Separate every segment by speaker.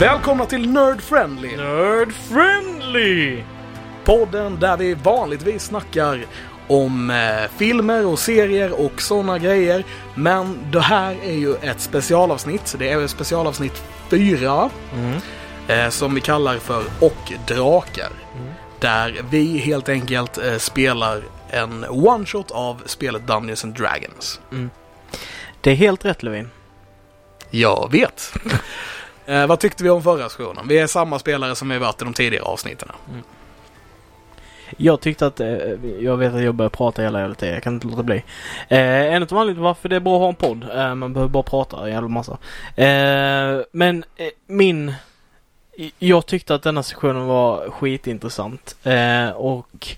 Speaker 1: Välkomna till Nerd Friendly!
Speaker 2: Nerd friendly!
Speaker 1: Podden där vi vanligtvis snackar om eh, filmer och serier och sådana grejer. Men det här är ju ett specialavsnitt. Det är specialavsnitt 4.
Speaker 2: Mm.
Speaker 1: Eh, som vi kallar för Och Drakar.
Speaker 2: Mm.
Speaker 1: Där vi helt enkelt eh, spelar en one-shot av spelet Dungeons and Dragons.
Speaker 2: Det är helt rätt Levin.
Speaker 1: Jag vet. eh, vad tyckte vi om förra sessionen? Vi är samma spelare som vi varit i de tidigare avsnitten.
Speaker 2: Jag tyckte att, eh, jag vet att jag börjar prata hela jävla tiden, jag kan inte låta bli. Eh, en av anledningarna varför det är bra att ha en podd, eh, man behöver bara prata en jävla massa. Eh, men eh, min, jag tyckte att denna sessionen var skitintressant. Eh, och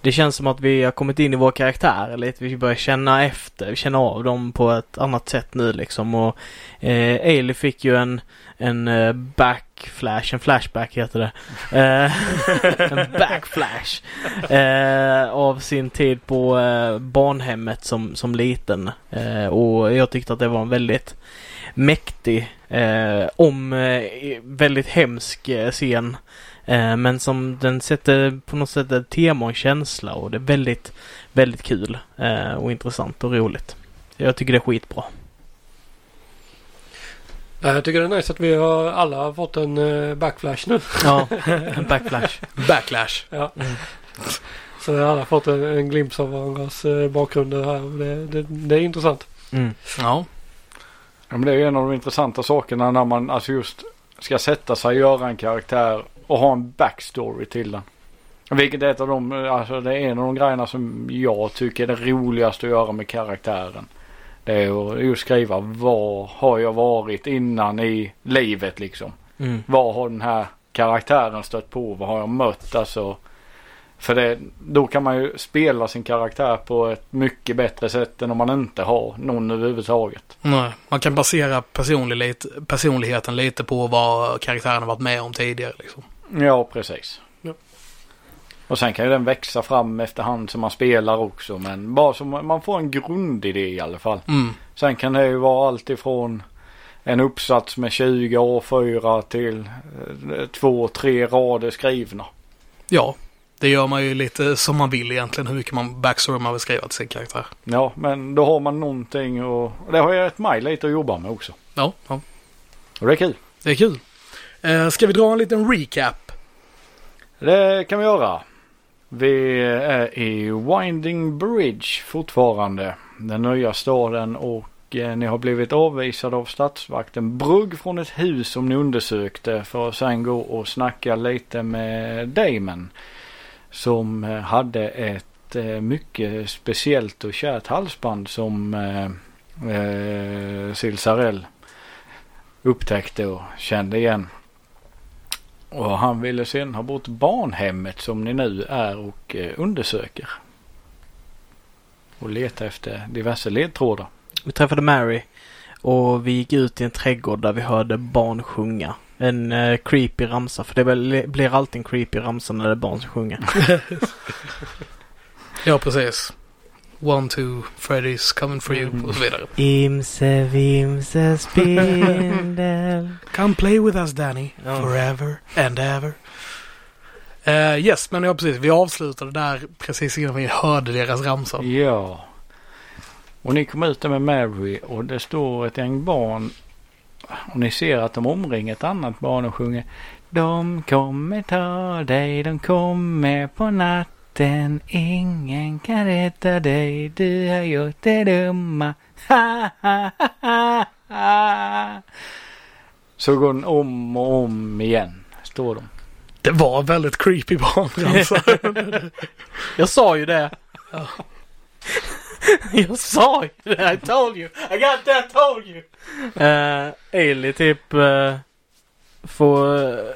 Speaker 2: det känns som att vi har kommit in i våra karaktärer lite, vi börjar känna efter, känna av dem på ett annat sätt nu liksom. Och eh, Ailey fick ju en, en eh, backflash, en flashback heter det. Eh, en backflash eh, av sin tid på eh, barnhemmet som, som liten. Eh, och jag tyckte att det var en väldigt mäktig, eh, om eh, väldigt hemsk eh, scen. Eh, men som den sätter på något sätt ett tema och en känsla och det är väldigt, väldigt kul eh, och intressant och roligt. Jag tycker det är skitbra.
Speaker 3: Ja, Eh, Jag tycker det är nice att vi har alla fått en eh, backflash nu.
Speaker 2: Ja, en backflash.
Speaker 1: Backlash.
Speaker 3: Ja.
Speaker 2: Mm.
Speaker 3: Så vi har alla fått en, en glimt av varandras eh, bakgrunder här. Och Det, det, det är intressant.
Speaker 2: Mm.
Speaker 1: Ja.
Speaker 4: Ja, men det är ju en av de intressanta sakerna när man alltså just ska sätta sig och göra en karaktär och ha en backstory till den. Vilket är, ett av de, alltså det är en av de grejerna som jag tycker är det roligaste att göra med karaktären. Det är att just skriva vad har jag varit innan i livet liksom.
Speaker 2: Mm.
Speaker 4: Vad har den här karaktären stött på? Vad har jag mött? Alltså, för det, då kan man ju spela sin karaktär på ett mycket bättre sätt än om man inte har någon överhuvudtaget.
Speaker 1: Nej, man kan basera personlighet, personligheten lite på vad karaktären har varit med om tidigare. Liksom.
Speaker 4: Ja, precis.
Speaker 3: Ja.
Speaker 4: Och sen kan ju den växa fram efterhand som man spelar också. Men bara så man man får en grundidé i alla fall.
Speaker 1: Mm.
Speaker 4: Sen kan det ju vara allt ifrån en uppsats med 20 A4 till eh, två, tre rader skrivna.
Speaker 1: Ja, det gör man ju lite som man vill egentligen. Hur mycket man backstory man vill skriva till sin karaktär.
Speaker 4: Ja, men då har man någonting och och det har ju ett mig lite att jobba med också.
Speaker 1: Ja, ja.
Speaker 4: Och det är kul.
Speaker 1: det är kul. Eh, ska vi dra en liten recap?
Speaker 4: Det kan vi göra. Vi är i Winding Bridge fortfarande. Den nya staden och eh, ni har blivit avvisade av statsvakten Brugg från ett hus som ni undersökte för att sen gå och snacka lite med Damon. Som eh, hade ett eh, mycket speciellt och kärt halsband som eh, eh, Silsarell upptäckte och kände igen. Och han ville sen ha bort barnhemmet som ni nu är och eh, undersöker. Och leta efter diverse ledtrådar.
Speaker 2: Vi träffade Mary och vi gick ut i en trädgård där vi hörde barn sjunga. En eh, creepy ramsa, för det blir- blir alltid en creepy ramsa när det är barn som sjunger.
Speaker 1: Ja, precis. Mm. One, two, Freddy's coming for you och så vidare.
Speaker 2: Imse vimse spindel.
Speaker 1: Come play with us Danny,
Speaker 2: Ja.
Speaker 1: forever and ever. Eh, yes, men ja precis. Vi avslutade där precis innan vi hörde deras ramsa.
Speaker 4: Ja. Och ni kommer ut där med Mary och det står ett gäng barn. Och ni ser att de omringar ett annat barn och sjunger. De kommer ta dig, de kommer på natten. Ingen kan rädda dig, du har gjort det dumma. Ha, ha, ha, ha, ha. Så går den om och om igen, står de.
Speaker 1: Det var väldigt creepy barnramsa.
Speaker 2: Jag sa ju det. Jag sa ju det. I told you. I got that told you. Uh, Ailey typ eh, får eh,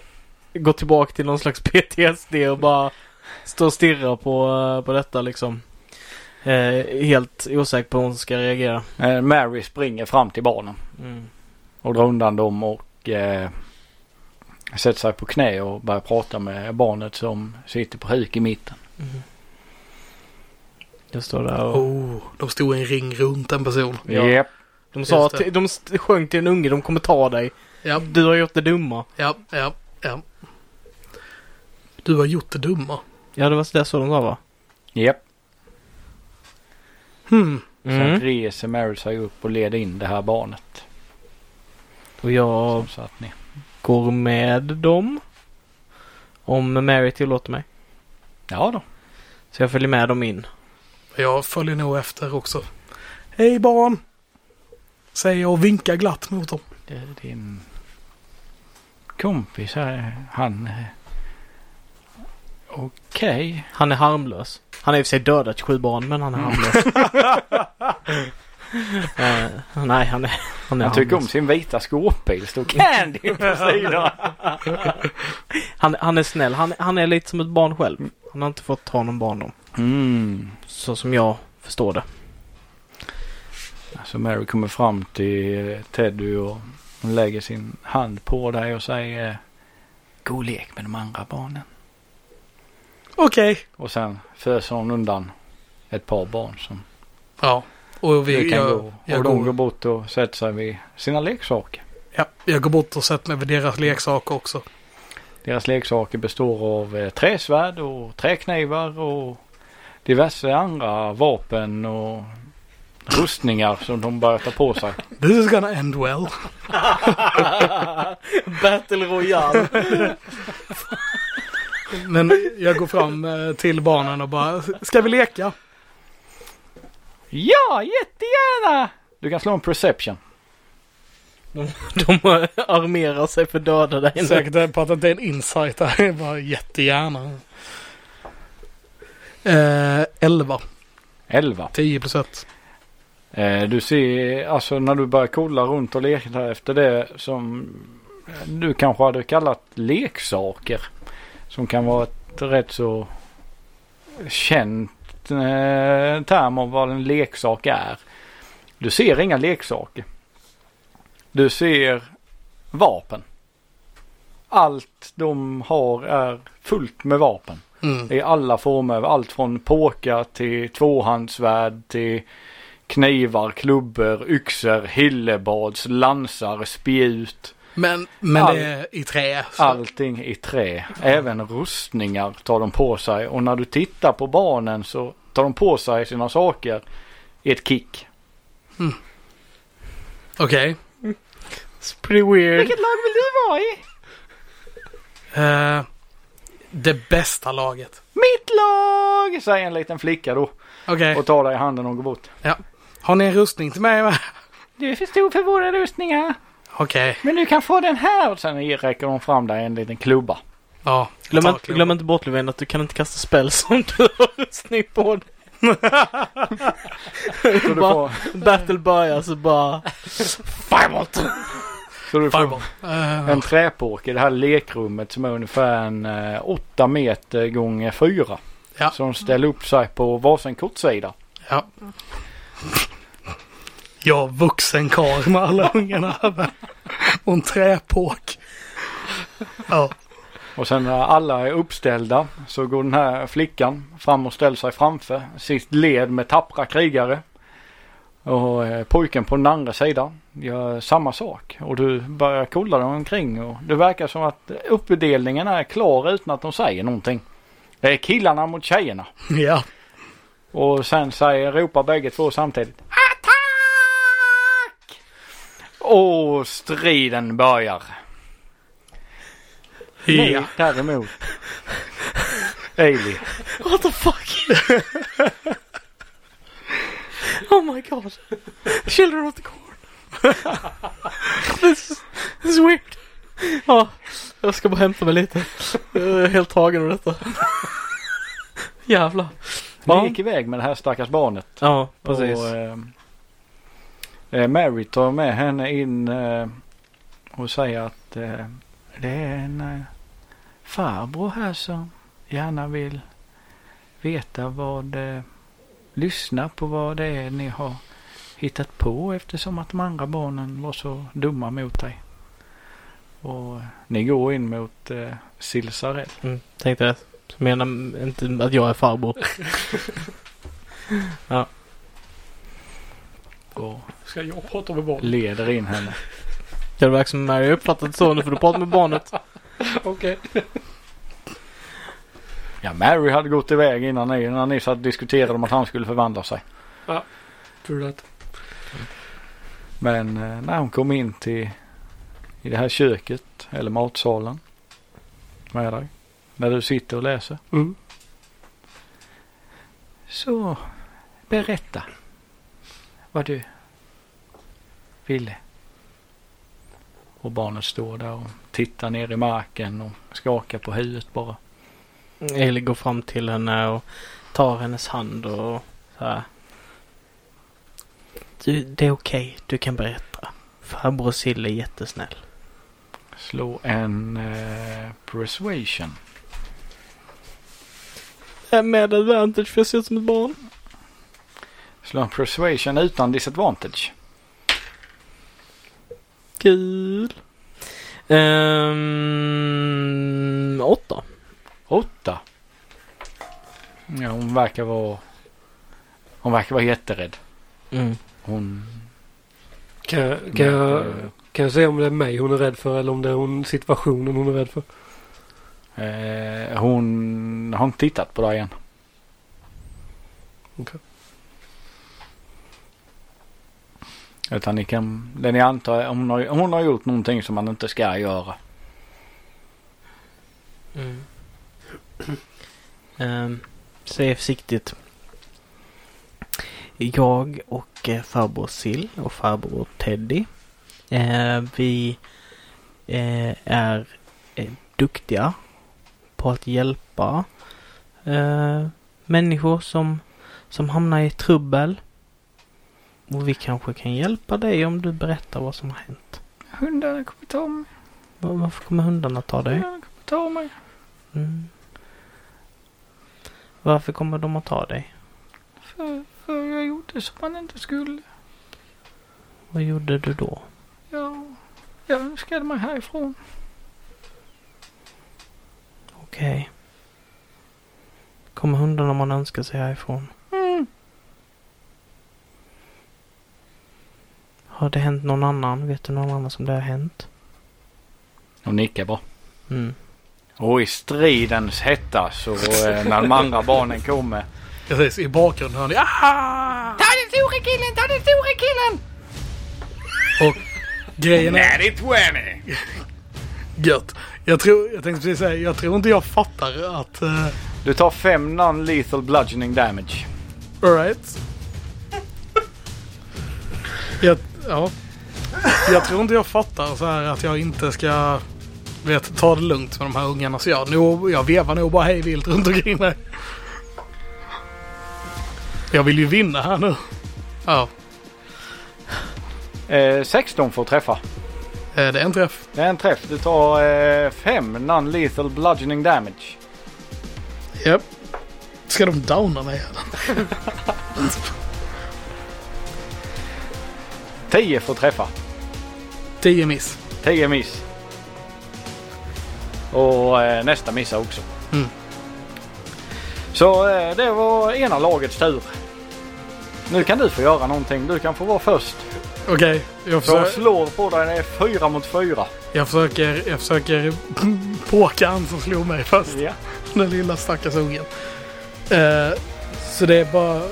Speaker 2: gå tillbaka till någon slags PTSD och bara stå och stirra på, eh, på detta liksom. Eh, helt osäker på hur hon ska reagera. Mm.
Speaker 4: Eh, Mary springer fram till barnen. och drar undan dem och eh, sätter sig på knä och börjar prata med barnet som sitter på huk i mitten.
Speaker 2: Jag står där och...
Speaker 1: oh, de stod i en ring runt en person.
Speaker 2: Ja.
Speaker 4: Japp.
Speaker 2: De sa
Speaker 1: Just
Speaker 2: att de st- sjöng till en unge, de kommer ta dig.
Speaker 1: Ja,
Speaker 2: Du har gjort det dumma.
Speaker 1: ja, ja, ja. Du har gjort det dumma.
Speaker 2: Ja, det var så det så de sa va?
Speaker 4: Japp.
Speaker 1: Hmm.
Speaker 4: Sen
Speaker 2: Mm.
Speaker 4: reser Meryl sig upp och leder in det här barnet.
Speaker 2: Och jag
Speaker 4: Som satt ner.
Speaker 2: går med dem. Om Mary tillåter mig.
Speaker 4: Ja då.
Speaker 2: Så jag följer med dem in.
Speaker 1: Jag följer nog efter också. Hej barn! Säger jag och vinkar glatt mot dem.
Speaker 4: Det är din kompis här. Han... eh, Okej.
Speaker 2: Han är harmlös. Han är i och för sig dödat 27 barn men han är harmlös. Eh, nej, han är, han är
Speaker 4: Han tycker om
Speaker 2: harmlös.
Speaker 4: sin vita skåpbil. Står Candy på sidan.
Speaker 2: Han, han är snäll. Han, han är lite som ett barn själv. Han har inte fått ha någon barndom.
Speaker 4: Mm.
Speaker 2: Så som jag förstår det.
Speaker 4: Så Mary kommer fram till eh, Teddy och hon lägger sin hand på dig och säger God lek med de andra barnen.
Speaker 1: Okej.
Speaker 4: Och sen föser hon undan ett par barn som
Speaker 1: Ja. Och vi,
Speaker 4: nu kan
Speaker 1: jag,
Speaker 4: gå.
Speaker 1: jag,
Speaker 4: och de
Speaker 1: går,
Speaker 4: går bort och sätter sig vid sina leksaker.
Speaker 1: ja, jag går bort och sätter mig vid deras leksaker också.
Speaker 4: Deras leksaker består av eh, träsvärd och träknivar och diverse andra vapen och rustningar som de börjar ta på sig.
Speaker 1: This is gonna end well.
Speaker 2: Battle Royale.
Speaker 1: Men jag går fram eh, till barnen och bara, ska vi leka?
Speaker 4: Ja, jättegärna! Du kan slå en perception.
Speaker 2: De eh, armerar sig för att döda dig.
Speaker 1: Säkert på att det inte är en insight där. Det är bara jättegärna. Eh, 11.
Speaker 4: 11.
Speaker 1: 10 plus 1.
Speaker 4: Eh, Du ser, alltså när du börjar kolla runt och leta efter det som eh, du kanske hade kallat leksaker. Som kan vara ett rätt så känt eh, term om vad en leksak är. Du ser inga leksaker. Du ser vapen. Allt de har är fullt med vapen.
Speaker 1: Mm.
Speaker 4: I alla former. Allt från påkar till tvåhandsvärd till knivar, klubbor, yxor, hillebads, lansar, spjut.
Speaker 1: Men, men
Speaker 4: All-
Speaker 1: det är i trä. Så.
Speaker 4: Allting i trä. Även rustningar tar de på sig. Och när du tittar på barnen så tar de på sig sina saker i ett kick.
Speaker 1: Okej.
Speaker 2: It's pretty weird.
Speaker 4: lag vill du vara i?
Speaker 1: Eh, det bästa laget.
Speaker 4: Mitt lag! Säger en liten flicka då.
Speaker 1: Okej.
Speaker 4: Och tar dig i handen och går bort.
Speaker 1: Har ni en rustning till mig?
Speaker 4: Du är för stor för våra rustningar.
Speaker 1: Okej.
Speaker 4: Men du kan få den här. Och sen räcker de fram dig en liten klubba.
Speaker 1: Ja.
Speaker 2: Glöm,
Speaker 1: Ta
Speaker 2: inte,
Speaker 1: klubban.
Speaker 2: glöm inte bort Löfven att du kan inte kasta spel som du har rustning på dig.
Speaker 4: Så du
Speaker 2: Bara-
Speaker 4: får...
Speaker 2: Battle börjar så bara... Firebolt!
Speaker 4: Så du får
Speaker 1: Fireball. Eh,
Speaker 4: en träpåk i det här lekrummet som är ungefär en eh, åtta meter gånger fyra
Speaker 1: Ja.
Speaker 4: Som ställer upp sig på varsin kortsida.
Speaker 1: ja. Jag är vuxen karl med alla ungarna över. Och en träpåk. Ja.
Speaker 4: Och sen när alla är uppställda så går den här flickan fram och ställer sig framför sitt led med tappra krigare. Och eh, pojken på den andra sidan gör samma sak. Och du börjar kolla dem omkring och det verkar som att uppdelningen är klar utan att de säger någonting. Det är killarna mot tjejerna.
Speaker 1: Ja.
Speaker 4: Och sen säger, ropar bägge två samtidigt. Attack! Och striden börjar.
Speaker 1: Ja.
Speaker 4: Nej, däremot. Ailey.
Speaker 2: What the fuck? oh my god. Children of the corn. this, is, this is weird. Ja, jag ska bara hämta mig lite. Jag är helt tagen av detta. Jävlar.
Speaker 4: Ni gick iväg med det här stackars barnet.
Speaker 2: Ja,
Speaker 4: Och, eh, eh, Mary tar med henne in eh, och säger att eh, det är en eh, farbror här som gärna vill veta vad, eh, lyssna på vad det är ni har hittat på eftersom att de andra barnen var så dumma mot dig. Och eh, ni går in mot eh, Silsarell.
Speaker 2: Mm, tänkte det. Så menar inte att jag är farbror.
Speaker 4: Och
Speaker 5: Ska jag prata med barn?
Speaker 4: leder in henne.
Speaker 2: Det verkar som Mary har uppfattat det så. Nu får du prata med barnet.
Speaker 3: Okej.
Speaker 4: Ja, Mary hade gått iväg innan ni, innan ni satt och diskuterade om att han skulle förvandla sig.
Speaker 3: Tror du att?
Speaker 4: Men eh, när hon kom in till i det här köket eller matsalen med dig. När du sitter och läser.
Speaker 3: Mm.
Speaker 4: Så berätta vad du ville. Och barnet står där och tittar ner i marken och skakar på huvudet bara.
Speaker 2: Eli går fram till henne och tar hennes hand och så här. Du, det är okej. Du kan berätta. Farbror Sille är jättesnäll.
Speaker 4: Slå en eh, persuasion.
Speaker 2: Med advantage för jag ser ut som ett barn.
Speaker 4: Slå en persuasion utan disadvantage.
Speaker 2: Kul. Ehm, åtta.
Speaker 4: Åtta. Ja, hon verkar vara... Hon verkar vara jätterädd.
Speaker 2: Mm.
Speaker 4: Hon...
Speaker 3: Kan, jag- kan, jag, kan jag säga om det är mig hon är rädd för eller om det är hon, situationen hon är rädd för?
Speaker 4: Eh, hon har inte tittat på dig än.
Speaker 3: Okej.
Speaker 4: Utan ni kan... Det ni antar är hon har, hon har gjort någonting som man inte ska göra.
Speaker 2: Mm. Ehm, säg försiktigt. Jag och eh, farbror Sill och farbror Teddy. Eh, vi eh, är eh, duktiga på att hjälpa eh, människor som, som hamnar i trubbel. Och vi kanske kan hjälpa dig om du berättar vad som har hänt.
Speaker 4: Hundarna kommer ta mig.
Speaker 2: Va- Varför kommer hundarna ta dig?
Speaker 4: Hundarna kommer ta mig.
Speaker 2: Mm. Varför kommer de att ta dig?
Speaker 4: För, för jag gjorde som man inte skulle.
Speaker 2: Vad gjorde du då?
Speaker 4: Jag, jag önskade mig härifrån.
Speaker 2: Okej. Kommer hundarna om man önskar sig härifrån?
Speaker 4: Mm.
Speaker 2: Har det hänt någon annan? Vet du någon annan som det har hänt?
Speaker 4: Hon nickar bara.
Speaker 2: Mm.
Speaker 4: Och i stridens hetta så eh, när de andra barnen kommer.
Speaker 1: Precis, i bakgrunden hör ni ah! Ta den store killen, ta den store killen! Och grejen är
Speaker 4: Natty 20!
Speaker 1: gött. Jag, tror, jag tänkte precis säga, jag tror inte jag fattar att... Uh,
Speaker 4: Du tar fem non-lethal bludgeoning damage.
Speaker 1: Alright. Jag, ja. jag tror inte jag fattar så här att jag inte ska vet, ta det lugnt med de här ungarna. Så jag, nog, jag vevar nog bara hej vilt runt omkring mig. Jag vill ju vinna här nu. Ja,
Speaker 4: Eh, 16 får träffa.
Speaker 1: eh, det är en träff.
Speaker 4: Det är en träff. Du tar eh, fem non-lethal bludgeoning damage.
Speaker 1: Japp. Ska de downa mig? eller?
Speaker 4: 10 får träffa.
Speaker 1: 10 miss.
Speaker 4: 10 miss. Och eh, nästa missar också.
Speaker 1: Mm.
Speaker 4: Så eh, det var ena lagets tur. Nu kan du få göra någonting. Du kan få vara först.
Speaker 1: Okej, jag,
Speaker 4: Så
Speaker 1: försöker,
Speaker 4: slår på dig. Det är fyra mot fyra.
Speaker 1: jag försöker, jag försöker påka han som slog mig först.
Speaker 4: Ja.
Speaker 1: Den lilla stackars ungen. Eh, så det är bara...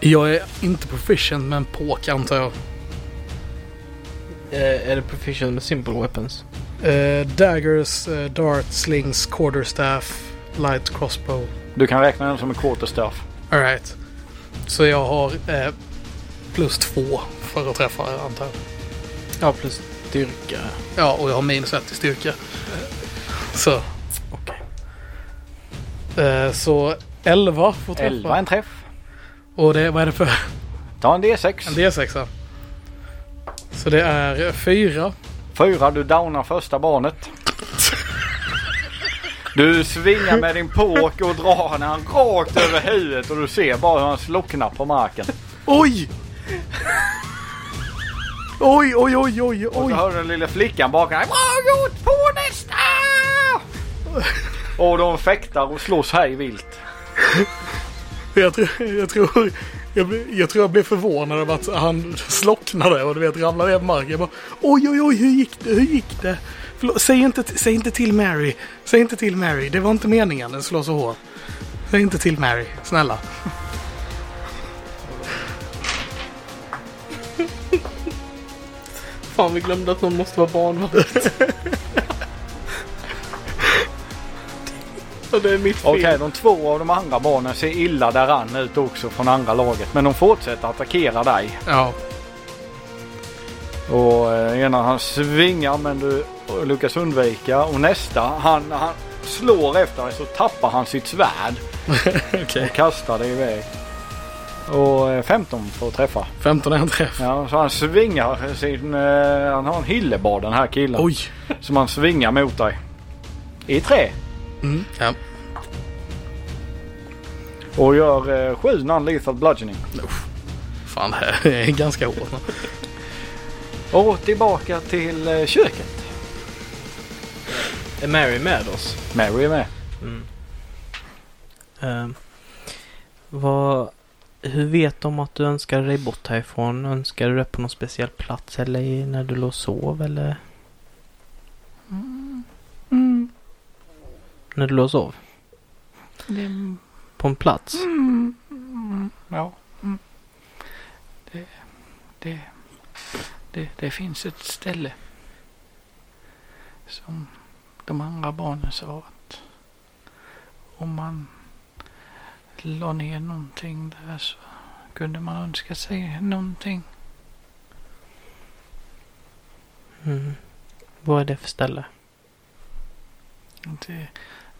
Speaker 1: Jag är inte proficient med en påk antar jag.
Speaker 2: Eh, är det proficient med simple weapons?
Speaker 1: Eh, daggers, eh, darts, slings, quarterstaff, light crossbow.
Speaker 4: Du kan räkna den som en quarterstaff.
Speaker 1: Alright. Så jag har eh, plus två för att träffa antar jag.
Speaker 2: Ja, plus styrka.
Speaker 1: Ja, och jag har minus ett i styrka. Så.
Speaker 2: Okej.
Speaker 1: Eh, så 11 får träffa.
Speaker 4: 11 en träff.
Speaker 1: Och det, vad är det för
Speaker 4: Ta en D6.
Speaker 1: en D6? Så det är fyra.
Speaker 4: Fyra, du downar första barnet. Du svingar med din påk och drar han rakt över huvudet och du ser bara hur han slocknar på marken.
Speaker 1: Oj! Oj, oj, oj, oj,
Speaker 4: Och
Speaker 1: oj.
Speaker 4: så hör du den lilla flickan bakom dig. Bra gjort! På nästa! Och de fäktar och slåss här i vilt.
Speaker 1: Jag tror, jag tror Jag, blev- jag tror jag blev förvånad över att han slocknade och du vet ramlade ner på marken. Jag bara, oj, oj, oj, hur gick det? Hur gick det? Förlåt, säg, inte, säg inte till Mary. Säg inte till Mary. Det var inte meningen. Den slår så hårt. Säg inte till Mary. Snälla.
Speaker 2: Fan, vi glömde att någon måste vara barnvakt. och det är mitt fel.
Speaker 4: Okej, de två av de andra barnen ser illa däran ut också från andra laget. Men de fortsätter attackera dig.
Speaker 1: Ja.
Speaker 4: Och eh, ena han svingar men du lyckas undvika. Och nästa, han, han slår efter dig så tappar han sitt svärd.
Speaker 1: Okej.
Speaker 4: Och kastar det iväg. Och eh, 15 får träffa.
Speaker 1: 15 är en träff.
Speaker 4: Ja, så han svingar sin... eh, han har en hillebard den här killen.
Speaker 1: Oj.
Speaker 4: Som han svingar mot dig. I trä.
Speaker 1: Mm. Ja.
Speaker 4: Och gör eh, sju non-lethal bludgeoning.
Speaker 1: Fan, det här är ganska hårt.
Speaker 4: Och tillbaka till eh, köket.
Speaker 2: Är Mary med oss?
Speaker 4: Mary är med.
Speaker 2: Mm. Ehm, vad... Hur vet de att du önskar dig bort härifrån? Önskar du det på någon speciell plats eller i- när du låg och sov eller? När du låg och sov? På en plats?
Speaker 4: Ja. Det, det, det, det finns ett ställe. Som de andra barnen sa att om man la ner någonting där så kunde man önska sig någonting.
Speaker 2: Mm. Vad är det för ställe?
Speaker 4: Det,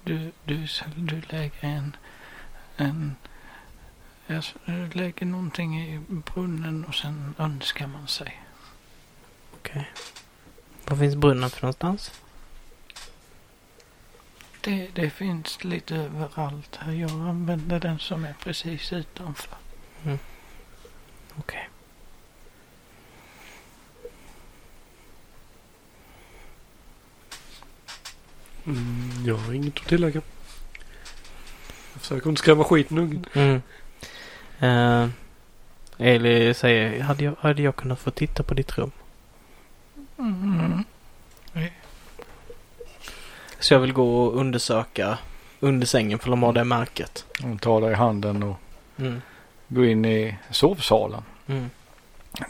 Speaker 4: du, du, du lägger en... en alltså, du lägger någonting i brunnen och sen önskar man sig.
Speaker 2: Var finns brunnen för någonstans?
Speaker 4: Det, det finns lite överallt här. Jag använder den som är precis utanför.
Speaker 2: Okej.
Speaker 3: Mm, jag har inget att tillägga. Jag försöker inte skrämma skiten ur ungen.
Speaker 2: Mm. Eh, Eli säger, hade jag, hade jag kunnat få titta på ditt rum?
Speaker 4: Mm.
Speaker 2: Så jag vill gå och undersöka under sängen för de har det märket.
Speaker 4: Hon tar dig i handen och
Speaker 2: Mm.
Speaker 4: går in i sovsalen.
Speaker 2: Mm.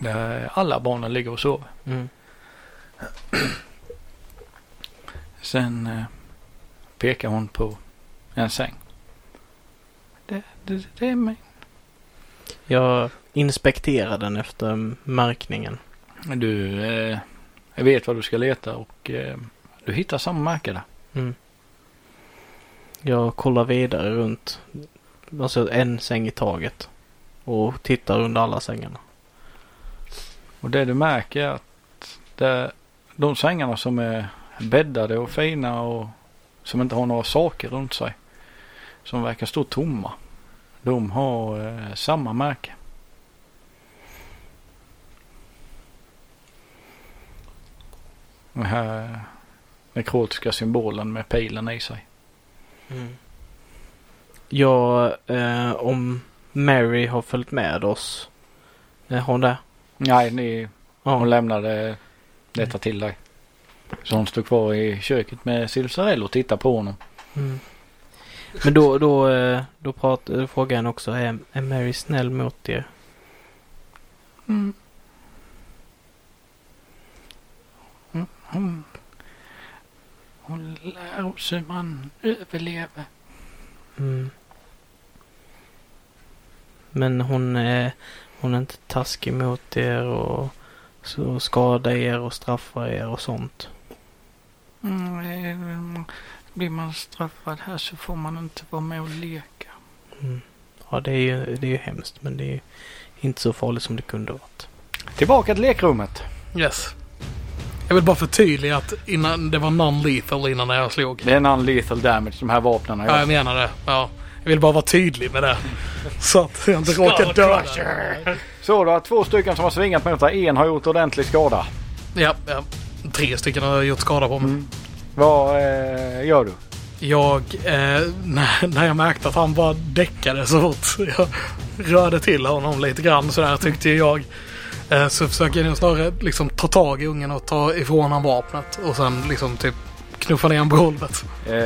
Speaker 4: Där alla barnen ligger och sover.
Speaker 2: Mm.
Speaker 4: Sen eh, pekar hon på en säng. Det, det, det är min.
Speaker 2: Jag inspekterar den efter märkningen.
Speaker 4: Du eh, jag vet vad du ska leta och eh, du hittar samma märke där.
Speaker 2: Mm. Jag kollar vidare runt, alltså en säng i taget. Och tittar under alla sängarna.
Speaker 4: Och det du märker är att det, de sängarna som är bäddade och fina och som inte har några saker runt sig. Som verkar stå tomma. De har eh, samma märke. Den här nekrotiska symbolen med pilen i sig.
Speaker 2: Mm. Jag, eh, om Mary har följt med oss. Eh, har hon det?
Speaker 4: Nej, ni,
Speaker 2: Ja.
Speaker 4: hon lämnade detta till dig. Så hon stod kvar i köket med Silsarell och tittade på honom.
Speaker 2: Mm. Men då, då, eh, då prat, då frågar han också, är, är Mary snäll mot er?
Speaker 6: Mm.
Speaker 4: Hon, hon lär oss hur man överlever.
Speaker 2: Mm. Men hon är, hon är inte taskig mot er och så skadar er och straffar er och sånt.
Speaker 6: Mm, eh, blir man straffad här så får man inte vara med och leka.
Speaker 2: Mm. Ja, det är ju, det är ju hemskt men det är ju inte så farligt som det kunde varit.
Speaker 4: Tillbaka till lekrummet.
Speaker 1: Yes. Jag vill bara förtydliga att innan, det var non-lethal innan jag slog.
Speaker 4: Det är en unlethal damage de här vapnen.
Speaker 1: Ja, jag
Speaker 4: Ja.
Speaker 1: menar det. Ja. Jag vill bara vara tydlig med det. Så att jag inte råkar dö. där.
Speaker 4: Så du har två stycken som har svingat mot dig. En har gjort ordentlig skada.
Speaker 1: Ja, ja. Tre stycken har gjort skada på mig.
Speaker 4: Mm. Vad eh, gör du?
Speaker 1: Jag, eh, när, när jag märkte att han bara däckade så fort jag rörde till honom lite grann sådär tyckte jag. Eh, Så försöker jag snarare liksom ta tag i ungen och ta ifrån honom vapnet och sen liksom typ knuffa ner honom på golvet.
Speaker 4: Eh,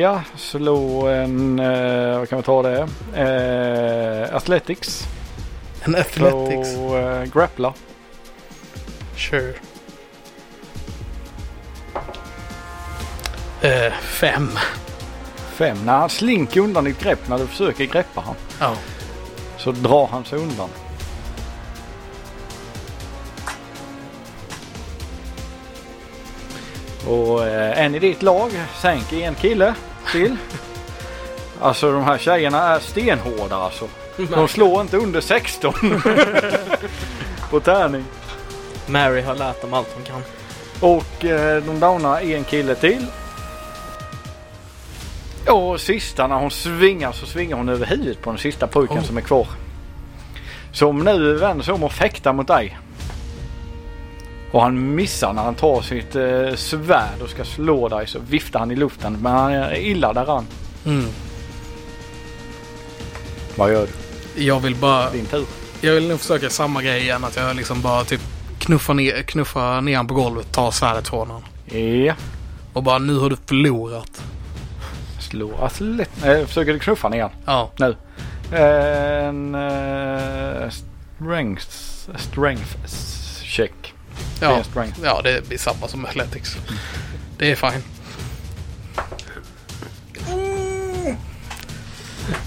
Speaker 4: ja, slå en... Eh, vad kan vi ta det? Eh, athletics.
Speaker 1: En athletics.
Speaker 4: Slå eh, grappla.
Speaker 1: Sure. Eh, fem.
Speaker 4: Fem. När han slinker undan ditt grepp, när du försöker greppa han,
Speaker 1: Ja.
Speaker 4: så drar han sig undan. Och eh, en i ditt lag sänker en kille till. Alltså de här tjejerna är stenhårda alltså. De slår inte under 16. På tärning.
Speaker 2: Mary har lärt dem allt hon kan.
Speaker 4: Och eh, de downar en kille till. Och sista när hon svingar så svingar hon över huvudet på den sista pojken
Speaker 1: Oh.
Speaker 4: som är kvar. Som nu vänder sig om och fäktar mot dig. Och han missar när han tar sitt eh, svärd och ska slå dig så viftar han i luften. Men han är illa däran.
Speaker 1: Mm.
Speaker 4: Vad gör du?
Speaker 1: Jag vill bara...
Speaker 4: Din tur.
Speaker 1: Jag vill nog försöka samma grej igen. Att jag liksom bara typ knuffar ner, knuffar ner honom på golvet, tar svärdet från honom.
Speaker 4: Ja.
Speaker 1: Och bara nu har du förlorat.
Speaker 4: Slå atlet. Eh, försöker du knuffa ner
Speaker 1: Ja.
Speaker 4: En eh, strength, strength check. Det är
Speaker 1: Ja,
Speaker 4: en strength.
Speaker 1: ja det blir samma som Athletics. Det är fine.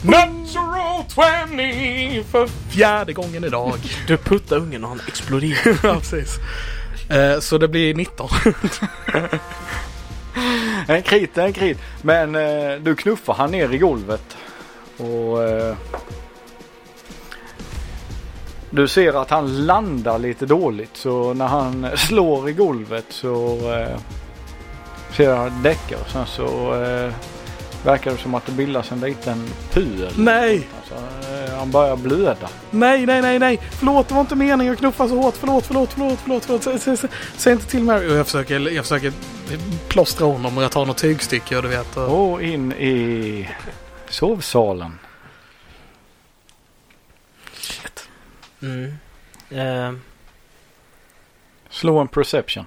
Speaker 1: Natural 20 för fjärde gången idag.
Speaker 2: Du puttar ungen och han exploderar.
Speaker 1: ja, precis. Eh, så det blir 19.
Speaker 4: En krit, en krit. Men eh, du knuffar han ner i golvet. Och eh, du ser att han landar lite dåligt. Så när han slår i golvet så eh, ser jag att däckar. Och Sen så eh, verkar det som att det bildas en liten pöl.
Speaker 1: nej,
Speaker 4: Alltså, eh, han börjar blöda.
Speaker 1: nej, nej, nej, nej. Förlåt, det var inte meningen att knuffa så hårt. Förlåt, förlåt, förlåt, förlåt. förlåt. Säg, säg, säg, säg inte till Mary. Och jag försöker, jag försöker plåstra honom och jag tar något tygstycke och du vet. Och...
Speaker 4: Och in i sovsalen.
Speaker 2: Mm. Eh,
Speaker 4: Slå en perception.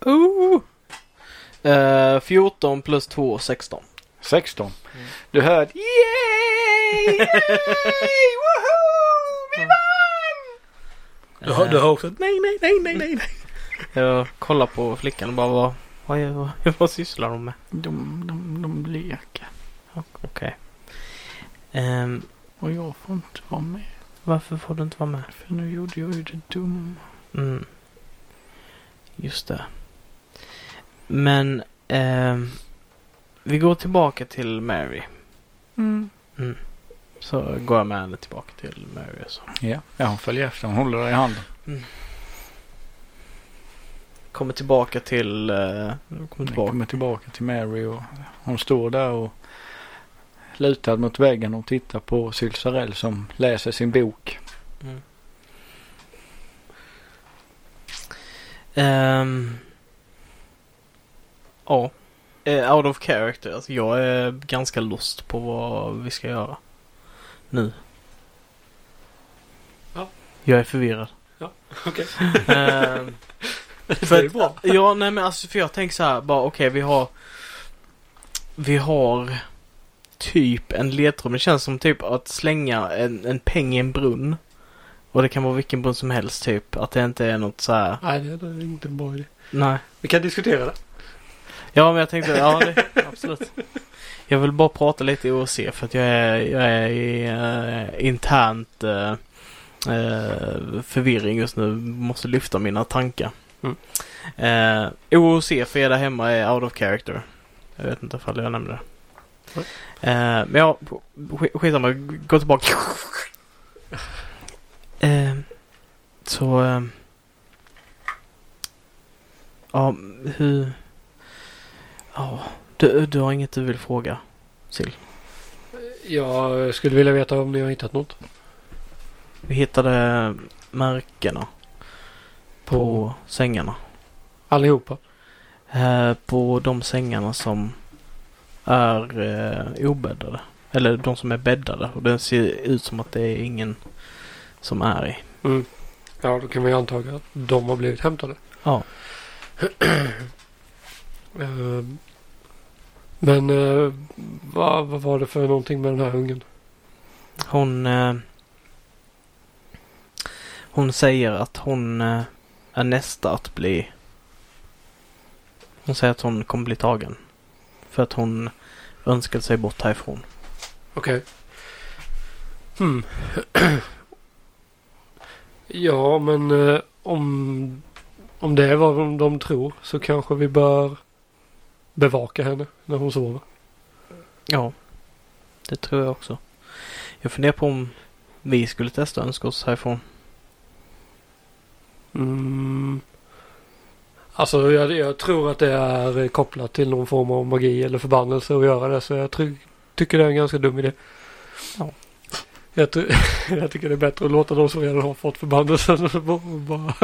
Speaker 2: oh. Eh, 14 plus 2, 16.
Speaker 4: 16. Du hör ett yay! Yay! Woho! Vi vann!
Speaker 1: Du, hör- du har också ett nej, nej, nej, nej, nej, nej.
Speaker 2: Eh, Jag kollar på flickan och bara vad, vad, gör- vad, vad sysslar hon med?
Speaker 4: De, de, de leker
Speaker 2: Okej. Ehm,
Speaker 4: och jag får inte vara med
Speaker 2: varför får du inte vara med?
Speaker 4: för nu gjorde jag ju det dumma.
Speaker 2: Mm. Just det. Men ehm, vi går tillbaka till Mary.
Speaker 7: Mm.
Speaker 2: Så går jag med henne tillbaka till Mary. och Så.
Speaker 4: Ja, ja hon följer efter. Hon håller dig i handen.
Speaker 2: Kommer tillbaka till... eh, kommer
Speaker 4: Hon
Speaker 2: tillbaka.
Speaker 4: kommer tillbaka till Mary och hon står där och lutad mot väggen och tittar på Sylsarell som läser sin bok.
Speaker 2: Ehm, Ja. Eh, out of character. Alltså, jag är ganska lost på vad vi ska göra. Nu.
Speaker 3: Ja.
Speaker 2: Jag är förvirrad.
Speaker 3: Ja, okej.
Speaker 2: Ehm,
Speaker 3: Det är bra.
Speaker 2: Ja, nej men alltså för jag tänker så här bara okej vi har Vi har typ en ledtråd. Det känns som typ att slänga en, en peng i en brunn. Och det kan vara vilken brunn som helst typ. Att det inte är något så här.
Speaker 3: Nej, det det är inte en bra idé.
Speaker 2: Nej.
Speaker 3: Vi kan diskutera det.
Speaker 2: Ja men jag tänkte, ja det, absolut. Jag vill bara prata lite i OC för att jag är, jag är i eh, internt eh, eh, förvirring just nu. Måste lyfta mina tankar.
Speaker 3: Mm.
Speaker 2: Eh, OOC för er där hemma är out of character. Jag vet inte ifall jag nämnde det. Eh, men ja, sk- skitsamma. Gå tillbaka. Eh, så... Eh, ja, hur... Ja, du, du har inget du vill fråga? Sill.
Speaker 3: Jag skulle vilja veta om ni har hittat något.
Speaker 2: Vi hittade märkena på, sängarna.
Speaker 3: Allihopa.
Speaker 2: Eh, på de sängarna som är eh, obäddade. Eller de som är bäddade. Och det ser ut som att det är ingen som är i.
Speaker 3: Mm. Ja, då kan vi anta att de har blivit hämtade.
Speaker 2: Ja.
Speaker 3: Eh, Men eh, vad, vad var det för någonting med den här ungen?
Speaker 2: Hon... Eh, hon säger att hon eh, är nästa att bli... Hon säger att hon kommer bli tagen. För att hon önskade sig bort härifrån.
Speaker 3: Okej. Hmm. ja, men eh, om, om det är vad de, de tror så kanske vi bör bevaka henne när hon sover.
Speaker 2: Ja. Det tror jag också. Jag funderar på om vi skulle testa att önska oss härifrån.
Speaker 3: Mm. Alltså jag, jag tror att det är kopplat till någon form av magi eller förbannelse att göra det. Så jag try- tycker det är en ganska dum idé.
Speaker 2: Ja.
Speaker 3: Jag, ty- jag tycker det är bättre att låta de som redan har fått förbannelsen och bara, bara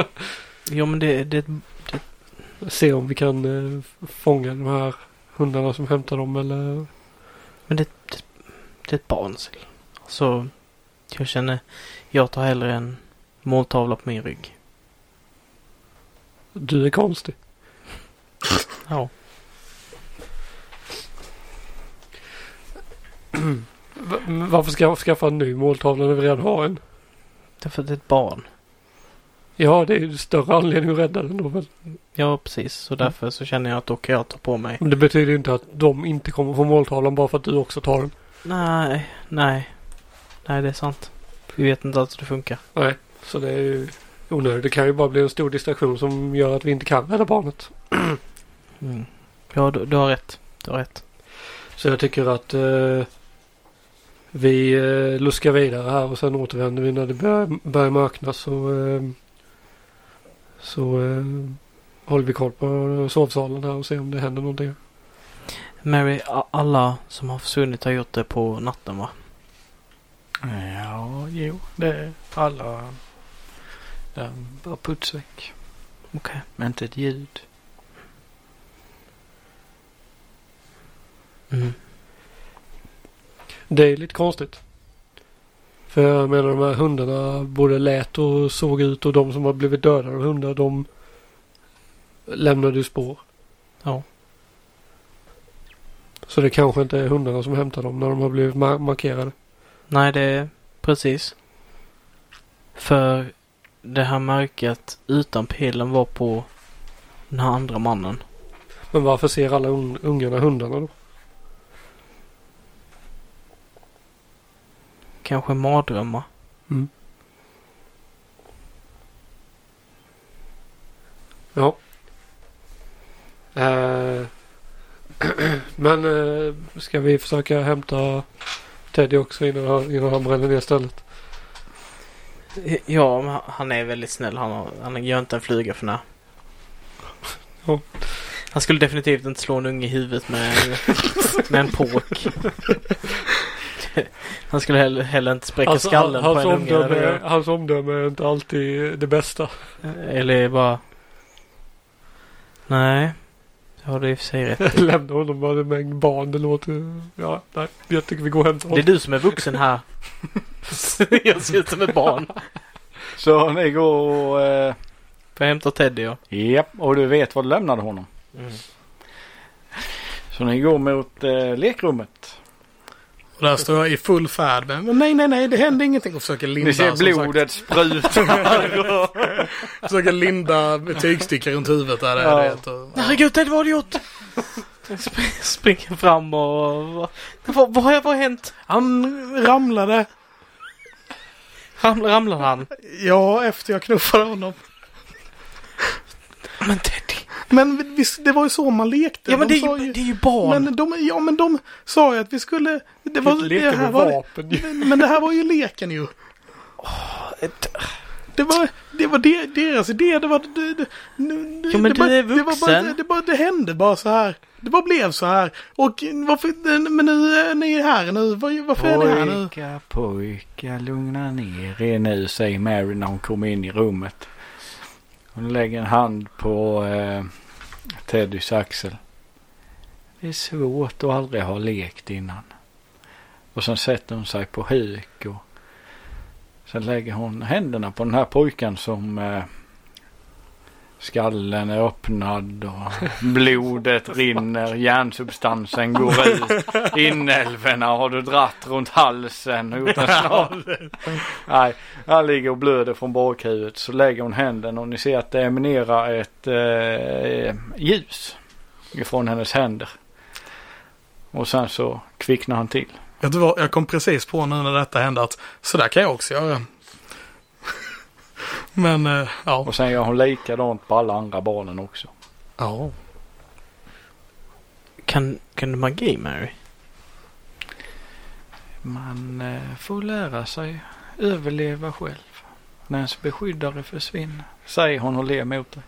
Speaker 2: Ja men det, det,
Speaker 3: se om vi kan eh, fånga de här hundarna som hämtar dem eller...
Speaker 2: men det, det, det är ett barn. Sil. Så jag känner, jag tar hellre en måltavla på min rygg.
Speaker 3: Du är konstig.
Speaker 2: Ja.
Speaker 3: Va- men Varför ska jag skaffa en ny måltavla när vi redan har en?
Speaker 2: Därför att det är ett barn.
Speaker 3: Ja, det är ju större anledning att rädda den då väl.
Speaker 2: Ja precis. Så därför så känner jag att då kan jag ta på mig.
Speaker 3: Men det betyder ju inte att de inte kommer få måltavlan bara för att du också tar den.
Speaker 2: Nej, nej. Nej det är sant. Vi vet inte alls hur det funkar.
Speaker 3: Nej, så det är ju onödigt. Det kan ju bara bli en stor distraktion som gör att vi inte kan rädda barnet.
Speaker 2: Mm. Ja du, du har rätt. Du har rätt.
Speaker 3: Så jag tycker att eh, vi eh, luskar vidare här och sen återvänder vi när det börjar, börjar mörkna så, eh, så eh, håller vi koll på sovsalen här och ser om det händer någonting.
Speaker 2: Mary, a- alla som har försvunnit har gjort det på natten va?
Speaker 4: Ja, jo, det är alla. Den bara putsväck.
Speaker 2: Okej.
Speaker 4: Men inte ett ljud.
Speaker 2: Mm.
Speaker 3: Det är lite konstigt. För jag menar de här hundarna både lät och såg ut och de som har blivit dödade av hundar de lämnade ju spår.
Speaker 2: Ja.
Speaker 3: Så det kanske inte är hundarna som hämtar dem när de har blivit mar- markerade.
Speaker 2: Nej, det är precis. För det här märket utan pilen var på den här andra mannen.
Speaker 3: Men varför ser alla un- ungarna hundarna då?
Speaker 2: Kanske mardrömmar.
Speaker 3: Ja. Eh, Men eh, ska vi försöka hämta Teddy också innan han, innan han bränner ner stället?
Speaker 2: Ja, men han är väldigt snäll. Han, har, han gör inte en flyga för när.
Speaker 3: Ja.
Speaker 2: Han skulle definitivt inte slå en unge i huvudet med, med en påk. Han skulle heller, heller inte spräcka
Speaker 3: Alltså,
Speaker 2: skallen
Speaker 3: han-
Speaker 2: på
Speaker 3: hans,
Speaker 2: en unge.
Speaker 3: omdöme,
Speaker 2: eller-
Speaker 3: hans omdöme är inte alltid det bästa.
Speaker 2: Eller bara... Nej. Det har du i och för sig rätt
Speaker 3: Lämna honom med en mängd barn. Det låter... Ja, nej. Jag tycker vi går och hämtar
Speaker 2: Det är
Speaker 3: honom.
Speaker 2: du som är vuxen här. jag ser ut som ett barn.
Speaker 4: Så ni går och... Eh,
Speaker 2: Får jag hämta Teddy ja.
Speaker 4: japp, och du vet var du lämnade honom.
Speaker 2: Mm.
Speaker 4: Så ni går mot eh, lekrummet.
Speaker 8: Och där står jag i full färd med "Men nej, nej, nej, det hände ingenting och försöker linda.
Speaker 4: Ni ser
Speaker 8: som sagt.
Speaker 4: blodet spruta.
Speaker 8: Försöker linda tygstycken runt huvudet där.
Speaker 4: Ja.
Speaker 8: Ja. Det, och, ja.
Speaker 2: Herregud Teddy vad har du gjort? Sp- Springer fram och... Vad, vad, har, vad har hänt?
Speaker 8: Han ramlade.
Speaker 2: Ramlar, ramlar han?
Speaker 8: Ja, efter jag knuffade honom.
Speaker 2: Men Teddy.
Speaker 8: Men visst, det var ju så man lekte.
Speaker 2: Ja men
Speaker 8: De
Speaker 2: det är
Speaker 8: sa
Speaker 2: ju, det är ju barn.
Speaker 8: Men de, ja men de sa ju att vi skulle... Det, var, det,
Speaker 3: Leker
Speaker 8: här
Speaker 3: med
Speaker 8: var,
Speaker 3: vapen.
Speaker 8: men det här var ju leken ju.
Speaker 2: ett-
Speaker 8: Det var, det var de, deras idé, det var... Det, det,
Speaker 2: Jo, men
Speaker 8: det
Speaker 2: du
Speaker 8: bara-
Speaker 2: är
Speaker 8: Det, var bara,
Speaker 2: vuxen.
Speaker 8: det, bara, det hände bara så här. Det bara blev så här. Och varför... Men nu är ni här nu. Var- Varför är ni här nu?
Speaker 4: Pojkar, pojkar, lugna ner er nu, säger Mary när hon kommer in i rummet. Hon lägger en hand på eh, Teddys axel. Det är svårt att aldrig ha lekt innan. Och sen sätter hon sig på huk och sen lägger hon händerna på den här pojken som eh, skallen är öppnad och blodet rinner, hjärnsubstansen går ut, inälvorna har du dratt runt halsen och gjort en snabel. Nej, han ligger och blöder från bakhuvudet så lägger hon händerna och ni ser att det eminerar ett eh, ljus ifrån hennes händer. Och sen så kvicknar han till.
Speaker 8: Vet du vad, jag kom precis på nu när detta hände att sådär kan jag också göra. Men, eh, ja.
Speaker 4: Och sen gör hon likadant på alla andra barnen också.
Speaker 8: ja.
Speaker 2: Kan, kan du magi Mary?
Speaker 9: Man eh, får lära sig överleva själv. När ens beskyddare försvinner.
Speaker 4: Säger hon och ler mot dig.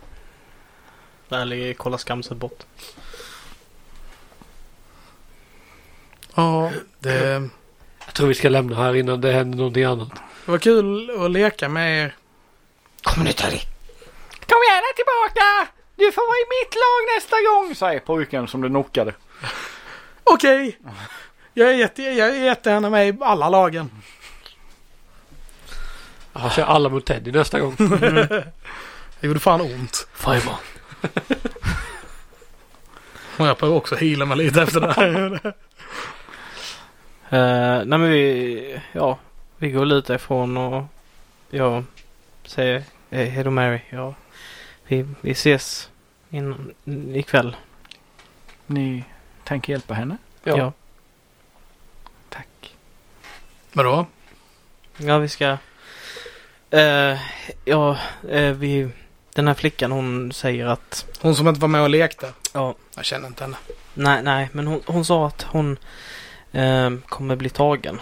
Speaker 2: Där ligger kolla skamset bort.
Speaker 8: Ja, det
Speaker 3: Jag tror vi ska lämna här innan det händer någonting annat.
Speaker 8: det var kul att leka med er.
Speaker 4: Kom gärna tillbaka! Du får vara i mitt lag nästa gång! Säger pojken som du knockade.
Speaker 8: Okej! Jag är jätte, jag är jättegärna med i alla lagen.
Speaker 3: Jag kör alla mot Teddy nästa gång.
Speaker 8: Det gjorde fan ont.
Speaker 3: Fireball.
Speaker 8: Och jag behöver också heala mig lite efter det här.
Speaker 2: Eh, nej men vi, ja, vi går lite ifrån och jag säger eh, hej då Mary. Ja, vi, vi ses in, ikväll.
Speaker 4: Ni tänker hjälpa henne?
Speaker 3: Ja.
Speaker 2: Ja.
Speaker 4: Tack.
Speaker 8: Vadå?
Speaker 2: ja, vi ska... eh, ja, eh, vi, den här flickan hon säger att...
Speaker 8: Hon som inte var med och lekte.
Speaker 2: Ja,
Speaker 8: Jag känner inte henne.
Speaker 2: nej, nej, men hon, hon sa att hon eh, kommer bli tagen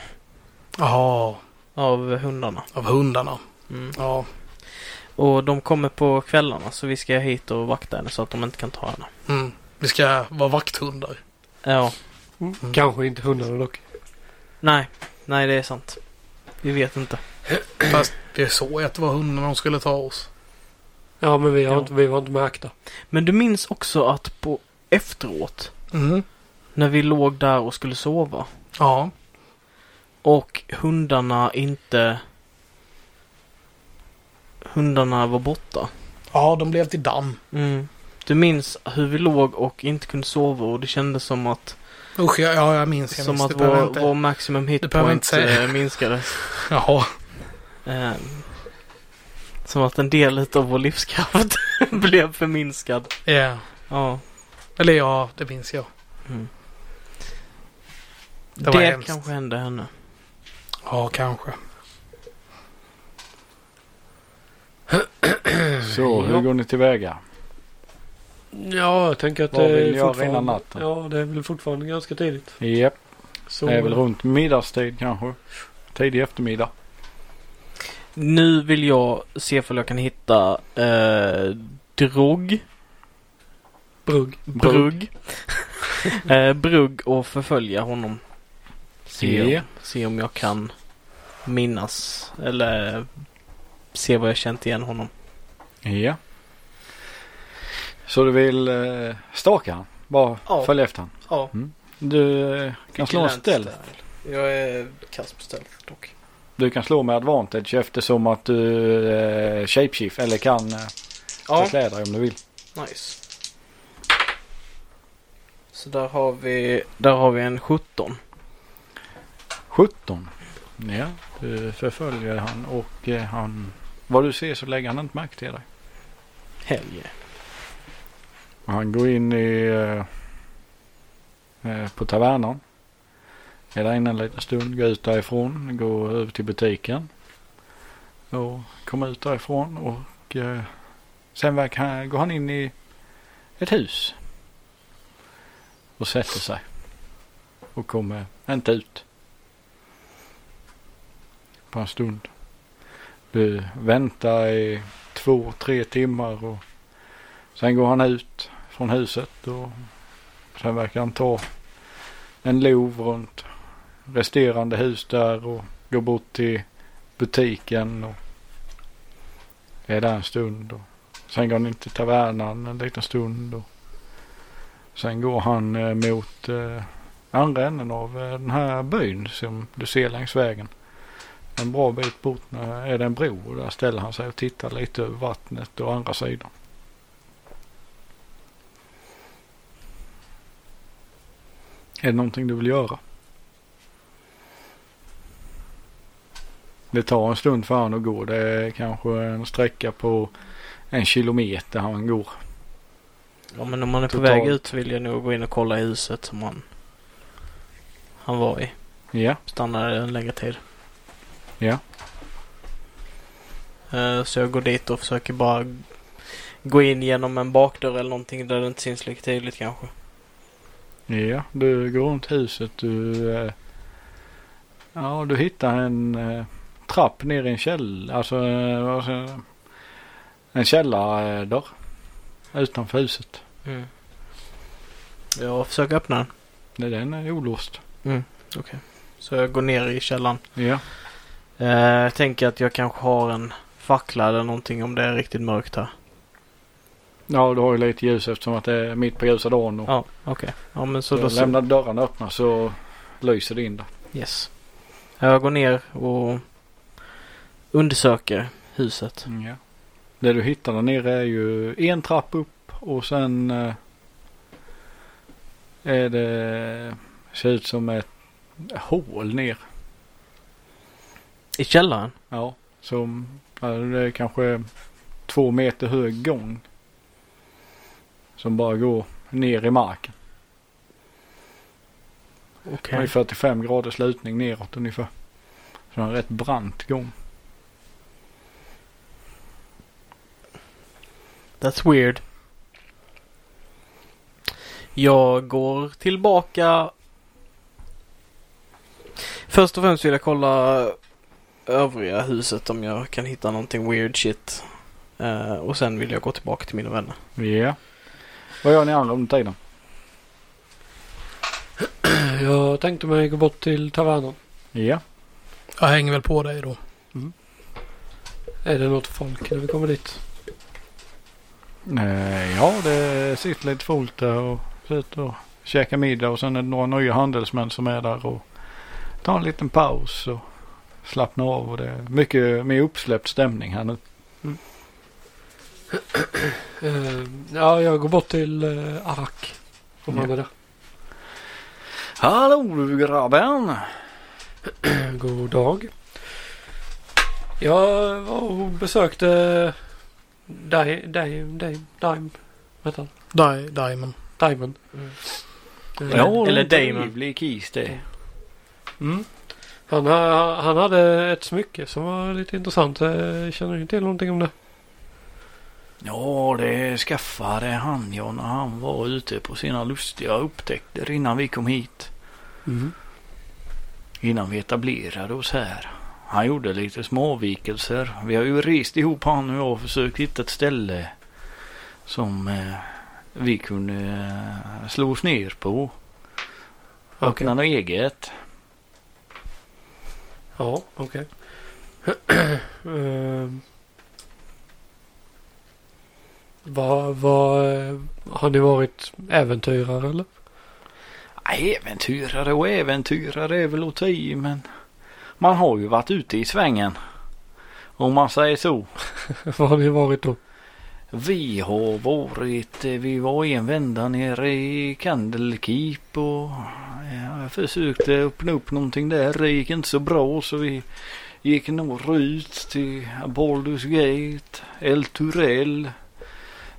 Speaker 8: Jaha,
Speaker 2: av hundarna.
Speaker 8: av hundarna.
Speaker 2: Mm.
Speaker 8: Ja.
Speaker 2: Och de kommer på kvällarna så vi ska hit och vakta henne så att de inte kan ta henne.
Speaker 8: Mm. Vi ska vara vakthundar.
Speaker 2: Ja.
Speaker 3: Mm. Kanske inte hundarna dock.
Speaker 2: Nej, nej det är sant. Vi vet inte.
Speaker 8: Fast vi såg ju att det var hundarna de skulle ta oss.
Speaker 3: Ja men vi, har
Speaker 2: Ja.
Speaker 3: Inte, vi var inte märkta.
Speaker 2: Men du minns också att på efteråt, Mhm.
Speaker 8: Mm.
Speaker 2: när vi låg där och skulle sova
Speaker 8: Ja.
Speaker 2: och hundarna inte... Hundarna var borta.
Speaker 8: Ja, de blev till damm.
Speaker 2: Du minns hur vi låg och inte kunde sova och det kändes som att,
Speaker 8: Usch, ja, ja, jag minns. Jag
Speaker 2: som
Speaker 8: minns.
Speaker 2: att
Speaker 8: Det behöver jag
Speaker 2: vår,
Speaker 8: inte.
Speaker 2: vår maximum
Speaker 8: Det
Speaker 2: hit
Speaker 8: behöver jag inte
Speaker 2: point
Speaker 8: säga.
Speaker 2: eh, minskades.
Speaker 8: Jaha.
Speaker 2: Eh, som att en del av vår livskraft blev förminskad.
Speaker 8: Ja.
Speaker 2: Ja.
Speaker 8: Eller ja, det minns jag.
Speaker 2: Mm.
Speaker 8: Det var
Speaker 2: det
Speaker 8: hemskt.
Speaker 2: kanske hände henne.
Speaker 8: Ja, kanske.
Speaker 4: Så, hur
Speaker 3: Ja.
Speaker 4: går ni tillväga?
Speaker 3: Ja jag tänker att
Speaker 4: Vad
Speaker 3: det är
Speaker 4: vill ni göra
Speaker 3: fortfarande-
Speaker 4: innan natten?
Speaker 3: Ja det är väl fortfarande ganska tidigt.
Speaker 4: Japp,
Speaker 3: Så,
Speaker 4: det är väl runt middagstid kanske. Tidig eftermiddag.
Speaker 2: Nu vill jag se om jag kan hitta eh, drog,
Speaker 3: Brugg.
Speaker 2: brugg. eh, brugg och förfölja honom. Se
Speaker 4: Ja.
Speaker 2: om, se om jag kan minnas eller se vad jag känt igen honom.
Speaker 4: Ja. Så du vill eh, staka han? Bara
Speaker 2: Ja.
Speaker 4: följa efter han? Mm.
Speaker 2: Ja.
Speaker 4: Du eh, kan slå en ställ.
Speaker 2: Jag är kass på ställ dock.
Speaker 4: Du kan slå med advantage eftersom att du eh, shapeshift eller kan eh,
Speaker 2: Ja,
Speaker 4: förklä dig om du vill.
Speaker 2: nice. Så där har vi, där har vi en 17.
Speaker 4: 17. Ja, du förföljer han och eh, han... Vad du ser så lägger han inte märke till dig.
Speaker 2: Helge.
Speaker 4: Han går in i... eh, eh, på tavernan. Är där inne en liten stund, går ut därifrån, går över till butiken. Och kommer ut därifrån och eh, sen verkar han, går han in i ett hus. Och sätter sig. Och kommer inte ut. På en stund. Du väntar i två, tre timmar och Sen går han ut från huset och sen verkar han ta en lov runt resterande hus där och går bort till butiken och är där en stund. Och sen går han in till tavernan en liten stund och Sen går han eh, mot eh, andra änden av eh, den här byn som du ser längs vägen. En bra bit bort när- är det en bro och där ställer han sig och tittar lite över vattnet och andra sidan. Är det någonting du vill göra? Det tar en stund för han att gå. Det är kanske en sträcka på en kilometer han går.
Speaker 2: Ja men om man är på
Speaker 4: Totalt.
Speaker 2: väg ut så vill jag nog gå in och kolla i huset som han, han var i.
Speaker 4: Ja,
Speaker 2: Stannade en längre tid.
Speaker 4: Ja.
Speaker 2: Eh, Så jag går dit och försöker bara gå in genom en bakdörr eller någonting där det inte syns lika tydligt kanske.
Speaker 4: ja. du går runt huset. Du, eh, ja, du hittar en eh, trapp ner i en källare. Alltså, eh, vad ska jag säga? en källardörr utanför huset.
Speaker 2: Mm. Jag försöker öppna den.
Speaker 4: Nej, Den eh, är olåst.
Speaker 2: Så jag går ner i källaren.
Speaker 4: Ja,
Speaker 2: Eh, Jag tänker att jag kanske har en fackla eller någonting om det är riktigt mörkt här.
Speaker 4: ja du har ju lite ljus eftersom att det är mitt på ljusa dagen. Och
Speaker 2: Ja, okej. Ja men så
Speaker 4: så
Speaker 2: då så.
Speaker 4: lämnar dörrarna öppna så lyser det in där.
Speaker 2: Yes. Jag går ner och undersöker huset.
Speaker 4: Ja. Det du hittar där nere är ju en trapp upp och sen eh, är det, ser ut som ett hål ner.
Speaker 2: I källaren?
Speaker 4: Ja, som ja, det är kanske två meter hög gång. Som bara går ner i marken. Det
Speaker 2: Okej.
Speaker 4: är 45 graders lutning neråt ungefär. Så det är en rätt brant gång.
Speaker 2: That's weird. Jag går tillbaka. Först och främst vill jag kolla övriga huset om jag kan hitta någonting weird shit. Eh, och sen vill jag gå tillbaka till mina vänner.
Speaker 4: Ja. Vad gör ni andra under tiden?
Speaker 3: Jag tänkte mig gå bort till tavernan.
Speaker 4: Ja.
Speaker 1: Jag hänger väl på dig då.
Speaker 3: Är det något folk när vi kommer dit?
Speaker 4: Eh, Ja, det sitter lite folk där och sitter och käkar middag och sen är det några nya handelsmän som är där och tar en liten paus och slappnar av och det är mycket mer uppsläppt stämning här nu.
Speaker 3: Eh, ja, jag går bort till eh, Arak. Om han är där.
Speaker 4: Hallå du grabben!
Speaker 3: God dag. Jag var och besökte Di- Di- Di- Dime. Vad heter han?
Speaker 1: Di- Diamond.
Speaker 3: Diamond. Eh,
Speaker 2: eller Damon.
Speaker 4: Trevlig kis det.
Speaker 3: Mm. Han, ha- han hade ett smycke som var lite intressant. Eh, Känner du till någonting om det?
Speaker 4: Ja, det skaffade han ja när han var ute på sina lustiga upptäckter innan vi kom hit. Innan vi etablerade oss här. Han gjorde lite små avvikelser. Vi har ju rest ihop han och jag och försökt hitta ett ställe som eh, vi kunde eh, slå oss ner på. Öppna något eget.
Speaker 3: Ja, okej. Ehm. Vad, vad, eh, har ni varit äventyrare eller?
Speaker 4: Äventyrare och äventyrare är väl att ta i men man har ju varit ute i svängen. Om man säger så.
Speaker 3: vad har ni varit då?
Speaker 4: Vi har varit, eh, vi var en vända nere i Candlekeep och ja, jag försökte öppna upp någonting där. Det gick inte så bra så vi gick norrut till Baldur's Gate, El Turell.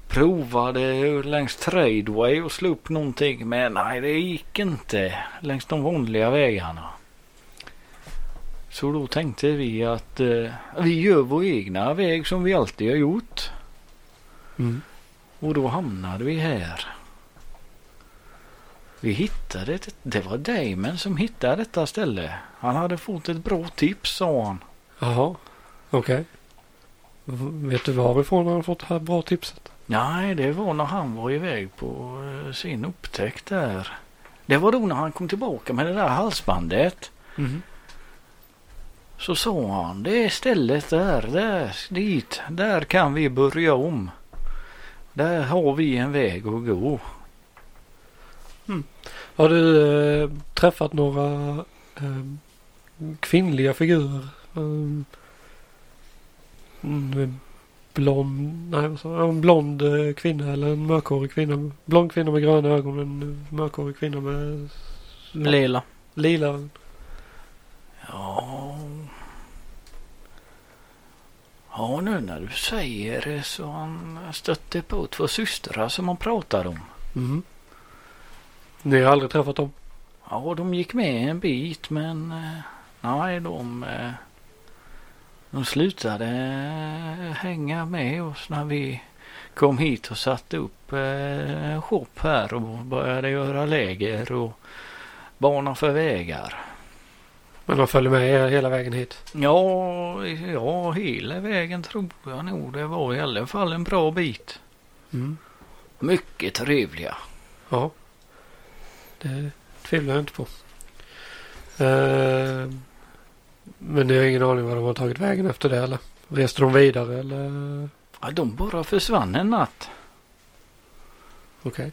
Speaker 4: Provade längs Tradeway och slå upp någonting men nej det gick inte längs de vanliga vägarna. Så då tänkte vi att eh, vi gör vår egna väg som vi alltid har gjort. Och då hamnade vi här. Vi hittade det. Det var Damon som hittade detta ställe. Han hade fått ett bra tips sa han.
Speaker 3: Jaha, okej. V- Vet du varifrån han har fått det här bra tipset?
Speaker 4: Nej, det var när han var iväg på eh, sin upptäckt där. Det var då när han kom tillbaka med det där halsbandet. Så sa han, det är stället där, där, dit, där kan vi börja om. Där har vi en väg att gå.
Speaker 3: Har du eh, träffat några eh, kvinnliga figurer? Um, en blond, nej, vad sa jag? en blond eh, kvinna eller en mörkhårig kvinna. Blond kvinna med gröna ögon, en mörkhårig kvinna med
Speaker 2: Lila.
Speaker 3: lila ögon.
Speaker 4: Ja. Ja, nu när du säger det så han stötte på två systrar som han pratade om.
Speaker 3: Ni har aldrig träffat dem?
Speaker 4: Ja, de gick med en bit men eh, nej, de, eh, de slutade eh, hänga med oss när vi kom hit och satte upp eh, en shop här och började göra läger och bana för vägar.
Speaker 3: Men de följer med er hela vägen hit?
Speaker 4: Ja, ja, hela vägen tror jag nog det var i alla fall en bra bit. Mycket trevliga.
Speaker 3: Ja. Det tvivlar jag inte på. Eh, men ni har ingen aning vad de har tagit vägen efter det eller? Reste de vidare eller?
Speaker 4: Ja, de bara försvann en natt.
Speaker 3: Okej.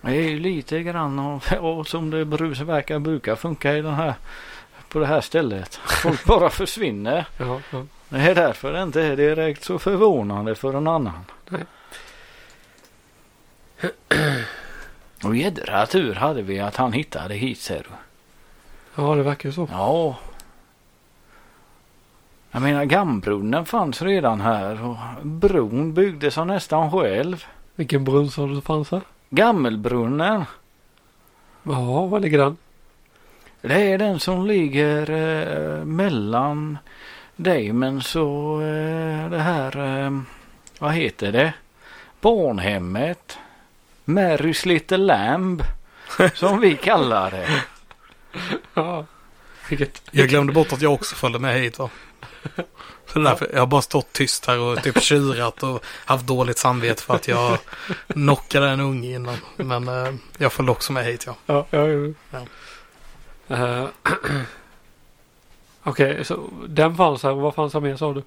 Speaker 4: Det är ju lite grann av, av som det brus- verkar brukar funka i den här, på det här stället. Folk bara försvinner.
Speaker 3: Jaha, ja.
Speaker 4: Det är därför det inte är direkt så förvånande för en annan.
Speaker 3: Nej.
Speaker 4: Och jädra tur hade vi att han hittade hit ser du.
Speaker 3: ja, det verkar ju så.
Speaker 4: Ja. Jag menar Gammbrunnen fanns redan här och bron byggdes han nästan själv.
Speaker 3: Vilken brunn sa du fanns här?
Speaker 4: Gammelbrunnen,
Speaker 3: Ja, var ligger den?
Speaker 4: det är den som ligger eh, mellan Damons och eh, det här, eh, vad heter det? Barnhemmet. Marys Little Lamb, som vi kallar det.
Speaker 3: Ja. Vilket?
Speaker 1: Jag glömde bort att jag också följde med hit va? Så det är därför jag har bara stått tyst här och typ tjurat och haft dåligt samvete för att jag knockade en unge innan. Men eh, jag följde också med hit ja.
Speaker 3: Ja, ja, ja.
Speaker 1: Ja.
Speaker 3: Eh, Okej, så den fanns här och vad fanns här mer sa du?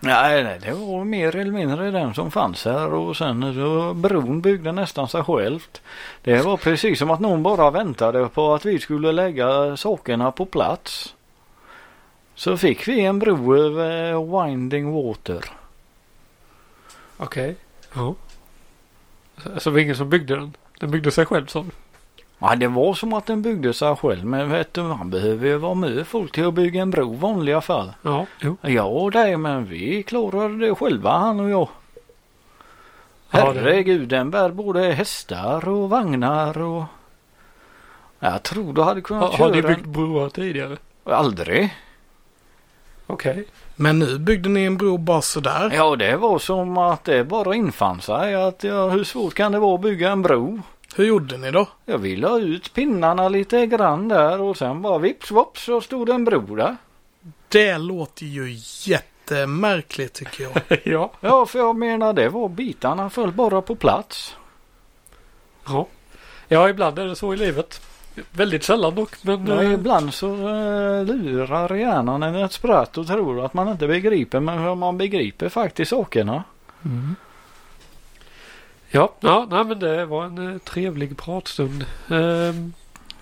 Speaker 4: Nej, nej, det var mer eller mindre den som fanns här och sen så bron byggde nästan sig självt. Det var precis som att någon bara väntade på att vi skulle lägga sakerna på plats. Så fick vi en bro över Winding Water.
Speaker 3: Okej. Ja. Så, så det var ingen som byggde den? Den byggde sig själv sa du?
Speaker 4: Ja, det var som att den byggde sig själv men vet du, man behöver ju vara med folk till att bygga en bro i vanliga fall.
Speaker 3: Ja, jo.
Speaker 4: Ja, och det, men vi klarade det själva han och jag.
Speaker 3: Ja, det-
Speaker 4: Herregud, den bär både hästar och vagnar och... Jag tror du hade kunnat
Speaker 3: Har,
Speaker 4: köra
Speaker 3: har ni byggt
Speaker 4: en...
Speaker 3: broar tidigare?
Speaker 4: Aldrig.
Speaker 3: Okej.
Speaker 1: Men nu byggde ni en bro bara sådär.
Speaker 4: Ja, det var som att det bara infann sig. Att, ja, hur svårt kan det vara att bygga en bro?
Speaker 1: Hur gjorde ni då?
Speaker 4: Jag ville ha ut pinnarna lite grann där och sen bara vips vops så stod det en bro där.
Speaker 1: Det låter ju jättemärkligt tycker jag.
Speaker 3: ja.
Speaker 4: Ja, för jag menar det var bitarna föll bara på plats.
Speaker 3: ja. Ja, ibland är det så i livet. Väldigt sällan dock, men...
Speaker 4: Ja,
Speaker 3: eh,
Speaker 4: ibland så eh, lurar hjärnan en ett spratt och tror att man inte begriper men man begriper faktiskt sakerna.
Speaker 3: ja, ja nej, men det var en eh, trevlig pratstund. Ehm,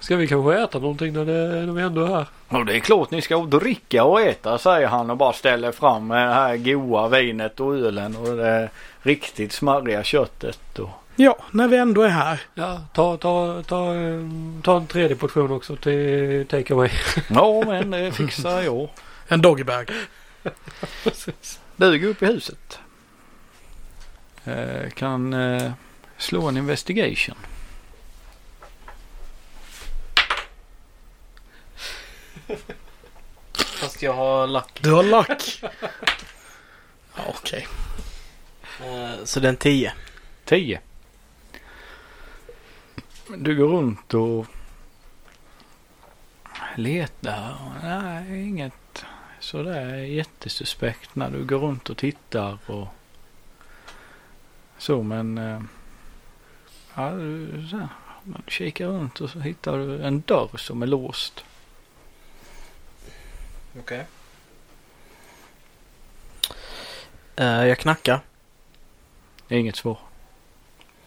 Speaker 3: ska vi kanske äta någonting när, det, när vi ändå är här?
Speaker 4: Och det är klart ni ska dricka och äta säger han och bara ställer fram eh, det här goa vinet och ölen och det riktigt smarriga köttet. Och...
Speaker 1: Ja, när vi ändå är här.
Speaker 3: Ja, ta, ta, ta, ehm, ta en tredje portion också till takeaway.
Speaker 4: Ja men det fixar jag.
Speaker 1: En doggybag.
Speaker 4: Bug upp i huset. Eh, kan eh, slå en investigation.
Speaker 2: Fast jag har lack.
Speaker 1: Du har lack. Ja, Okej.
Speaker 2: Eh, så det är en 10.
Speaker 4: 10. Du går runt och letar. Nej, inget sådär jättesuspekt när du går runt och tittar och så men eh, ja, du, så här, man kikar runt och så hittar du en dörr som är låst.
Speaker 2: Eh, jag knackar.
Speaker 4: Inget svar.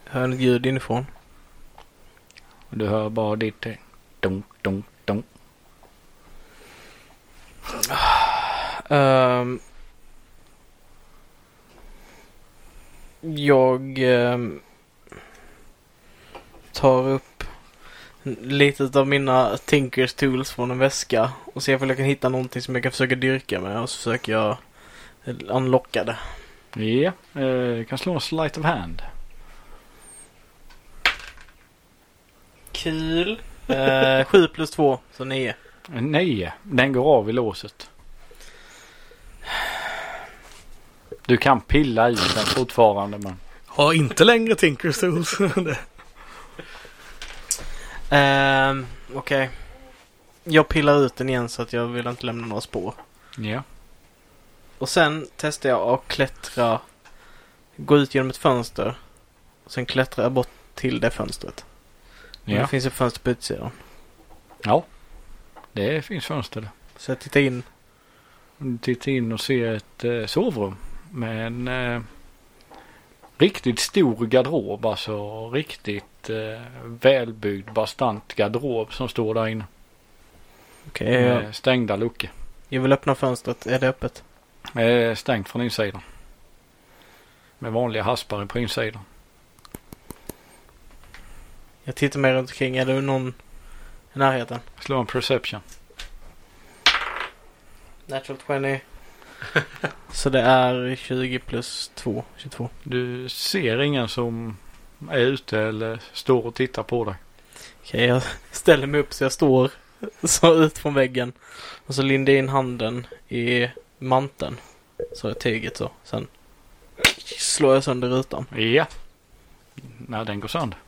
Speaker 2: Hör ett ljud inifrån.
Speaker 4: Och du hör bara ditt ting. Dunk, dunk, dunk.
Speaker 2: Ehm. jag ehm, tar upp lite av mina Tinkers Tools från en väska och ser om jag kan hitta någonting som jag kan försöka dyrka med och så försöker jag unlocka det.
Speaker 4: Ja, eh, kan slå en sleight of hand.
Speaker 2: Kul! Eh, 7 plus 2, så 9.
Speaker 4: Nej, den går av i låset. Du kan pilla i den fortfarande men.
Speaker 1: Har inte längre Tinkers Tools. Det-
Speaker 2: Ehm, Okej. Jag pillar ut den igen så att jag vill inte lämna några spår.
Speaker 4: Ja.
Speaker 2: Och sen testar jag att klättra. Gå ut genom ett fönster. Och sen klättrar jag bort till det fönstret. Och Det
Speaker 4: Ja.
Speaker 2: finns ett fönster på utsidan.
Speaker 4: ja. Det finns fönster där.
Speaker 2: Så jag tittar in.
Speaker 4: Du tittar in och ser ett eh, sovrum. Med en eh, riktigt stor garderob. Alltså riktigt eh, välbyggd bastant garderob som står där inne.
Speaker 2: Okej, jag,
Speaker 4: Med stängda luckor.
Speaker 2: jag vill öppna fönstret. Är det öppet?
Speaker 4: Eh, stängt från insidan. Med vanliga haspare på insidan.
Speaker 2: Jag tittar mig runt omkring. Är det någon i närheten?
Speaker 4: Slå en perception.
Speaker 2: Natural 20. Så det är 20 plus 2. 22.
Speaker 4: Du ser ingen som är ute eller står och tittar på dig.
Speaker 2: Okej, jag ställer mig upp så jag står så ut från väggen. Och så lindar jag in handen i manteln. Så jag tyget så. Sen slår jag sönder rutan.
Speaker 4: Ja. Nej, den går sönder.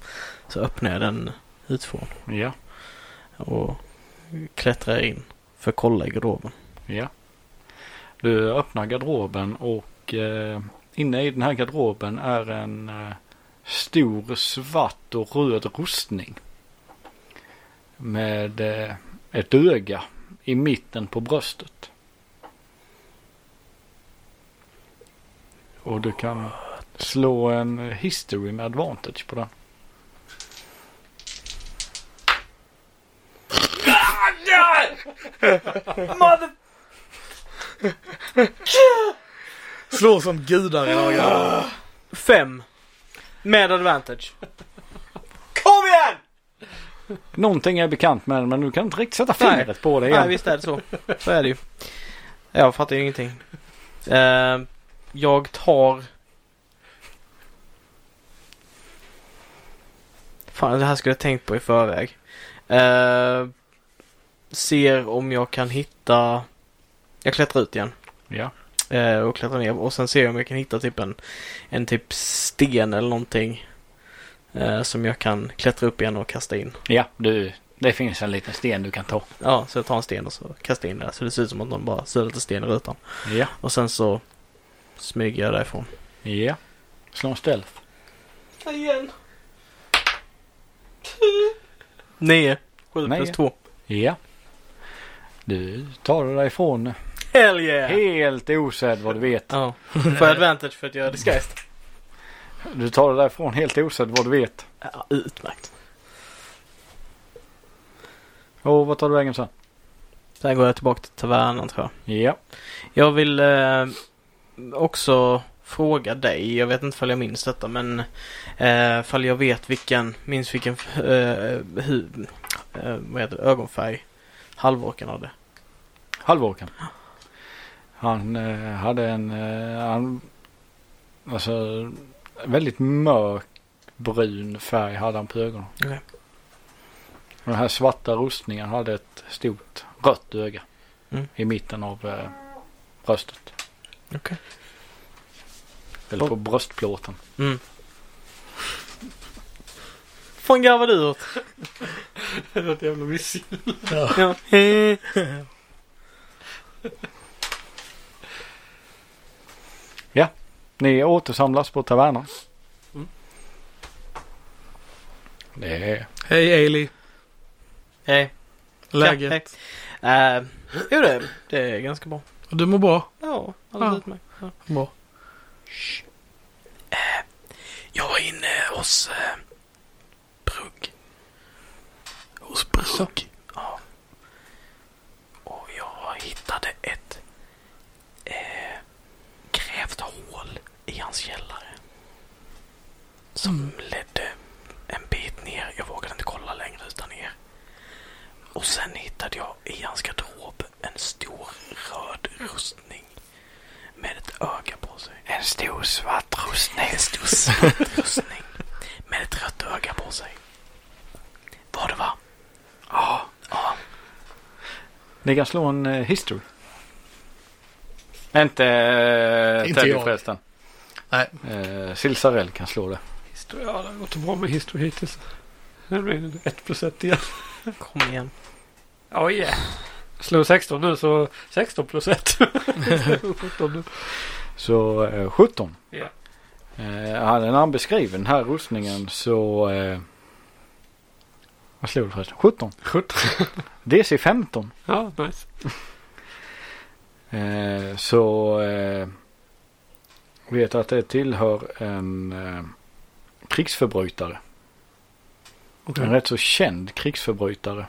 Speaker 2: Så öppnar jag den utifrån
Speaker 4: Ja,
Speaker 2: och klättrar in för att kolla i garderoben.
Speaker 4: ja. Du öppnar garderoben och eh, inne i den här garderoben är en eh, stor svart och röd rustning. Med eh, ett öga i mitten på bröstet. Och du kan slå en history med advantage på den.
Speaker 1: Slår som gudar i dagarna.
Speaker 2: Fem! Med advantage. Kom igen!
Speaker 4: Någonting är bekant med den men du kan inte riktigt sätta
Speaker 2: Nej.
Speaker 4: fingret på det
Speaker 2: Nej,
Speaker 4: igen.
Speaker 2: visst är det så. Så är det ju. Jag fattar ju ingenting. Eh, jag tar... Fan, det här skulle jag tänkt på i förväg. Eh, ser om jag kan hitta... Jag klättrar ut igen.
Speaker 4: Ja.
Speaker 2: Eh, och klättrar ner och sen ser jag om jag kan hitta typ en, en typ sten eller någonting. Eh, som jag kan klättra upp igen och kasta in.
Speaker 4: ja, du. Det finns en liten sten du kan ta.
Speaker 2: Ja, så jag tar en sten och så kastar jag in det. Så det ser ut som att någon bara sölar lite sten i rutan.
Speaker 4: Ja.
Speaker 2: Och sen så smyger jag därifrån.
Speaker 4: Ja. Slå en stealth.
Speaker 2: Igen. Nio. Sju
Speaker 4: Nio.
Speaker 2: plus två.
Speaker 4: Ja. Du tar dig därifrån
Speaker 2: Hell yeah!
Speaker 4: helt osedd vad du vet.
Speaker 2: Ja. Får jag advantage för att jag är disguised?
Speaker 4: Du tar dig därifrån helt osedd vad du vet.
Speaker 2: Ja, utmärkt.
Speaker 4: Och vad tar du vägen sen?
Speaker 2: Sen går jag tillbaka till tavernan tror jag.
Speaker 4: Ja.
Speaker 2: Jag vill eh, också fråga dig. Jag vet inte ifall jag minns detta men eh, ifall jag vet vilken, minns vilken eh, hu, eh, vad heter det, ögonfärg halvorken hade.
Speaker 4: Halvåken. Han eh, hade en... Eh, han, alltså väldigt mörk brun färg hade han på ögonen.
Speaker 2: Okej.
Speaker 4: Och den här svarta rustningen hade ett stort rött öga
Speaker 2: Mm.
Speaker 4: i mitten av eh, bröstet.
Speaker 2: Okej.
Speaker 4: Eller på bröstplåten.
Speaker 2: Mm. fan garvar du åt?
Speaker 3: Det är ett jävla missing.
Speaker 2: Ja.
Speaker 4: Ni återsamlas på tavernan.
Speaker 3: Mm.
Speaker 4: Det är...
Speaker 1: Hej Ailey.
Speaker 2: Hej.
Speaker 1: Läget?
Speaker 2: Ja, hej. Eh, jo det, det är ganska bra.
Speaker 1: Du mår bra?
Speaker 2: Ja, alldeles
Speaker 1: Ja.
Speaker 2: utmärkt. Ja.
Speaker 1: Bra.
Speaker 2: Jag var inne hos eh, Brugg. också. Ja. Och jag hittade ett eh, grävt hål i hans källare. Som ledde en bit ner. Jag vågade inte kolla längre utan ner. Och sen hittade jag i hans garderob en stor röd rustning. Med ett öga på sig. En stor svart rustning. En stor svart rustning. Med ett rött öga på sig. Var det va? Ja. ja.
Speaker 4: Ni kan slå en eh, history. Inte, eh,
Speaker 1: Inte
Speaker 4: Teddy
Speaker 1: jag.
Speaker 4: förresten.
Speaker 1: Nej.
Speaker 4: Eh, Silsarell kan slå det.
Speaker 3: History, ja, det har gått bra med history hittills. Nu blir det 1 plus 1 igen.
Speaker 2: Kom igen.
Speaker 3: Oh yeah. Slår 16 nu så 16 plus 1. 17 nu.
Speaker 4: Så eh, 17.
Speaker 3: Ja.
Speaker 4: Eh, hade han beskriver den här rustningen så... Eh, vad slog du förresten? 17.
Speaker 3: 17.
Speaker 4: DC 15.
Speaker 3: Ja, nice.
Speaker 4: Eh, så... Eh, vet att det tillhör en eh, krigsförbrytare.
Speaker 3: Okej.
Speaker 4: En rätt så känd krigsförbrytare.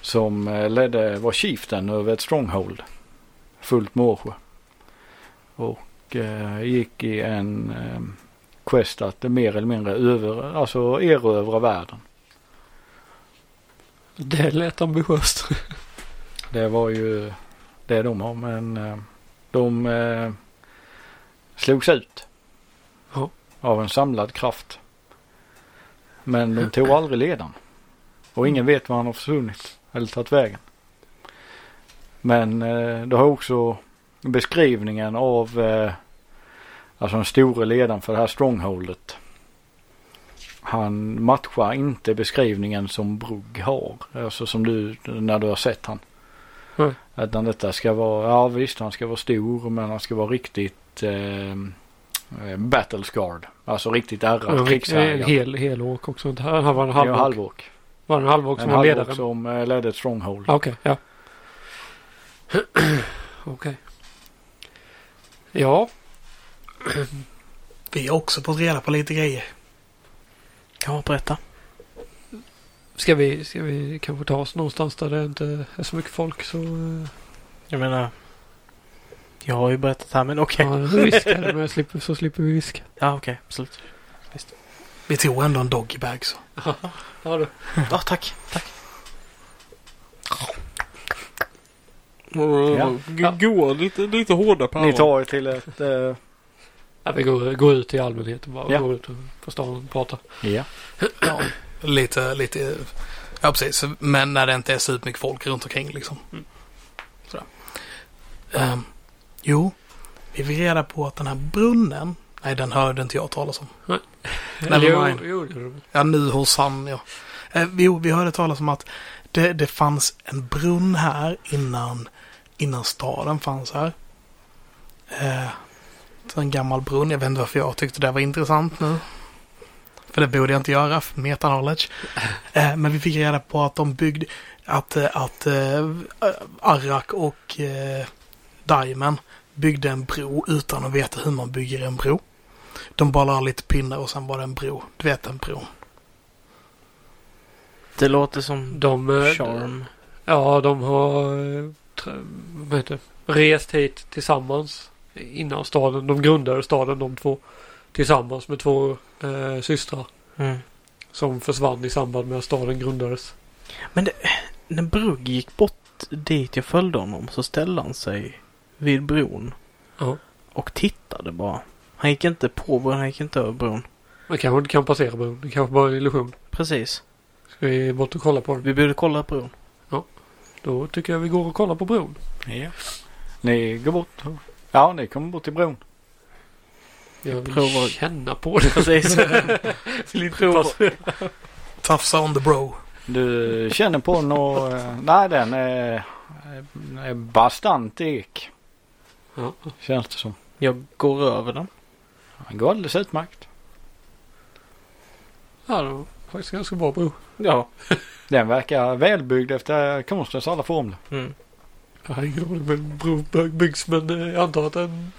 Speaker 4: Som eh, ledde, var chieftain över ett stronghold. Fullt Morsjö. Och eh, gick i en eh, quest att mer eller mindre över, alltså erövra världen.
Speaker 3: Det lät ambitiöst.
Speaker 4: Det var ju det de har men eh, de eh, slogs ut.
Speaker 3: Ja.
Speaker 4: Av en samlad kraft. Men de tog aldrig ledan. Och ingen vet var han har försvunnit eller tagit vägen. Men eh, det har också beskrivningen av eh, alltså den store ledaren för det här strongholdet. Han matchar inte beskrivningen som Brugg har. Alltså som du när du har sett han.
Speaker 3: Mm.
Speaker 4: Utan detta ska vara, ja visst han ska vara stor men han ska vara riktigt eh, eh, battlescarred. Alltså riktigt ärrad
Speaker 3: En, en
Speaker 4: krigshärjad.
Speaker 3: eh, hel, hel åk också. Det här var en
Speaker 4: Ja,
Speaker 3: halvåk.
Speaker 4: halvåk.
Speaker 3: Var det en halvåk
Speaker 4: En
Speaker 3: som var
Speaker 4: halvåk
Speaker 3: ledaren?
Speaker 4: som eh, ledde ett stronghold.
Speaker 3: Ja, Okej, ja. Okej. Ja,
Speaker 1: Vi har också fått reda på lite grejer.
Speaker 2: Ja, berätta.
Speaker 3: ska vi, ska vi kanske ta oss någonstans där det inte är så mycket folk så... eh,
Speaker 2: Jag menar. Jag har ju berättat här men okej.
Speaker 3: Ja, nu viskar det, men jag slipper, så slipper vi viska.
Speaker 2: Ja okej, absolut.
Speaker 1: Vi tog ändå en doggybag så.
Speaker 3: Ja, du.
Speaker 2: Ja tack, tack.
Speaker 3: Ja.
Speaker 2: Goa lite, lite hårda
Speaker 4: Ni tar er till ett... Eh,
Speaker 3: Ja, vi går, går ut i allmänheten bara.
Speaker 4: Ja.
Speaker 3: Går ut och- på stan och pratar.
Speaker 4: ja.
Speaker 1: Ja, lite, lite. Ja, precis. Men när det inte är supermycket folk runt omkring liksom. Sådär. Ehm, jo, vi fick reda på att den här brunnen. Nej, den hörde inte jag talas om. Never
Speaker 3: Eller,
Speaker 1: mind.
Speaker 3: Jo, jo, det är roligt.
Speaker 1: Ja, nu hos han ja. Eh, jo, vi hörde talas om att det, det fanns en brunn här innan, innan staden fanns här. Eh, så en gammal brunn. Jag vet inte varför jag tyckte det var intressant nu. För det borde jag inte göra, för meta knowledge. Eh, men vi fick reda på att de byggde att, eh, att eh, Arrak och eh, Diamond byggde en bro utan att veta hur man bygger en bro. De bara la lite pinnar och sen var det en bro. Du vet en bro.
Speaker 2: Det låter som
Speaker 3: De, eh,
Speaker 2: charm.
Speaker 3: Ja, de har eh, tra- vad heter, det, rest hit tillsammans innan staden. De grundade staden de två tillsammans med två eh, systrar
Speaker 2: Mm.
Speaker 3: som försvann i samband med att staden grundades.
Speaker 2: Men det, när Brugg gick bort dit jag följde honom så ställde han sig vid bron.
Speaker 3: Ja.
Speaker 2: Och tittade bara. Han gick inte på bron, han gick inte över bron.
Speaker 3: Man kanske inte kan passera bron. Det kanske bara är en illusion.
Speaker 2: Precis.
Speaker 3: Ska vi bort och kolla på den?
Speaker 2: Vi borde kolla på bron.
Speaker 3: Då tycker jag vi går och kollar på bron.
Speaker 4: ja. Ni går bort. Ja, ni kommer bort till bron.
Speaker 3: Jag vill
Speaker 2: Provar.
Speaker 3: känna på det.
Speaker 2: Precis.
Speaker 3: Vill inte
Speaker 2: Provar.
Speaker 3: passera.
Speaker 1: Tafsa on the bro.
Speaker 4: Du känner på den och... eh, Nej, den är, är bastant ek.
Speaker 3: Ja.
Speaker 4: Känns det som.
Speaker 2: jag går över den.
Speaker 4: Den går alldeles utmärkt.
Speaker 3: ja, det var faktiskt en ganska bra bro.
Speaker 2: Ja.
Speaker 4: Den verkar välbyggd efter konstens alla formler.
Speaker 2: Mm.
Speaker 3: Jag har ingen aning om en bro by- byggs men eh, jag antar att den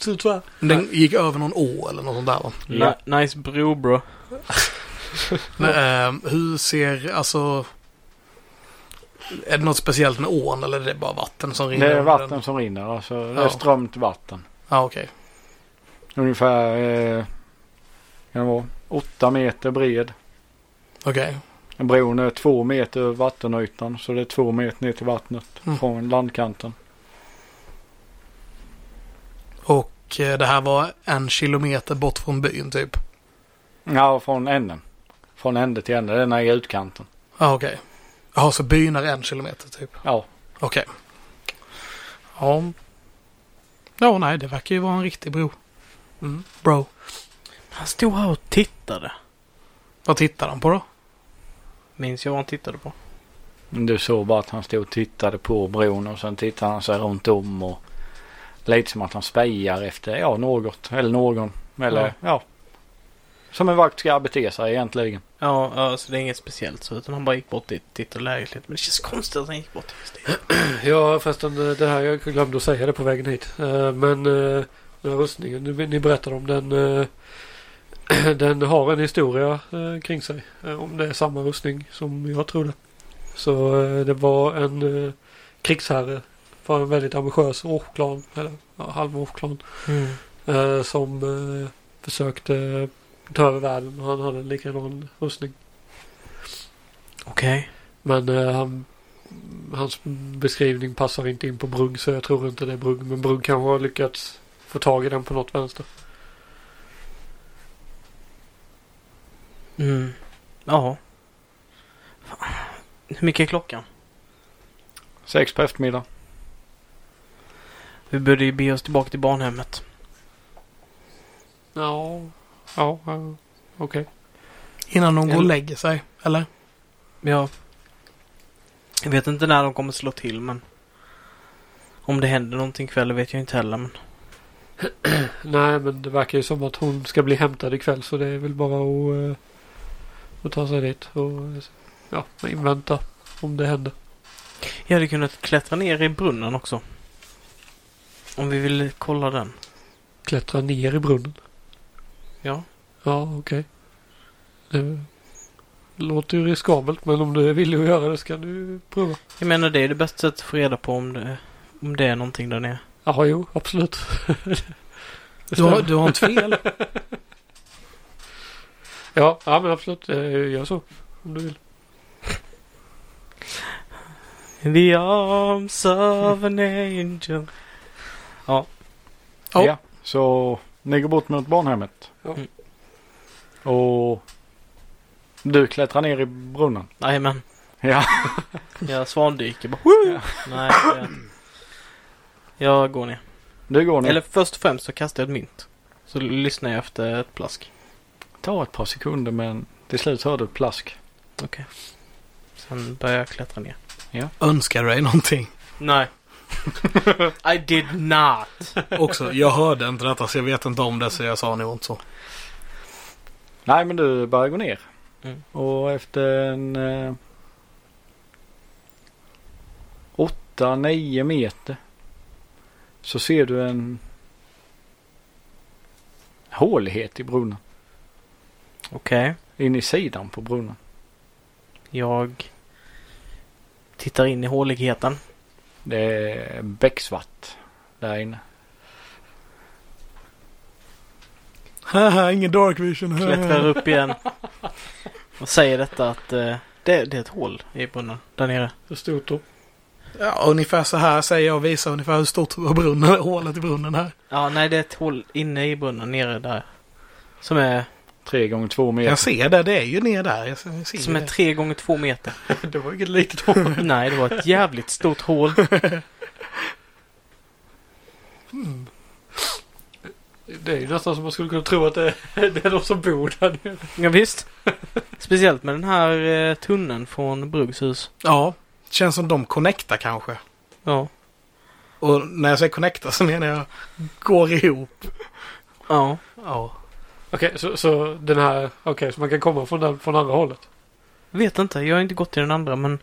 Speaker 3: ser ut så här.
Speaker 1: Den gick över någon å eller något sånt där va?
Speaker 4: Ja.
Speaker 2: Ni- Nice bro bro.
Speaker 1: Men, ehm, hur ser, alltså... Är det något speciellt med ån eller är det bara vatten som rinner?
Speaker 4: Det är
Speaker 1: under den?
Speaker 4: vatten som rinner. Alltså, det är
Speaker 1: Ja.
Speaker 4: strömt vatten.
Speaker 1: Ja, okej.
Speaker 4: Ungefär eh, kan det vara, åtta meter bred.
Speaker 1: Okej.
Speaker 4: Bron är två meter över vattenytan. Så det är två meter ner till vattnet
Speaker 1: Mm.
Speaker 4: från landkanten.
Speaker 1: Och eh, det här var en kilometer bort från byn typ?
Speaker 4: Ja, från änden. Från ände till ände. Den är i utkanten.
Speaker 1: Ja, okej. Jaha, så byn är en kilometer typ?
Speaker 4: Ja.
Speaker 1: Okej. Ja. Ja, nej, det verkar ju vara en riktig bro. Mm. Bro.
Speaker 2: Han stod här och tittade.
Speaker 1: Vad tittar han på då?
Speaker 2: Minns jag vad han tittade på.
Speaker 4: Du såg bara att han stod och tittade på bron och sen tittade han sig runt om och lite som att han spejar efter ja, något eller någon. Eller
Speaker 2: Ja.
Speaker 4: ja. Som en vakt ska bete sig egentligen.
Speaker 2: Ja, ja, så det är inget speciellt så. Utan han bara gick bort dit och tittade läget lite. Men det känns konstigt att han gick bort just dit.
Speaker 3: Ja, förresten det här jag glömde att säga det på vägen hit. Eh, Men eh, den här rustningen ni- ni berättade om den. eh, Den har en historia eh, kring sig. eh, Om det är samma rustning som jag trodde. Så eh, det var en eh, krigsherre. Var en väldigt ambitiös orklan. Eller ja, halvorklan.
Speaker 2: Mm.
Speaker 3: eh, Som eh, försökte ta över världen. och Han hade en likadan rustning.
Speaker 2: Okej.
Speaker 3: Men eh, han, hans beskrivning passar inte in på Brugg så jag tror inte det är Brugg. Men Brugg kanske har lyckats få tag i den på något vänster.
Speaker 2: Mm. Ja. Fan. Hur mycket är klockan?
Speaker 4: Sex på eftermiddagen.
Speaker 2: Vi borde ju be oss tillbaka till barnhemmet.
Speaker 3: Ja, ja, ja okej.
Speaker 1: Innan de går och
Speaker 2: En-
Speaker 1: lägger sig, eller?
Speaker 2: Ja. Jag vet inte när de kommer slå till men... Om det händer någonting ikväll vet jag inte heller men...
Speaker 3: Nej, men det verkar ju som att hon ska bli hämtad ikväll så det är väl bara att, eh, att ta sig dit och eh, ja, invänta om det händer.
Speaker 2: Jag hade kunnat klättra ner i brunnen också. Om vi vill kolla den.
Speaker 3: Klättra ner i brunnen.
Speaker 2: Ja.
Speaker 3: Ja, okej. Det låter ju riskabelt men om du är villig att göra det så kan du prova.
Speaker 2: Jag menar det är det bästa sättet att få reda på om det, om det är någonting där nere.
Speaker 3: Ja, jo, absolut. Det
Speaker 1: Du har,
Speaker 3: stämmer.
Speaker 1: du har inte fel.
Speaker 3: Ja, ja men absolut. Eh, Gör så. Om du vill.
Speaker 2: In the arms of an angel.
Speaker 1: Ja.
Speaker 4: Ja. Så ni går bort mot barnhemmet.
Speaker 3: Ja.
Speaker 2: Mm.
Speaker 4: Och du klättrar ner i brunnen.
Speaker 2: Jajamän.
Speaker 4: Ja.
Speaker 2: Jag svandyker bara. Woo! Nej. Jag, jag går ner.
Speaker 4: Du går ner.
Speaker 2: Eller först och främst så kastar jag ett mynt. Så l- lyssnar jag efter ett plask.
Speaker 4: Ta ett par sekunder men till slut hör du ett plask.
Speaker 2: Sen börjar jag klättra ner.
Speaker 1: Önskar du dig någonting?
Speaker 2: Nej. I did not.
Speaker 1: Också, jag hörde inte detta så jag vet inte om det så jag sa nog inte så.
Speaker 4: Nej men du börjar gå ner.
Speaker 2: Mm.
Speaker 4: Och efter en... Eh, 8-9 meter. Så ser du en hålighet i brunnen.
Speaker 2: Okej.
Speaker 4: In i sidan på brunnen.
Speaker 2: Jag tittar in i håligheten.
Speaker 4: Det är becksvart där inne.
Speaker 1: Haha, ingen dark vision.
Speaker 2: Klättrar upp igen. Och säger detta att eh, det, det är ett hål i brunnen där nere.
Speaker 3: Det stod då.
Speaker 1: Ja, ungefär så här säger jag och visar ungefär hur stort brunnen, hålet i brunnen här.
Speaker 2: Ja, nej det är ett hål inne i brunnen nere där. Som är,
Speaker 4: Tre gånger två meter.
Speaker 1: Jag ser det, det är ju ner där. Jag ser, jag ser
Speaker 2: som
Speaker 1: det.
Speaker 2: är tre gånger två meter.
Speaker 3: Det var inget litet hår.
Speaker 2: Nej, det var ett jävligt stort hål.
Speaker 3: Det är ju nästan som man skulle kunna tro att det är, det är de som bor där nere.
Speaker 2: Ja, visst. Speciellt med den här eh, tunneln från Bruggs hus.
Speaker 1: Ja, känns som de connectar kanske.
Speaker 2: Ja.
Speaker 1: Och när jag säger connecta så menar jag går ihop.
Speaker 2: Ja.
Speaker 1: Ja.
Speaker 3: Okej, så, så den här... Okej, så man kan komma från, den, från andra hållet?
Speaker 2: Vet inte, jag har inte gått till den andra men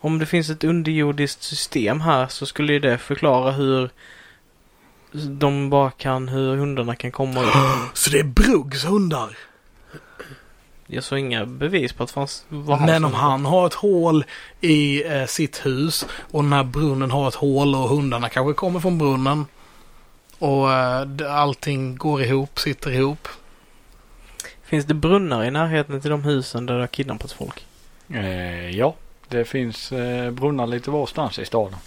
Speaker 2: om det finns ett underjordiskt system här så skulle ju det förklara hur de bara kan, hur hundarna kan komma ut.
Speaker 1: Så det är Bruggs hundar.
Speaker 2: Jag såg inga bevis på att det fanns... var
Speaker 1: Men
Speaker 2: som-
Speaker 1: om han har ett hål i eh, sitt hus och den här brunnen har ett hål och hundarna kanske kommer från brunnen. Och eh, d- allting går ihop, sitter ihop.
Speaker 2: Finns det brunnar i närheten till de husen där det har kidnappats folk?
Speaker 4: Eh, ja, det finns eh, brunnar lite varstans i staden.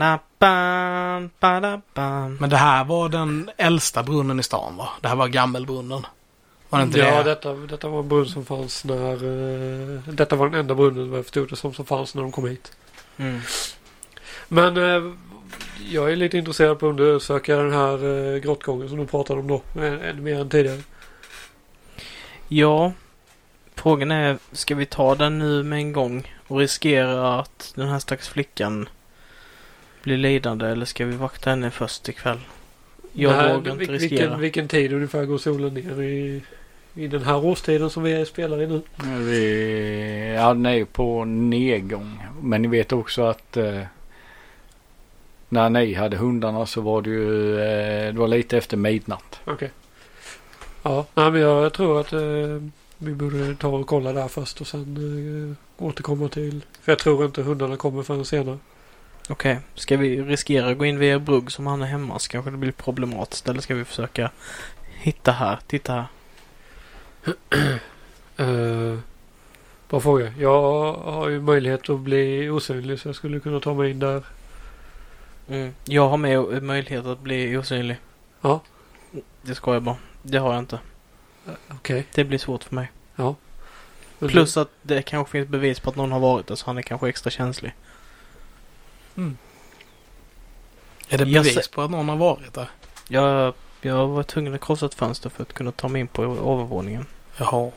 Speaker 2: Ba-da-bam, ba-da-bam.
Speaker 1: Men det här var den äldsta brunnen i stan va? Det här var gammelbrunnen. Var det inte
Speaker 3: ja,
Speaker 1: det?
Speaker 3: Detta, detta var en brunn som fanns när... eh, detta var den enda brunnen vad jag förstod det som, som fanns när de kom hit.
Speaker 2: Mm.
Speaker 3: Men eh, jag är lite intresserad på att undersöka den här eh, grottgången som du pratade om då. Än, än mer än tidigare.
Speaker 2: Ja. Frågan är, ska vi ta den nu med en gång och riskera att den här stackars flickan blir lidande eller ska vi vakta henne först ikväll? Jag
Speaker 3: Det här-
Speaker 2: vågar inte
Speaker 3: vil-
Speaker 2: riskera.
Speaker 3: vilken, vilken tid ungefär går solen ner i, i den här årstiden som vi spelar i nu?
Speaker 4: Eh, Vi, ja, den är ju på nedgång. Men ni vet också att eh, när ni hade hundarna så var det ju eh, det var lite efter midnatt.
Speaker 3: Okej. Ja, nej, men jag tror att eh, vi borde ta och kolla där först och sen eh, återkomma till... För jag tror inte hundarna kommer förrän senare.
Speaker 2: Okej, ska vi riskera att gå in via brugg som han är hemma så kanske det blir problematiskt eller ska vi försöka hitta här, titta här. Eh.
Speaker 3: Uh, bara fråga. Jag har ju möjlighet att bli osynlig så jag skulle kunna ta mig in där.
Speaker 2: Jag har med o- möjlighet att bli osynlig.
Speaker 3: Ja.
Speaker 2: Det ska jag bara. Det har jag inte.
Speaker 3: Okej.
Speaker 2: Det blir svårt för mig.
Speaker 3: Men
Speaker 2: Plus att det kanske finns bevis på att någon har varit där så han är kanske extra känslig.
Speaker 1: Är det
Speaker 2: Jag
Speaker 1: bevis
Speaker 2: ser-
Speaker 1: på att någon har varit där?
Speaker 2: Jag, jag var tvungen att krossa ett fönster för att kunna ta mig in på övervåningen.
Speaker 1: Jaha.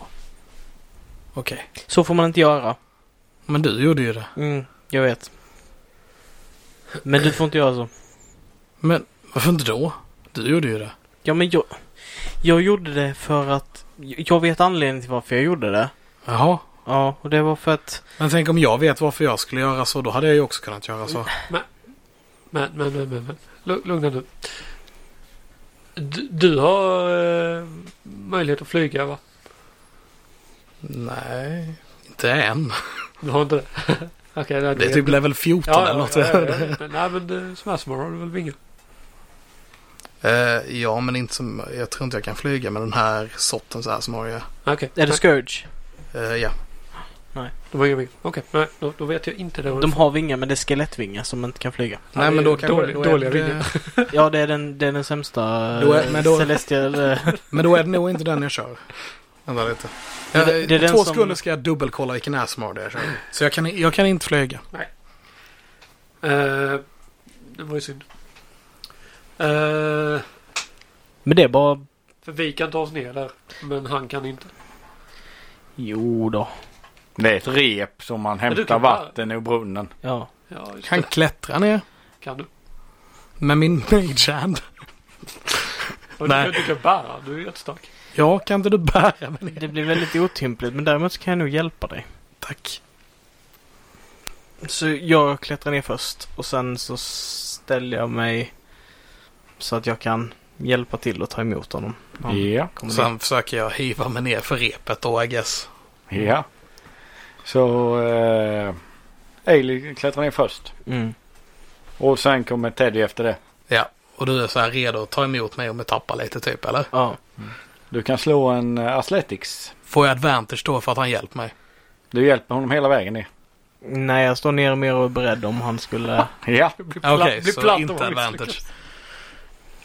Speaker 1: Okej.
Speaker 2: Så får man inte göra.
Speaker 1: Men du gjorde ju det.
Speaker 2: Mm, jag vet. Men du får inte göra så.
Speaker 1: Men varför inte då? Du gjorde ju det.
Speaker 2: Ja men jag... Jag gjorde det för att... Jag vet anledningen till varför jag gjorde det.
Speaker 1: Jaha.
Speaker 2: Ja, och det var för att...
Speaker 1: Men tänk om jag vet varför jag skulle göra så. Då hade jag ju också kunnat göra så.
Speaker 3: Men, men, men, men, men. Lu- Lugna nu. Du, du har eh, möjlighet att flyga va?
Speaker 1: Nej. Inte än.
Speaker 3: Du har inte det? Okej, nej,
Speaker 1: Det är
Speaker 3: vet
Speaker 1: typ
Speaker 3: du.
Speaker 1: level 14
Speaker 3: ja,
Speaker 1: eller
Speaker 3: ja,
Speaker 1: något.
Speaker 3: ja, ja, ja. Men, Nej men eh, Smashmore har du väl vingar?
Speaker 1: Eh, ja, men inte som, jag tror inte jag kan flyga med den här sortens Asmoria.
Speaker 3: Okej.
Speaker 2: Är det
Speaker 3: nej,
Speaker 2: Scourge?
Speaker 1: Uh, ja.
Speaker 3: de har inga vingar. Okej, nej då, då vet jag inte det.
Speaker 2: De har vingar men det är skelettvingar som inte kan flyga.
Speaker 1: Nej, men då kanske...
Speaker 3: dålig-
Speaker 1: då är
Speaker 3: dåliga
Speaker 1: det-
Speaker 3: vingar.
Speaker 2: Ja, det är den, det är den sämsta
Speaker 1: Då är- men då-
Speaker 2: Celestial... eh,
Speaker 1: Men då är det nog inte den jag kör. Vänta lite.
Speaker 2: Men det-
Speaker 1: Eh,
Speaker 2: det är den
Speaker 1: två
Speaker 2: som-
Speaker 1: sekunder ska jag dubbelkolla vilken Asmor det är jag kör. Så jag kan, jag kan inte flyga.
Speaker 3: Eh, det var ju synd. Eh,
Speaker 2: Men det är bara...
Speaker 3: för vi kan ta oss ner där. Men han kan inte.
Speaker 2: Jo då.
Speaker 4: Det är ett rep som man
Speaker 3: du
Speaker 4: hämtar
Speaker 3: kan bara-
Speaker 4: vatten ur brunnen.
Speaker 2: Ja.
Speaker 3: Ja, just
Speaker 1: Kan
Speaker 3: det.
Speaker 1: klättra ner
Speaker 3: Kan du?
Speaker 1: med min mage hand.
Speaker 3: Och
Speaker 1: Nej.
Speaker 3: Du, kan- du kan bära. Du är jättestark.
Speaker 1: Ja, kan inte du bära mig ner?
Speaker 2: Det blir väldigt otympligt men däremot så kan jag nog hjälpa dig.
Speaker 1: Tack.
Speaker 2: Så jag klättrar ner först och sen så ställer jag mig så att jag kan hjälpa till och ta emot honom. när han
Speaker 4: Ja.
Speaker 2: kommer ner.
Speaker 1: Sen försöker jag hiva mig ner för repet då, I guess.
Speaker 4: Ja. Så eh, Ailey klättrar ner först.
Speaker 2: Mm.
Speaker 4: Och sen kommer Teddy efter det.
Speaker 1: Ja, och du är så här redo att ta emot mig om jag tappar lite typ, eller?
Speaker 2: Ja.
Speaker 4: Du kan slå en eh, Athletics.
Speaker 1: Får jag advantage då för att han hjälpt mig?
Speaker 4: Du hjälper honom hela vägen ner.
Speaker 2: Nej, jag står ner och mer och är beredd om han skulle...
Speaker 4: Ja.
Speaker 3: Du blir
Speaker 1: Okej,
Speaker 3: platt- blir
Speaker 1: så
Speaker 3: platt om
Speaker 1: inte
Speaker 3: man misslyckas.
Speaker 1: advantage.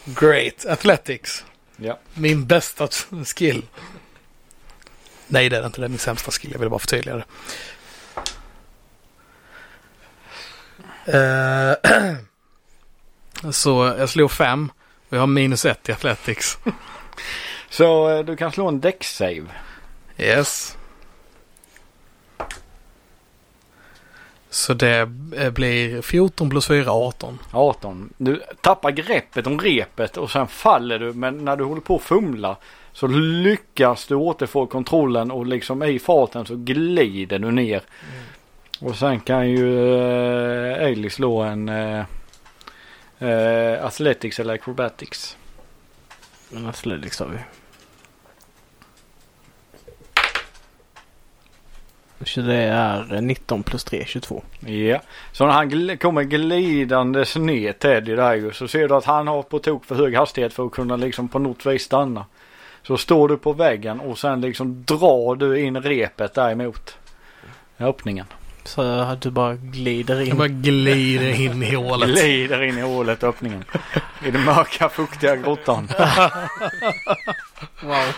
Speaker 1: Great. Athletics.
Speaker 4: Ja.
Speaker 1: Min bästa t- skill. Nej, det är inte. Det är min sämsta skill. Jag vill bara förtydliga det. Eh, så jag slog fem och jag har minus ett i Athletics.
Speaker 4: Så eh, du kan slå en Dex-save.
Speaker 1: Yes. Så det eh, blir 14 plus 4, 18.
Speaker 4: 18. Du tappar greppet om repet och sen faller du men när du håller på att fumla så lyckas du återfå kontrollen och liksom i farten så glider du ner. Och sen kan ju eh, Ailey slå en eh, eh, Athletics eller Acrobatics.
Speaker 2: Den här Sledix har vi. 20 är eh, 19 plus 3, 22.
Speaker 4: Ja, så när han gl- kommer glidandes ner Teddy där ju så ser du att han har på tok för hög hastighet för att kunna liksom på något vis stanna. Så står du på väggen och sen liksom drar du in repet däremot. Öppningen.
Speaker 2: Så att du bara glider in.
Speaker 1: Jag bara glider in i hålet.
Speaker 4: Glider in i hålet öppningen. I den mörka fuktiga grottan.
Speaker 2: Wow.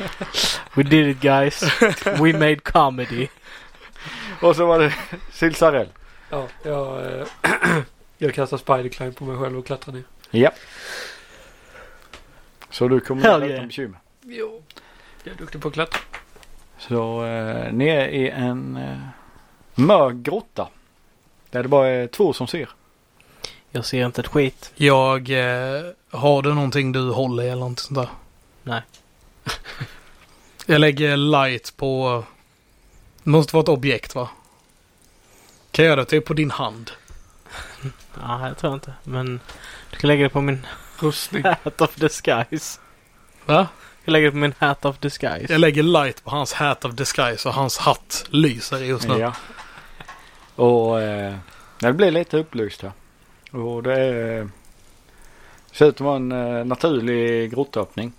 Speaker 2: We did it guys. We made comedy.
Speaker 4: Och så var det Silsarell.
Speaker 3: Ja, jag, eh, jag kastar spiderclimb på mig själv och klättrar ner.
Speaker 4: Ja. Så du kommer
Speaker 2: Hell
Speaker 4: utan
Speaker 2: yeah.
Speaker 4: bekymmer.
Speaker 3: Jo, jag är duktig på att klättra.
Speaker 4: Så eh, ner i en eh, mörk grotta. Där det bara är två som ser.
Speaker 2: Jag ser inte ett skit.
Speaker 1: Jag... Eh, har du någonting du håller i eller något sånt där?
Speaker 2: Nej.
Speaker 1: Jag lägger light på... Det måste vara ett objekt va? Kan jag göra det typ på din hand?
Speaker 2: Ja, jag tror inte. Men du kan lägga det på min
Speaker 3: Rustning.
Speaker 2: hat of disguise.
Speaker 1: Va?
Speaker 2: Jag lägger det på min hat of disguise.
Speaker 1: Jag lägger light på hans hat of disguise och hans hatt lyser just nu.
Speaker 4: Ja. Och eh, det blir lite upplyst här. Och det är, ser ut att vara en eh, naturlig grottöppning.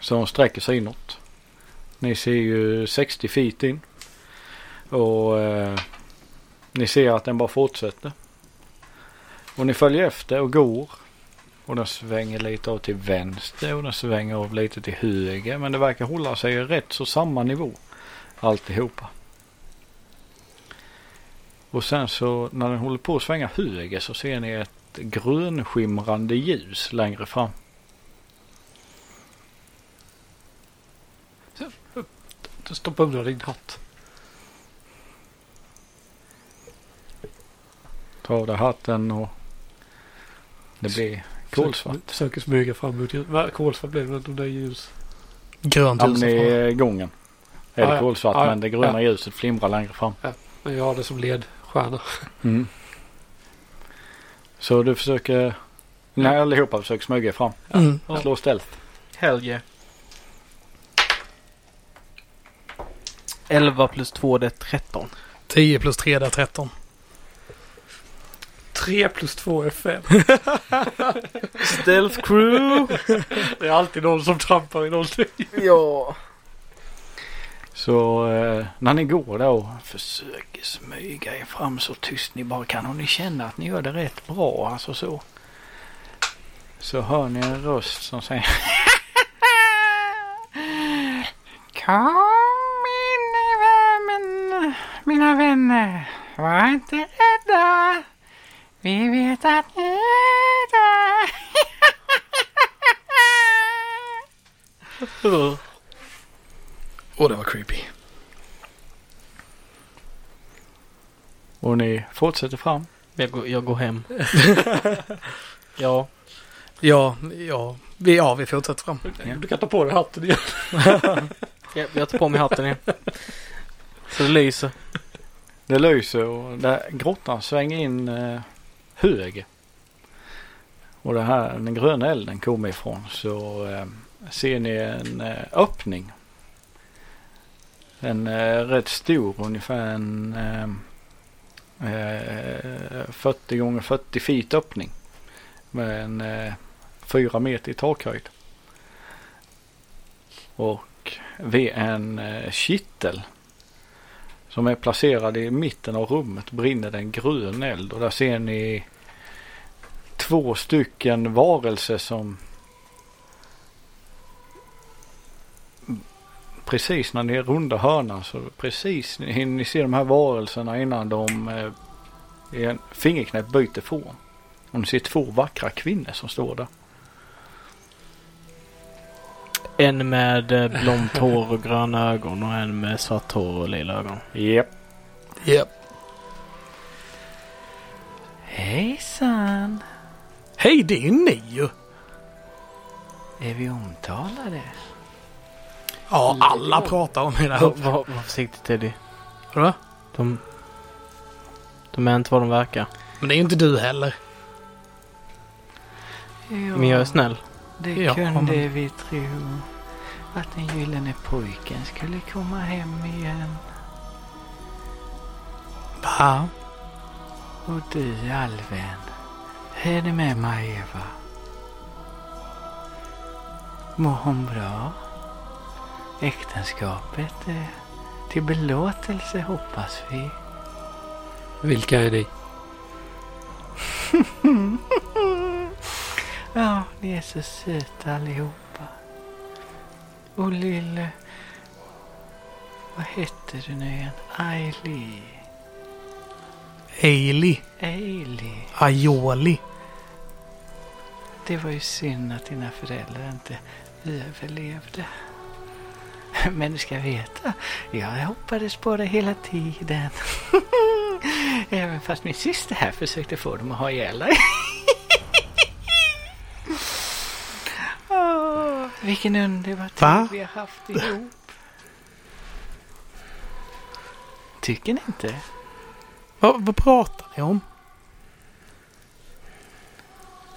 Speaker 4: Som sträcker sig inåt. Ni ser ju 60 feet in. Och eh, ni ser att den bara fortsätter. Och ni följer efter och går. Och den svänger lite av till vänster och den svänger av lite till höger. Men det verkar hålla sig rätt så samma nivå. Alltihopa. Och sen så när den håller på att svänga höger så ser ni ett grönskimrande ljus längre fram.
Speaker 3: Du stoppar undan din hatt.
Speaker 4: Ta av dig hatten och det blir kolsvart.
Speaker 3: Försöker- Försöker smyga fram mot ljus. Va, Kolsvart blev det inte om det är ljus.
Speaker 1: Grönt ljus.
Speaker 4: Hamnar i gången. Är
Speaker 3: Ah,
Speaker 4: det
Speaker 3: ja.
Speaker 4: kolsvart
Speaker 3: Ah, ja.
Speaker 4: men det gröna
Speaker 3: Ja.
Speaker 4: ljuset flimrar längre fram.
Speaker 3: Men jag har det som ledstjärna. Mm.
Speaker 4: Så du försöker, nej allihopa försöker smyga er fram.
Speaker 1: Mm.
Speaker 2: Ja.
Speaker 4: Slå stealth.
Speaker 2: Hell yeah. 11 plus 2 det är 13.
Speaker 1: 10 plus 3 där 13.
Speaker 3: Tre plus två är fem.
Speaker 2: Stealth crew!
Speaker 3: Det är alltid någon som trampar i någonting.
Speaker 2: ja.
Speaker 4: Så eh, när ni går där och försöker smyga er fram så tyst ni bara kan och ni känner att ni gör det rätt bra alltså så. Så hör ni en röst som säger Kom in i värmen mina vänner. Var inte rädda. Vi vet att ni är där.
Speaker 1: Och det var creepy.
Speaker 4: Och ni fortsätter fram.
Speaker 2: Jag, går- jag går hem. ja.
Speaker 1: Ja, ja. Vi, ja, vi fortsätter fram.
Speaker 3: Du kan ta på dig hatten igen.
Speaker 2: Jag, jag tar på mig hatten igen. Så det lyser.
Speaker 4: Det lyser och där grottan svänger in eh, höger. Och det här, den gröna elden kommer ifrån så eh, ser ni en eh, öppning. En eh, rätt stor, ungefär en eh, eh, 40 gånger 40 feet öppning. Med en eh, 4 meter i takhöjd. Och vid en eh, kittel som är placerad i mitten av rummet brinner det en grön eld och där ser ni två stycken varelser som precis när ni rundar hörnan så precis ni, ni ser de här varelserna innan de eh, i en fingerknäpp byter form. Och ni ser två vackra kvinnor som står där.
Speaker 2: En med eh, blont hår och gröna ögon och en med svart hår och lila ögon.
Speaker 4: Japp.
Speaker 1: Yep.
Speaker 9: Hejsan!
Speaker 1: Hej, det är ju ni ju!
Speaker 9: Är vi omtalade?
Speaker 1: Ja, alla pratar om det
Speaker 2: Var,
Speaker 1: där.
Speaker 2: var, var försiktig Teddy.
Speaker 1: Vadå?
Speaker 2: De, de är inte vad de verkar.
Speaker 1: Men det är ju inte du heller.
Speaker 9: Ja.
Speaker 2: Men jag är snäll.
Speaker 9: Det
Speaker 1: Ja,
Speaker 9: kunde
Speaker 1: men-
Speaker 9: vi tro. Att den gyllene pojken skulle komma hem igen.
Speaker 1: Va?
Speaker 9: Och du alven. Hur är det med mig Eva? Mår hon bra? Äktenskapet är till belåtelse hoppas vi.
Speaker 3: Vilka är ni?
Speaker 9: Ja, ni är så söta allihopa. Och lille... Vad heter du nu igen? Ailey.
Speaker 1: Ailey?
Speaker 9: Ailey.
Speaker 1: Aioli?
Speaker 9: Det var ju synd att dina föräldrar inte överlevde. Men du ska veta, jag hoppades på det hela tiden. Även fast min syster här försökte få dem att ha ihjäl dig. Åh, Vilken underbar
Speaker 1: Va?
Speaker 9: tid vi har haft ihop. Tycker ni inte?
Speaker 1: Vad, vad pratar ni om?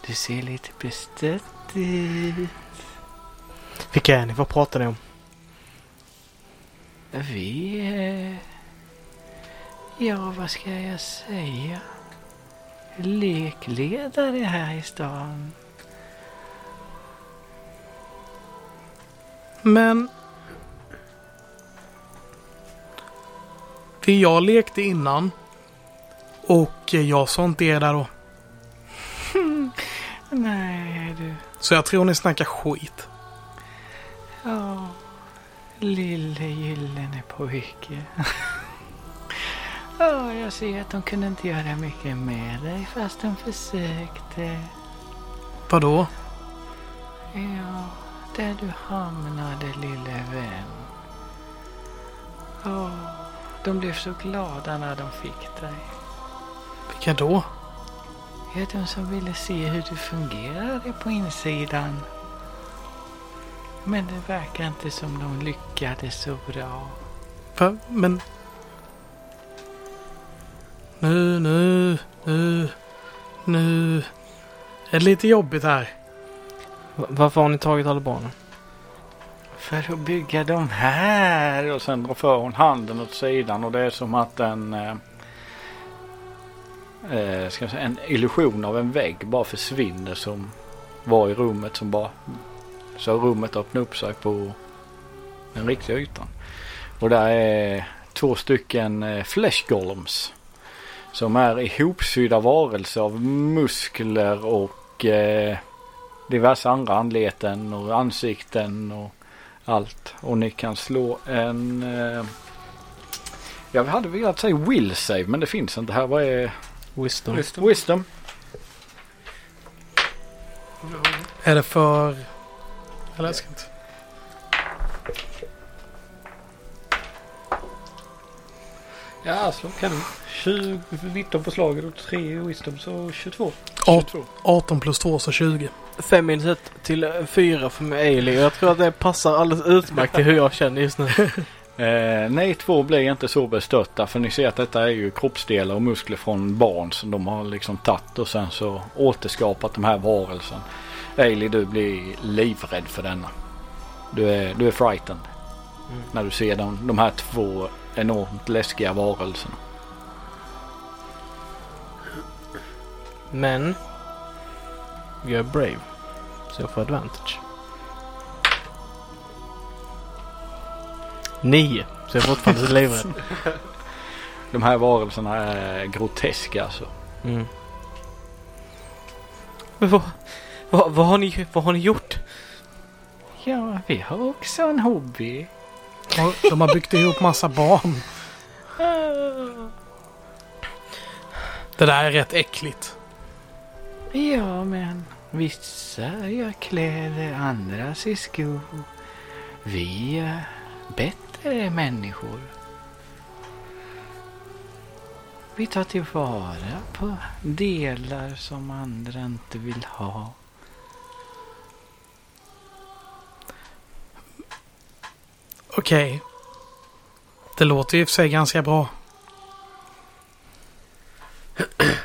Speaker 9: Du ser lite bestött ut.
Speaker 2: Vilka är ni? Vad pratar ni om?
Speaker 9: Vi... Eh, ja, vad ska jag säga? Lekledare här i stan.
Speaker 1: Men... För jag lekte innan. Och jag sa inte er där då.
Speaker 9: Nej, du.
Speaker 1: Så jag tror ni snackar skit.
Speaker 9: Ja, lille gyllene pojke. Ja, jag ser att de kunde inte göra mycket med dig fast de försökte.
Speaker 1: Vadå?
Speaker 9: Ja, där du hamnade lille vän. Åh, de blev så glada när de fick dig.
Speaker 1: Vilka då?
Speaker 9: Ja, de som ville se hur du fungerade på insidan. Men det verkar inte som de lyckades så bra.
Speaker 1: Va? Men... Nu, nu, nu, nu... Det är lite jobbigt här.
Speaker 2: Va- Varför har ni tagit alla barnen?
Speaker 9: För att bygga de här.
Speaker 4: Nej, Och sen drar för hon handen åt sidan och det är som att en... Eh, eh, ska jag säga, en illusion av en vägg bara försvinner som var i rummet som bara... Så rummet öppnar upp sig på den riktiga ytan. Och där är två stycken eh, flesh golems. Som är ihopsydda varelser av muskler och eh, diverse andra anleten och ansikten och allt. Och ni kan slå en... Eh, jag hade velat säga will save men det finns inte här. Vad är...
Speaker 2: Wisdom.
Speaker 4: Wisdom.
Speaker 1: Är det för... Eller jag ska inte...
Speaker 3: Ja, slå kanon. 20, 19 på slaget och 3 wisdom så 22.
Speaker 1: 18 plus 2 så 20.
Speaker 2: Fem minus ett till eh, fyra för mig Ailey. Jag tror att det passar alldeles utmärkt till hur jag känner just nu.
Speaker 4: Eh, nej, två blir inte så bestörta för ni ser att detta är ju kroppsdelar och muskler från barn som de har liksom tagit och sen så återskapat de här varelsen. Ailey, du blir livrädd för denna. Du är, du är frightened
Speaker 2: Mm.
Speaker 4: när du ser de, de här två enormt läskiga varelserna.
Speaker 2: Men... Jag är brave. Så jag får advantage. Nio. Så jag är fortfarande livrädd.
Speaker 4: De här varelserna är groteska alltså.
Speaker 2: Mm. Men vad, vad, vad, har ni, vad har ni gjort?
Speaker 9: Ja, vi har också en hobby.
Speaker 1: Och De har byggt ihop massa barn. Det där är rätt äckligt.
Speaker 9: Ja, men vissa gör kläder, andra syr skor. Vi är bättre människor. Vi tar tillvara på delar som andra inte vill ha.
Speaker 1: Okej. Det låter ju i och för sig ganska bra.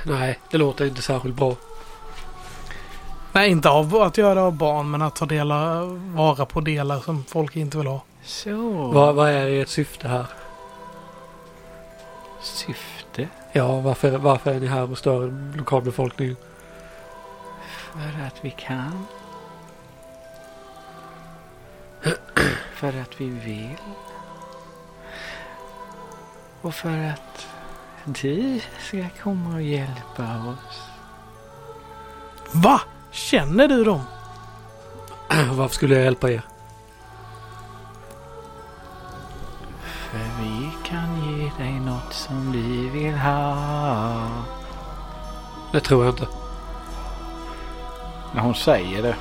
Speaker 3: Nej, det låter inte särskilt bra.
Speaker 1: Nej, inte av att göra av barn, men att ta delar, vara på delar som folk inte vill ha.
Speaker 9: Så.
Speaker 3: Vad, vad är ert syfte här?
Speaker 9: Syfte?
Speaker 3: Ja, varför, varför är ni här och stör lokalbefolkningen?
Speaker 9: För att vi kan. för att vi vill. Och för att du ska komma och hjälpa oss.
Speaker 1: Va? Känner du dem?
Speaker 3: varför skulle jag hjälpa er?
Speaker 9: För vi kan ge dig något som vi vill ha.
Speaker 3: Det tror jag inte.
Speaker 4: När hon säger det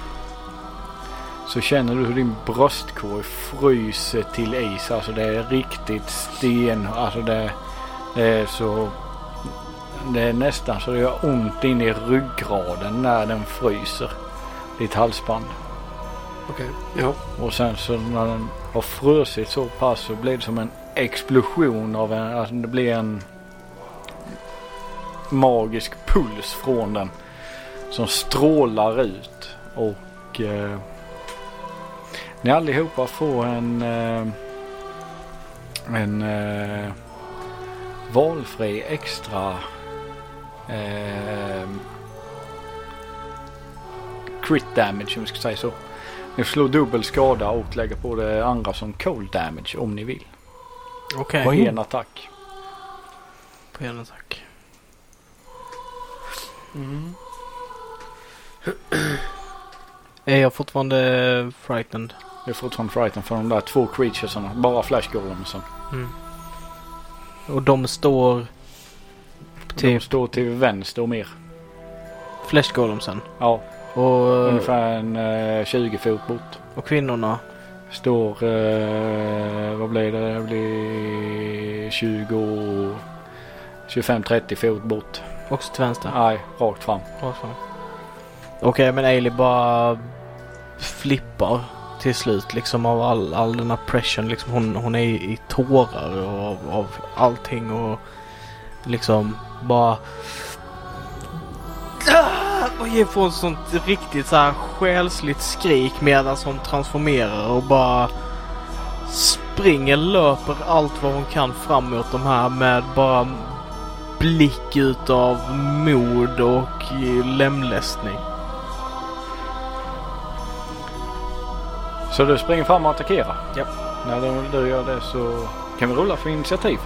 Speaker 4: så känner du hur din bröstkorg fryser till is. Alltså det är riktigt sten. Alltså det, det är så... Det är nästan så det gör ont in i ryggraden när den fryser. Ditt halsband.
Speaker 3: Okej, ja.
Speaker 4: Och sen så när den har frusit så pass så blir det som en explosion av en, alltså det blir en magisk puls från den som strålar ut och eh, ni allihopa får en eh, en eh, valfri extra eh, crit damage om vi ska säga så. Ni slår dubbel skada och lägger på det andra som cold damage om ni vill.
Speaker 2: Okej.
Speaker 4: På en attack.
Speaker 2: På en attack.
Speaker 3: Mm.
Speaker 2: Är jag fortfarande frightened?
Speaker 4: Det är fortfarande frighten för de där två creaturesarna. Bara flash golemsen.
Speaker 2: Och de står...
Speaker 4: De
Speaker 2: Typ
Speaker 4: står till vänster om er.
Speaker 2: Flesh Golemsen.
Speaker 4: Ja,
Speaker 2: Och,
Speaker 4: ungefär en eh, 20 fot bort.
Speaker 2: och kvinnorna.
Speaker 4: Står, eh, vad blir det? Det blir 20, 25-30 fot bort.
Speaker 2: Också till vänster.
Speaker 4: Nej, rakt fram.
Speaker 2: Bra fan. Okej, men Ailey bara flippar till slut liksom av all, all den här pressen. Liksom hon, hon är i, i tårar och av, av allting och liksom bara... Ah! Och ger från ett sånt riktigt så här själsligt skrik medan hon transformerar och bara springer, löper allt vad hon kan framåt de här med bara blick utav mod och lemlästning.
Speaker 4: Så du springer fram och attackerar?
Speaker 2: Japp.
Speaker 4: När du, du gör det så kan vi rulla för initiativ.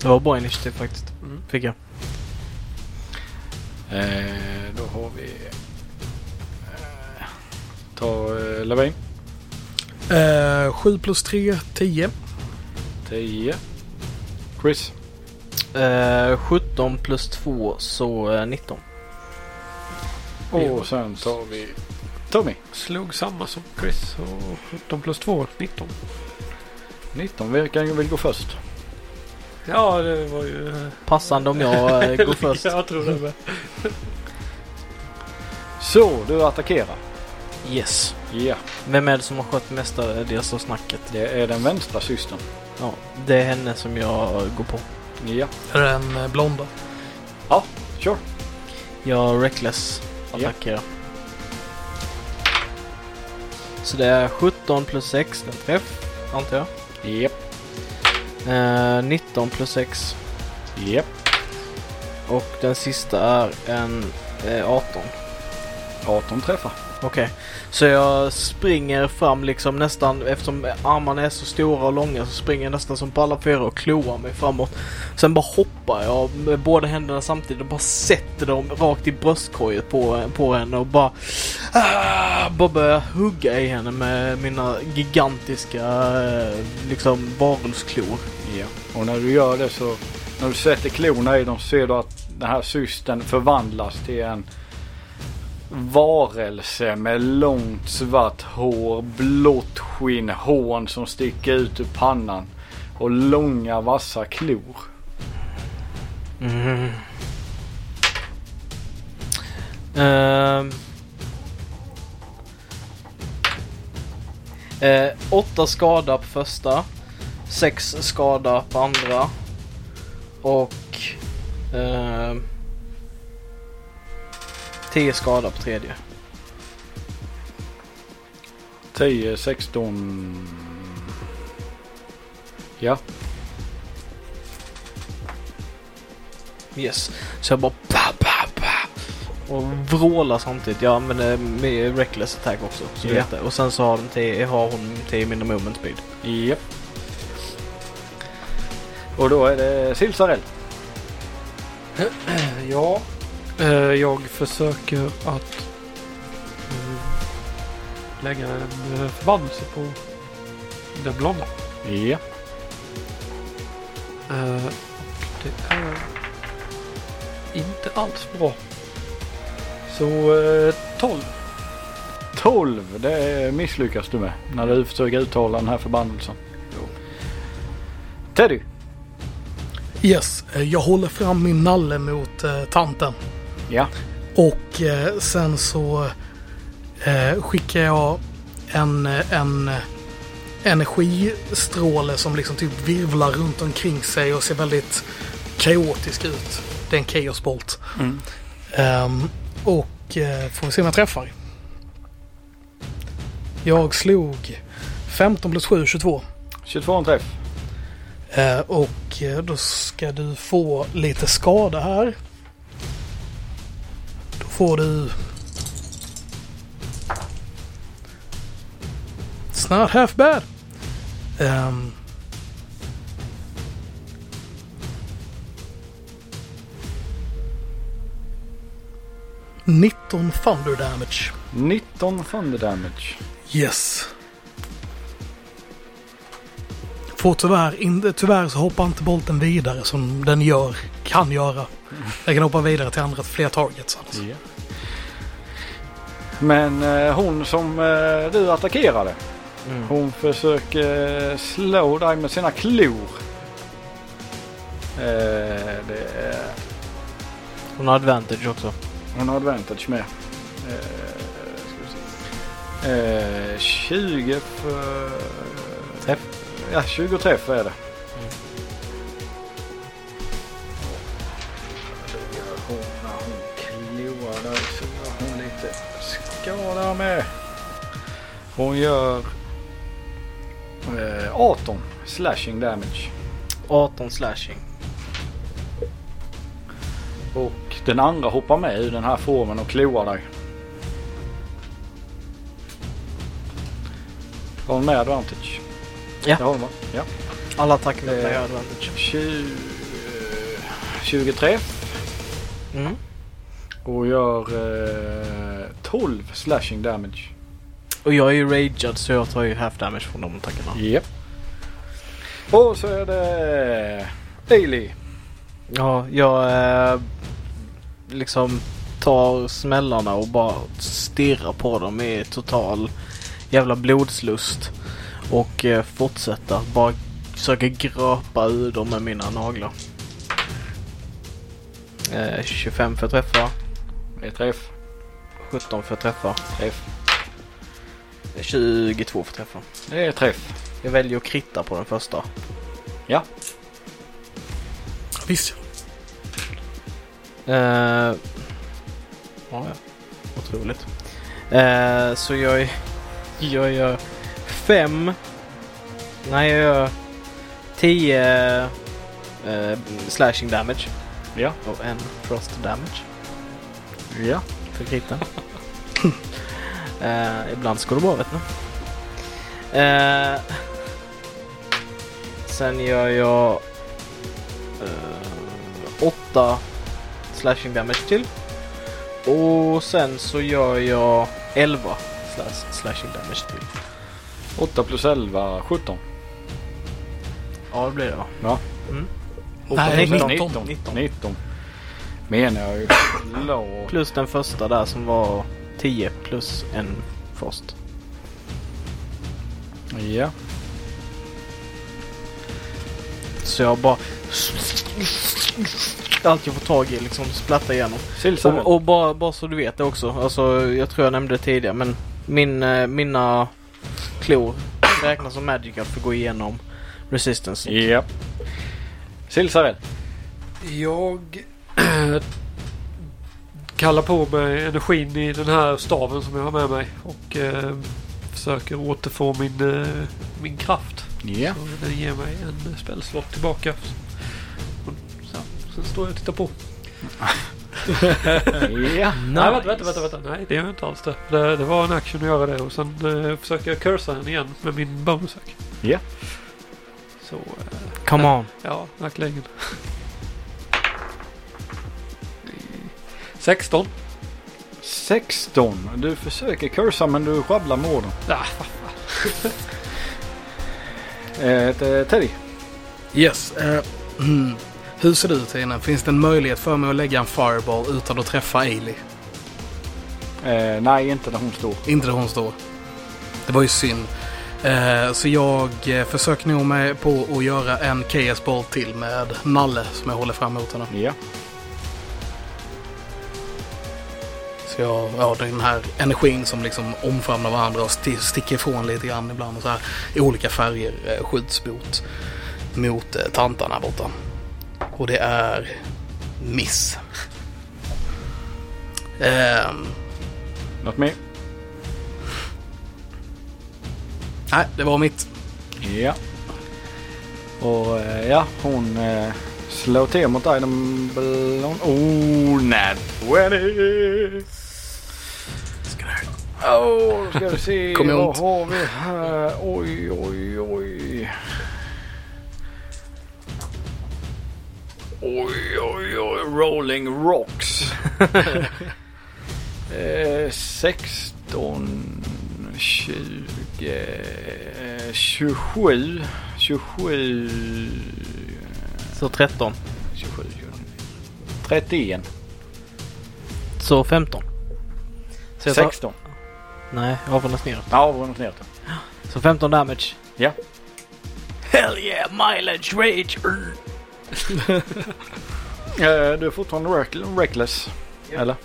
Speaker 2: Det var bra initiativ faktiskt. Fick jag.
Speaker 4: Eh, då har vi... Eh, ta eh, Levin.
Speaker 1: Eh, 7 plus 3, 10.
Speaker 4: 10. Chris.
Speaker 2: Eh, 17 plus 2 så eh, 19.
Speaker 4: Och sen tar vi Tommy.
Speaker 3: Slog samma som Chris och 17 plus 2, 19.
Speaker 4: 19. Vilken vill gå först?
Speaker 3: Ja, det var ju... eh,
Speaker 2: Passande om jag eh, går först.
Speaker 3: jag tror det med.
Speaker 4: Så, du attackerar.
Speaker 2: Yes.
Speaker 4: Ja,
Speaker 2: Vem är det som har skött mestadels av snacket?
Speaker 4: det är den vänstra systern.
Speaker 2: Ja, det är henne som jag går på.
Speaker 4: Ja,
Speaker 1: Är det en eh, blonda?
Speaker 4: sure.
Speaker 2: Jag reckless attackerar. Så det är 17 plus 6, en träff antar jag.
Speaker 4: Japp,
Speaker 2: Eh, 19 plus 6
Speaker 4: japp.
Speaker 2: Och den sista är en eh, 18.
Speaker 4: 18 träffar.
Speaker 2: Okej. Så jag springer fram liksom nästan, eftersom armarna är så stora och långa, så springer jag nästan som på alla fyra och kloar mig framåt. Sen bara hoppar jag med båda händerna samtidigt och bara sätter dem rakt i bröstkorget på, på henne och bara... Ah, bara börjar hugga i henne med mina gigantiska eh, liksom varulvsklor.
Speaker 4: Ja. Och när du gör det så, när du sätter klorna i dem så ser du att den här systern förvandlas till en varelse med långt svart hår, blått skinn, hån som sticker ut ur pannan och långa vassa klor.
Speaker 2: Mm. Eh, Ehm, Eh, åtta skada på första. Sex skada på andra. Och... Eh, tio skada på tredje.
Speaker 4: 10, 16. Ja,
Speaker 2: Yes. Så jag bara pa, pa, pa. Och vrålar samtidigt. Jag använder med reckless attack också. Så du
Speaker 4: Ja.
Speaker 2: vet det. Och sen så har, den tio, har hon 10 mindre movement speed.
Speaker 4: japp. Och då är det Silsarell.
Speaker 3: Ja. Eh, jag försöker att mm, lägga en eh, förbannelse på den blonda.
Speaker 4: Ja.
Speaker 3: Eh, och det är inte alls bra. Så eh, 12.
Speaker 4: 12, det misslyckas du med när du försöker uttala den här förbannelsen. Teddy.
Speaker 1: Yes, eh, jag håller fram min nalle mot eh, tanten.
Speaker 4: Ja.
Speaker 1: Och eh, sen så eh, skickar jag en, eh, en eh, energistråle som liksom typ virvlar runt omkring sig och ser väldigt kaotisk ut. Det är en kaosbolt.
Speaker 4: Mm.
Speaker 1: Ehm, och eh, får vi se om jag träffar. Jag slog 15 plus 7, 22.
Speaker 4: 22 en träff.
Speaker 1: Eh, och eh, då ska du få lite skada här. Då får du... It's not half bad. Ehm. Nitton thunder damage.
Speaker 4: 19 thunder damage.
Speaker 1: Yes. Får tyvärr, inte, tyvärr så hoppar inte bolten vidare som den gör, kan göra. Den kan hoppa vidare till andra, fler targets. Alltså.
Speaker 4: Ja. Men eh, hon som eh, du attackerade. Hon försöker eh, slå dig med sina klor. Eh, det är,
Speaker 2: Hon har advantage också.
Speaker 4: hon har advantage med. Eh, ska vi se. Eh, 20 för...
Speaker 2: Träff.
Speaker 4: Ja, 20 träff är det. Då gör hon när hon kloar dig så gör hon lite skada med. Hon gör eh, 18 slashing damage.
Speaker 2: 18 slashing.
Speaker 4: Och den andra hoppar med ur den här formen och kloar dig. Har hon med advantage?
Speaker 2: Ja.
Speaker 4: Det har hon va? Ja.
Speaker 2: Alla attacker mot
Speaker 4: Eh.
Speaker 2: mig har advantage.
Speaker 4: 20, 20 träff
Speaker 2: Mm.
Speaker 4: och gör eh, 12 slashing damage.
Speaker 2: Och jag är ju ragead så jag tar ju half damage från de attackerna.
Speaker 4: Japp. Och så är det Ailey.
Speaker 2: Ja, jag eh, liksom tar smällarna och bara stirrar på dem i total jävla blodslust. Och eh, fortsätter att bara försöka gröpa ur dem med mina naglar. Eh, 25 för att träffa,
Speaker 4: Ett träff.
Speaker 2: 17 för att träffa,
Speaker 4: Träff.
Speaker 2: 22 för att träffa.
Speaker 4: Det är träff.
Speaker 2: Jag väljer att kritta på den första.
Speaker 1: Visst
Speaker 2: Eh, ja, ja. Otroligt. Eh, så jag, jag gör fem... Nej, jag gör tio eh, slashing damage.
Speaker 4: Ja.
Speaker 2: Och en frost damage
Speaker 4: Ja.
Speaker 2: för kriten. eh, ibland ska det bra, vet ni. Eh, sen gör jag eh, åtta slashing damage till. Och sen så gör jag 11 slash, slashing damage till.
Speaker 4: 8 plus 11, 17.
Speaker 2: Ja, det blir det va?
Speaker 4: Ja.
Speaker 2: Mm.
Speaker 1: Nej, 19.
Speaker 4: 19. 19. Menar jag ju. Lå.
Speaker 2: Plus den första där som var 10 plus en frost.
Speaker 4: Ja.
Speaker 2: Så jag bara... Allt jag får tag i liksom splattar igenom.
Speaker 4: Silsarell.
Speaker 2: Och, och bara, bara så du vet det också. Alltså, jag tror jag nämnde det tidigare men min, eh, mina klor räknas som magic för att gå igenom resistance.
Speaker 4: Japp. Silsarell.
Speaker 3: Jag eh, kallar på mig energin i den här staven som jag har med mig och eh, försöker återfå min, eh, min kraft.
Speaker 4: Ja.
Speaker 3: Så den ger mig en spelslott tillbaka. Och Sen, sen står jag och tittar på.
Speaker 4: Ja.
Speaker 3: Nej, vänta, vänta, vänta, vänta. Nej, det gör jag inte alls det. det. Det var en action att göra det och sen eh, försöker jag cursa henne igen med min bonusack.
Speaker 4: Ja.
Speaker 3: Så, eh,
Speaker 2: Come on.
Speaker 3: ja, verkligen. 16.
Speaker 4: 16. Du försöker cursa men du sjabblar med orden.
Speaker 3: Ah,
Speaker 4: Eh, t- Teddy.
Speaker 1: Yes. eh, mm. hur ser det ut innan? Finns det en möjlighet för mig att lägga en fireball utan att träffa Ailey?
Speaker 4: Eh, nej, inte där hon står.
Speaker 1: Inte där hon står. Det var ju synd. Eh, så jag eh, försöker nog mig på att göra en ks boll till med Nalle som jag håller fram mot henne.
Speaker 4: Ja.
Speaker 1: Så jag, ja, den här energin som liksom omfamnar varandra och sti- sticker ifrån lite grann ibland och så här i olika färger eh, skjuts mot, mot eh, tantarna borta. Och det är miss. Ehm,
Speaker 4: Något mer?
Speaker 1: nej, det var mitt.
Speaker 4: Ja. Och eh, ja, hon eh, slår till mot dig. De blå- Oh, nat 20! Åh, nu ska vi se.
Speaker 1: Kommer jag
Speaker 4: Vad
Speaker 1: ont?
Speaker 4: har vi här? Oj, oj, oj. Oj, oj, oj. Rolling rocks. eh, 16, 20, eh, 27. 27,
Speaker 2: Så 13.
Speaker 4: 27, 29. 31.
Speaker 2: Så 15. Så jag tar,
Speaker 4: 16.
Speaker 2: nej, jag avrundas neråt.
Speaker 4: Ja, brunnit ner det.
Speaker 2: Så 15 damage.
Speaker 4: Ja.
Speaker 2: Hell yeah! Mileage rage! Urr.
Speaker 4: Eh, Du är fortfarande reck- reckless. Eller?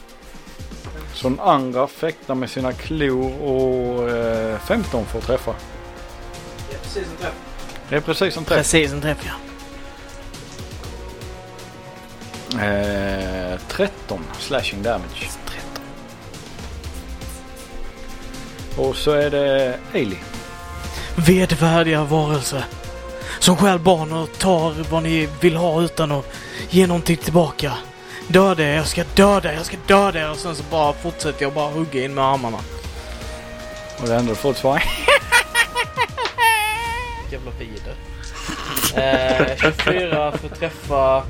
Speaker 4: Så den andra fäktar med sina klor och eh, 15 får träffa. Det är precis en träff.
Speaker 2: Precis, en träff ja.
Speaker 4: Eh, 13 slashing damage.
Speaker 2: 13.
Speaker 4: Och så är det Ailey.
Speaker 2: Vedvärdiga varelser. Som stjäl barn och tar vad ni vill ha utan att ge någonting tillbaka. Döda er, jag ska döda er, jag ska döda er. Och sen så bara fortsätter jag bara hugga in med armarna.
Speaker 4: Och det enda du får ett svar.
Speaker 2: Jävla vider. Eh, 24 för träffa.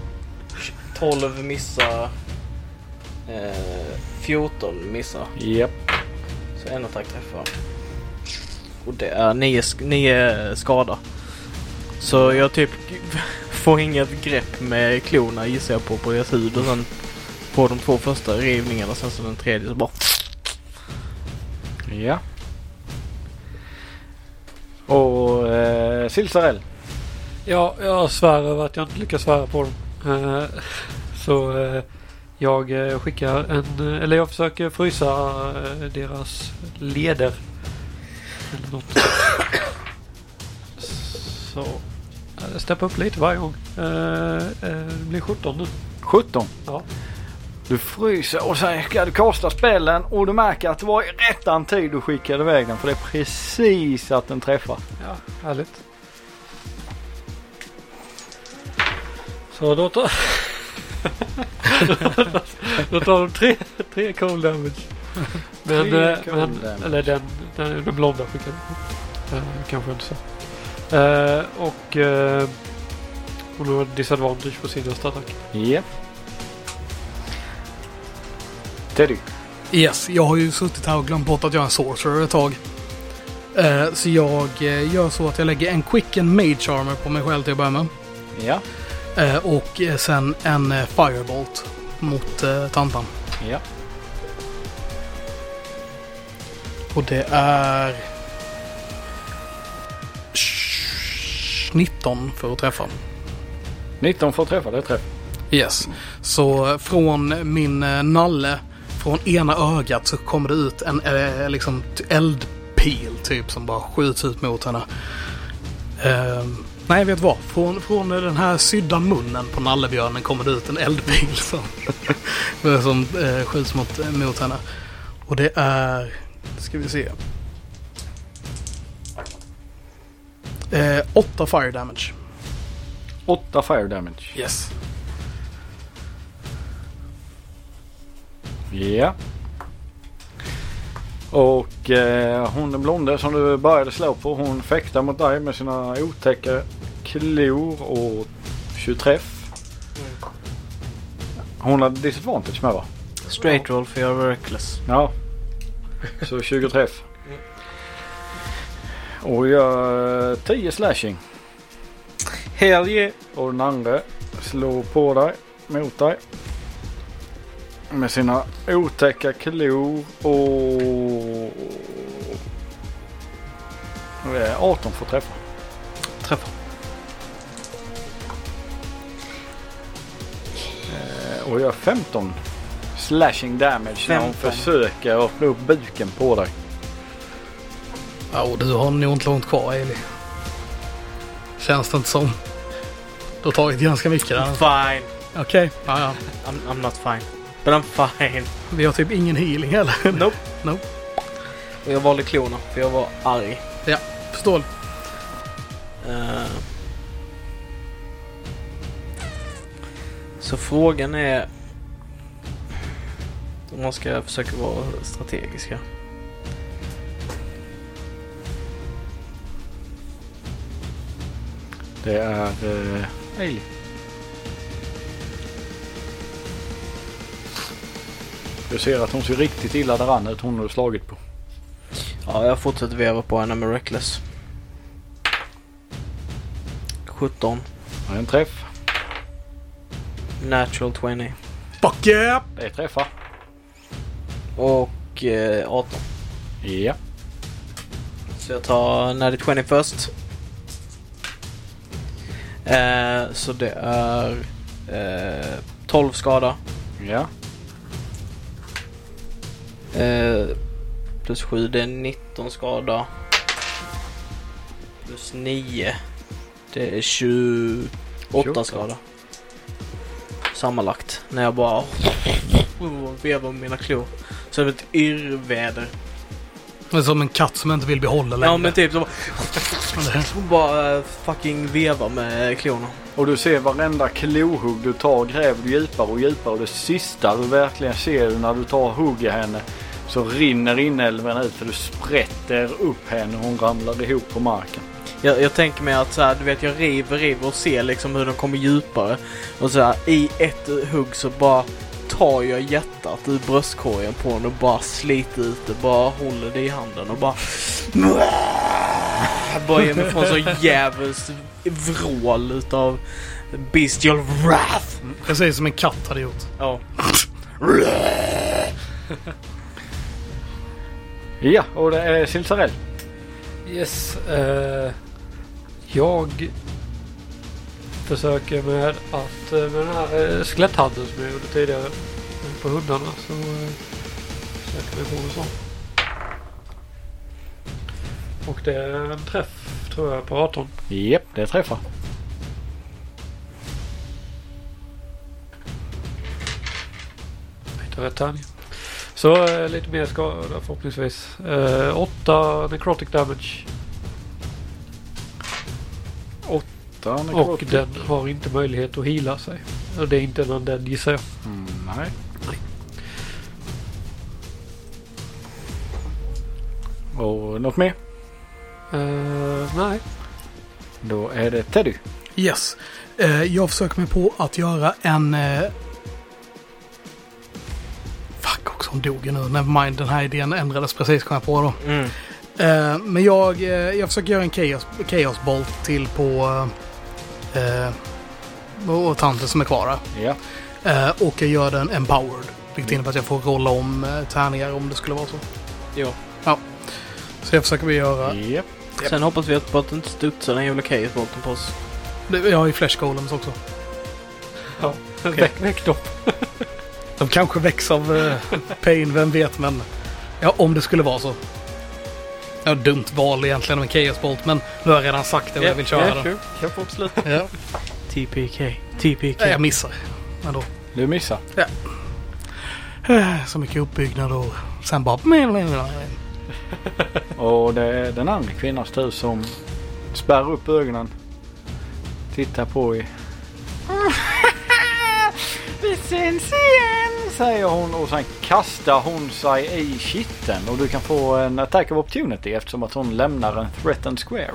Speaker 2: 12 missar. Eh, 14 missar.
Speaker 4: Japp.
Speaker 2: Så en attack träffar. Och det är nio, sk- nio skada. Så jag typ får inget grepp med klorna gissar jag på, på deras hud och sen får de två första rivningarna och sen så den tredje så bara...
Speaker 4: Ja. Och eh, Silsarell.
Speaker 3: Ja, jag svär över att jag inte lyckas svära på dem. Eh, Så eh, jag eh, skickar en, eh, eller jag försöker frysa eh, deras leder. Eller något. Så, eh, steppa upp lite varje gång. Eh, eh, Det blir 17 nu.
Speaker 4: 17.
Speaker 3: Ja.
Speaker 4: Du fryser och sen ska du kasta spelen och du märker att det var i rättan tid du skickade iväg den. För det är precis att den träffar.
Speaker 3: Ja, härligt. Så då tar... då tar de tre, tre cold damage. Men,
Speaker 4: Tre
Speaker 3: eh,
Speaker 4: cold
Speaker 3: men
Speaker 4: damage.
Speaker 3: eller den, den, den blonda skickade eh, Kanske inte så. Eh, och eh, hon har disadvantage på sin nästa attack.
Speaker 4: Japp. Teddy.
Speaker 1: Yes, jag har ju suttit här och glömt bort att jag är en sorcerer ett tag. Eh, så jag eh, gör så att jag lägger en quicken mage armor på mig själv till att börja med.
Speaker 4: Ja.
Speaker 1: Eh, och eh, sen en eh, firebolt mot eh, tantan.
Speaker 4: Ja.
Speaker 1: Och det är... Sh- 19 för att träffa.
Speaker 4: 19 får träffa, det träff.
Speaker 1: Yes. Så från min eh, nalle, från ena ögat så kommer det ut en eh, liksom t- eldpil pil typ som bara skjuts ut mot henne. Ehm, nej, vet du vad? Från, från den här sydda munnen på nallebjörnen kommer det ut en eldpil som, som eh, skjuts mot, mot henne. Och det är... Ska vi se. Eh, åtta fire damage.
Speaker 4: 8 fire damage.
Speaker 1: Yes.
Speaker 4: Ja. Och eh, hon den blonde som du började slå på hon fäktar mot dig med sina otäcka klor och 20 träff. Hon har disadvantage med va?
Speaker 2: Straight roll för jag var reckless.
Speaker 4: Ja. Så 20 träff. Och gör eh, 10 slashing.
Speaker 2: Hell yeah!
Speaker 4: Och den andra slår på dig, mot dig. Med sina otäcka klor och... Eh, 18 får träffa.
Speaker 2: Träffar.
Speaker 4: Eh, Och gör 15 slashing damage när hon
Speaker 2: 15.
Speaker 4: försöker öppna upp buken på dig.
Speaker 1: Ja, och du har nog inte långt kvar, Eli. Känns det inte som. Du har tagit ganska mycket där.
Speaker 2: Fine.
Speaker 1: Okej. Ja, ja.
Speaker 2: I'm, I'm not fine. But I'm fine.
Speaker 1: Vi har typ ingen healing heller.
Speaker 2: Nope.
Speaker 1: Nope.
Speaker 2: Och jag valde klorna för jag var arg.
Speaker 1: Förstår
Speaker 2: Eh. Så frågan är... Om man ska försöka vara strategiska.
Speaker 4: Det är... Eh, Ailey. Du ser att hon ser riktigt illa däran ut hon har slagit på.
Speaker 2: Ja, jag fortsätter veva på henne med Reckless. 17.
Speaker 4: Det är en träff.
Speaker 2: Natural 20.
Speaker 1: Fuck yeah!
Speaker 4: Det är träffar.
Speaker 2: Och eh, 18.
Speaker 4: Ja.
Speaker 2: Så jag tar Natty 20 först. Eh, så det är eh, 12 skada.
Speaker 4: Ja.
Speaker 2: Eh, plus 7, det är 19 skada. Plus 9, det är 28
Speaker 4: Tjugofta.
Speaker 2: skada. Sammanlagt. När jag bara vevar med mina klor. Som ett yrväder.
Speaker 1: Men som en katt som inte vill behålla längre.
Speaker 2: Ja men typ så bara,
Speaker 1: Det-
Speaker 2: bara eh, fucking vevar med klorna.
Speaker 4: Och du ser varenda klohugg du tar gräver du djupare och djupare. Och det sista du verkligen ser när du tar hugg i henne så rinner inälven ut för du sprätter upp henne och hon ramlar ihop på marken.
Speaker 2: Jag, jag tänker mig att så här, du vet jag river, river och ser liksom hur de kommer djupare. Och så här, i ett hugg så bara tar jag hjärtat ur bröstkorgen på honom och bara sliter ut det. Bara håller det i handen och bara... Bara ger mig från så djävulskt vrål utav bestial wrath.
Speaker 1: Precis som en katt hade gjort.
Speaker 2: Mm, Ja.
Speaker 4: Ja, och det
Speaker 3: eh,
Speaker 4: är Silsarell.
Speaker 3: Yes. eh, jag försöker med att eh, med den här eh, skeletthanden som jag gjorde tidigare eh, på hundarna så eh, försöker vi få en sån. Och det är en träff tror jag på 18.
Speaker 4: Japp, det träffar.
Speaker 3: Jag hittar rätt tärning. Så eh, lite mer skada förhoppningsvis. Eh, 8 necrotic damage
Speaker 4: Den är
Speaker 3: och
Speaker 4: kort.
Speaker 3: den har inte möjlighet att heala sig. Och det är inte någon den gissar jag.
Speaker 4: Mm, nej. Och något mer?
Speaker 3: Eh, nej.
Speaker 4: Då är det Teddy.
Speaker 1: Yes. Eh, jag försöker mig på att göra en... Eh... Fuck också, hon dog ju nu. Nevermind, den här idén ändrades precis kom jag på då.
Speaker 2: Mm.
Speaker 1: Eh, men jag, eh, jag försöker göra en chaos, chaos bolt till på... Eh, eh, och tanten som är kvar där.
Speaker 4: Ja.
Speaker 1: Eh, och jag gör den empowered. Vilket innebär att jag får rolla om eh, tärningar om det skulle vara så.
Speaker 2: Jo.
Speaker 1: Så jag försöker väl göra...
Speaker 4: Japp.
Speaker 2: Sen hoppas vi att det inte studsar den jävla chaosbolten på oss.
Speaker 1: det- Jag har ju flash golems också.
Speaker 3: Ja. Väck, väck dem.
Speaker 1: De kanske väcks av eh, pain, vem vet men... Ja, om det skulle vara så. Ja, dumt val egentligen av en Chaos Bolt, men nu har jag redan sagt det och jag vill köra den.
Speaker 2: sure. Kan få absolut.
Speaker 1: Ja.
Speaker 2: TPK. TPK.
Speaker 1: Nej, Jag missar. Men då.
Speaker 4: Du missar.
Speaker 1: eh, Så mycket uppbyggnad och sen bara...
Speaker 4: Och det är den andra kvinnans tur som spärrar upp ögonen. Tittar på i. Vi syns igen! Säger hon och sen kastar hon sig i kitten. Och du kan få en attack of opportunity eftersom att hon lämnar en threatened square.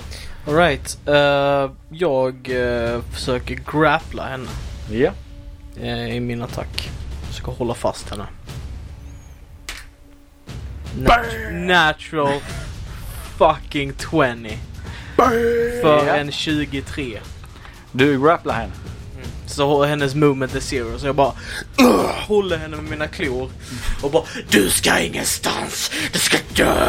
Speaker 2: Alright. eh, jag eh, försöker grappla henne
Speaker 4: Ja.
Speaker 2: eh, i min attack. Försöker hålla fast henne. Nat- natural fucking 20. För
Speaker 4: Ja.
Speaker 2: en 23.
Speaker 4: Du grapplar henne.
Speaker 2: Så hennes movement är zero så jag bara håller henne med mina klor och bara Du ska ingenstans! Du ska dö!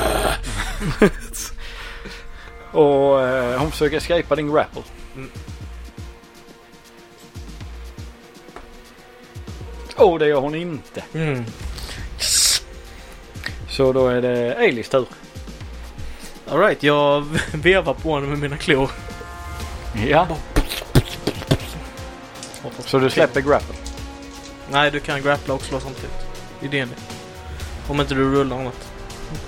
Speaker 4: Och eh, hon försöker escapa din grapple.
Speaker 2: Mm.
Speaker 4: Och det gör hon inte.
Speaker 2: Mm.
Speaker 4: Så då är det Eilis tur.
Speaker 2: Alright, jag vevar på henne med mina klor.
Speaker 4: Ja. Så du släpper grapple.
Speaker 2: Nej, du kan grappla och slå samtidigt. I DND. Om inte du rullar något.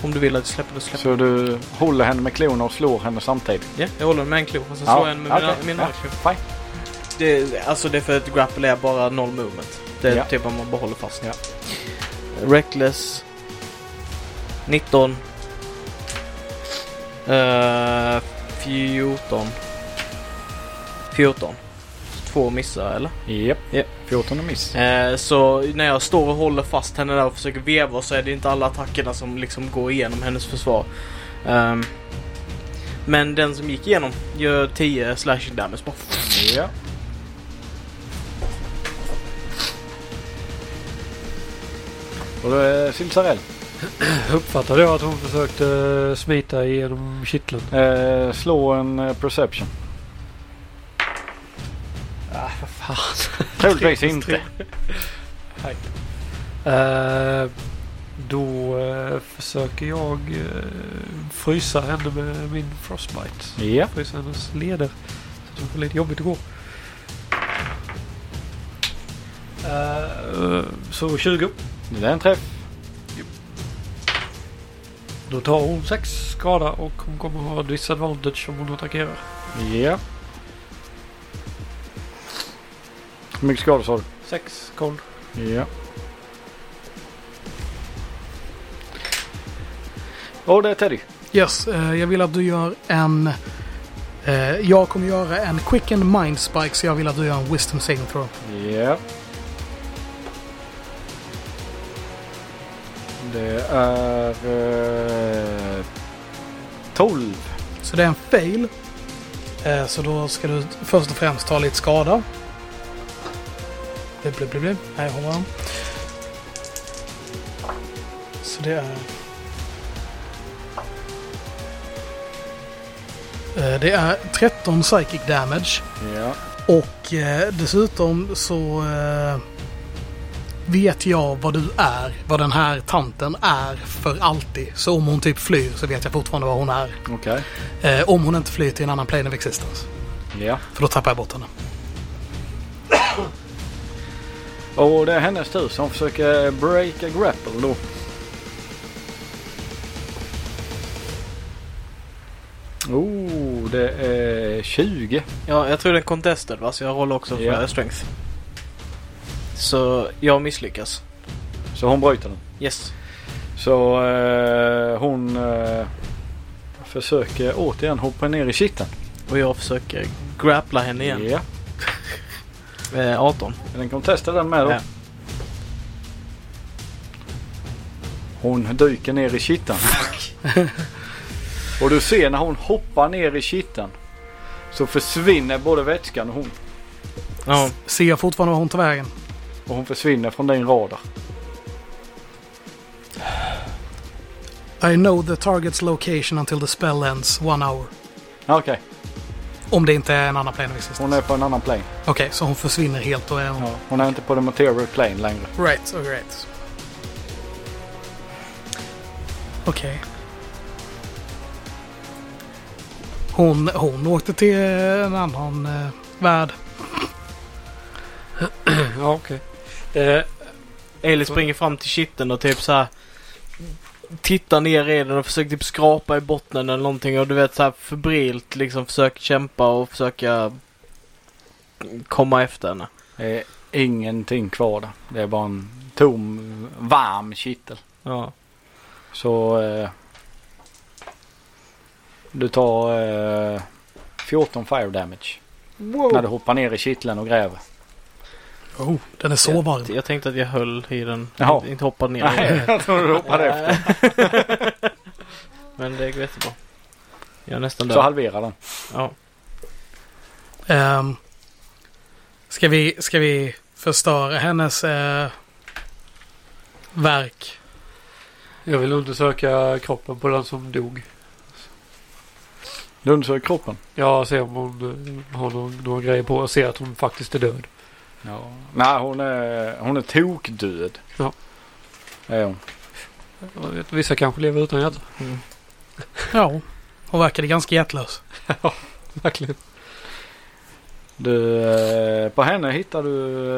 Speaker 2: Om du vill att du släpper, då släpper
Speaker 4: Så du håller henne med klorna och slår henne samtidigt.
Speaker 2: Ja, jag håller med en klo och sen
Speaker 4: Ja,
Speaker 2: slår jag en med mina,
Speaker 4: okej.
Speaker 2: mina
Speaker 4: Ja,
Speaker 2: andra klor.
Speaker 4: fine.
Speaker 2: Det, alltså det är för att grapple är bara noll movement. Det är
Speaker 4: Ja.
Speaker 2: typ om man bara håller fast.
Speaker 4: Ja.
Speaker 2: Reckless. 19. Eh, 14. 14. Två missar eller?
Speaker 4: Japp.
Speaker 2: Japp.
Speaker 4: 14 och miss.
Speaker 2: Eh, så när jag står och håller fast henne där och försöker veva så är det inte alla attackerna som liksom går igenom hennes försvar. Ehm, men den som gick igenom gör 10 slashing damage bara.
Speaker 4: Ja. Och då är det Silsarell.
Speaker 3: Uppfattade jag att hon försökte eh, smita igenom kitteln?
Speaker 4: Eh, slå en eh, perception. Ah, för fan. Troligtvis inte.
Speaker 3: Eh, då eh, försöker jag eh, frysa henne med min frostbite.
Speaker 4: Ja.
Speaker 3: Frysa hennes leder. Så att hon får lite jobbigt att gå. Eh, så 20.
Speaker 4: Det är en träff.
Speaker 3: Då tar hon 6 skada och hon kommer ha disadvantage om hon attackerar.
Speaker 4: Ja. Hur mycket skada sa du?
Speaker 3: 6 koll.
Speaker 4: Ja. Och det är Teddy.
Speaker 1: Yes, eh, jag vill att du gör en... eh, Jag kommer göra en quick and mind spike så jag vill att du gör en wisdom saving throw.
Speaker 4: Ja. Det är... Eh, 12.
Speaker 1: Så det är en fail. Eh, Så då ska du först och främst ta lite skada. Blib, blib, blib, blib. Här har man. Så det är... Eh, Det är 13 psychic damage.
Speaker 4: Ja.
Speaker 1: Och eh, dessutom så eh, vet jag vad du är. Vad den här tanten är för alltid. Så om hon typ flyr så vet jag fortfarande vad hon är.
Speaker 4: Okej.
Speaker 1: Eh, om hon inte flyr till en annan plane of existence.
Speaker 4: Ja.
Speaker 1: För då tappar jag bort henne.
Speaker 4: Och det är hennes tur så hon försöker breaka grapple då. Oh, det är 20.
Speaker 2: Ja, jag tror den är contested va? Så jag håller också för
Speaker 4: Ja.
Speaker 2: strength. Så jag misslyckas.
Speaker 4: Så hon bryter den.
Speaker 2: Yes.
Speaker 4: Så eh, hon eh, försöker återigen hoppa ner i kitteln.
Speaker 2: Och jag försöker grappla henne igen.
Speaker 4: Ja.
Speaker 2: Eh, 18.
Speaker 4: Är den contestad den med då?
Speaker 2: Ja.
Speaker 4: Hon dyker ner i kitteln. och du ser när hon hoppar ner i kitteln så försvinner både vätskan och hon.
Speaker 2: Ja.
Speaker 1: Ser jag fortfarande var hon tar vägen?
Speaker 4: Och hon försvinner från din radar.
Speaker 1: I know the target's location until the spell ends one hour.
Speaker 4: Okej,
Speaker 1: Om det inte är en annan plane of
Speaker 4: hon
Speaker 1: existence.
Speaker 4: är på en annan plane.
Speaker 1: Okej, så hon försvinner helt och är hon...
Speaker 4: Ja, hon är inte på the material plane längre.
Speaker 1: Right, oh, right. Okej. Hon, hon åkte till en annan eh, värld.
Speaker 3: Ja, okej. Eh,
Speaker 2: Eli springer fram till kitteln och typ så här tittar ner i den och försöker typ skrapa i botten eller någonting och du vet så här febrilt liksom försöker kämpa och försöka komma efter henne.
Speaker 4: Det är ingenting kvar där. Det är bara en tom, varm kittel.
Speaker 2: Ja.
Speaker 4: Så eh, du tar eh, 14 fire damage. När du hoppar ner i kitteln och gräver.
Speaker 1: Oh, den är så varm.
Speaker 2: Jag tänkte att jag höll i den.
Speaker 4: Jaha.
Speaker 2: Inte hoppade ner.
Speaker 4: Nej, jag tror du hoppade efter.
Speaker 2: Men det går jättebra. Jag är nästan
Speaker 4: Så
Speaker 2: död.
Speaker 4: halverar den.
Speaker 2: Ja.
Speaker 1: Um, ska, vi, ska vi förstöra hennes eh, verk?
Speaker 3: jag vill undersöka kroppen på den som dog.
Speaker 4: Du undersöker kroppen.
Speaker 3: Ja, se om hon eh, har någon, någon grej på och se att hon faktiskt är död.
Speaker 4: Ja. Nej, hon är, hon är tokdöd.
Speaker 3: Ja.
Speaker 4: Det är hon.
Speaker 3: Jag vet, Vissa kanske lever utan hjärta.
Speaker 1: Ja, hon verkade ganska hjärtlös.
Speaker 3: Verkligen.
Speaker 4: Du, eh, på henne hittar du,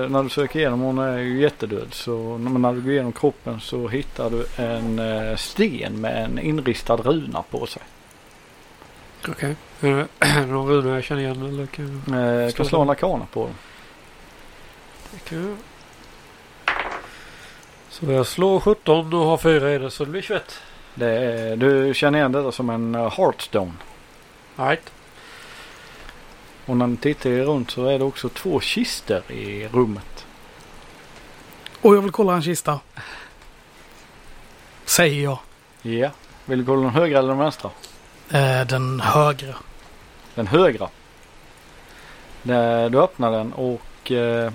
Speaker 4: när du söker igenom, hon är ju jättedöd. Så men när du går igenom kroppen så hittar du en eh, sten med en inristad runa på sig.
Speaker 3: Okej. Är det någon runa jag känner igen eller kan jag...
Speaker 4: Eh, jag kan slå en arkana på den.
Speaker 3: kan jag- Så jag slår 17 och har 4 i det så det blir 21.
Speaker 4: Det är, du känner igen detta som en eh, heartstone.
Speaker 3: Right.
Speaker 4: Och när ni tittar er runt så är det också två kister i rummet.
Speaker 1: Och jag vill kolla en kista. Säger jag.
Speaker 4: Ja. Vill du kolla den högra eller den vänstra?
Speaker 1: Eh, den högra.
Speaker 4: Den högra. Där Du öppnar den och eh,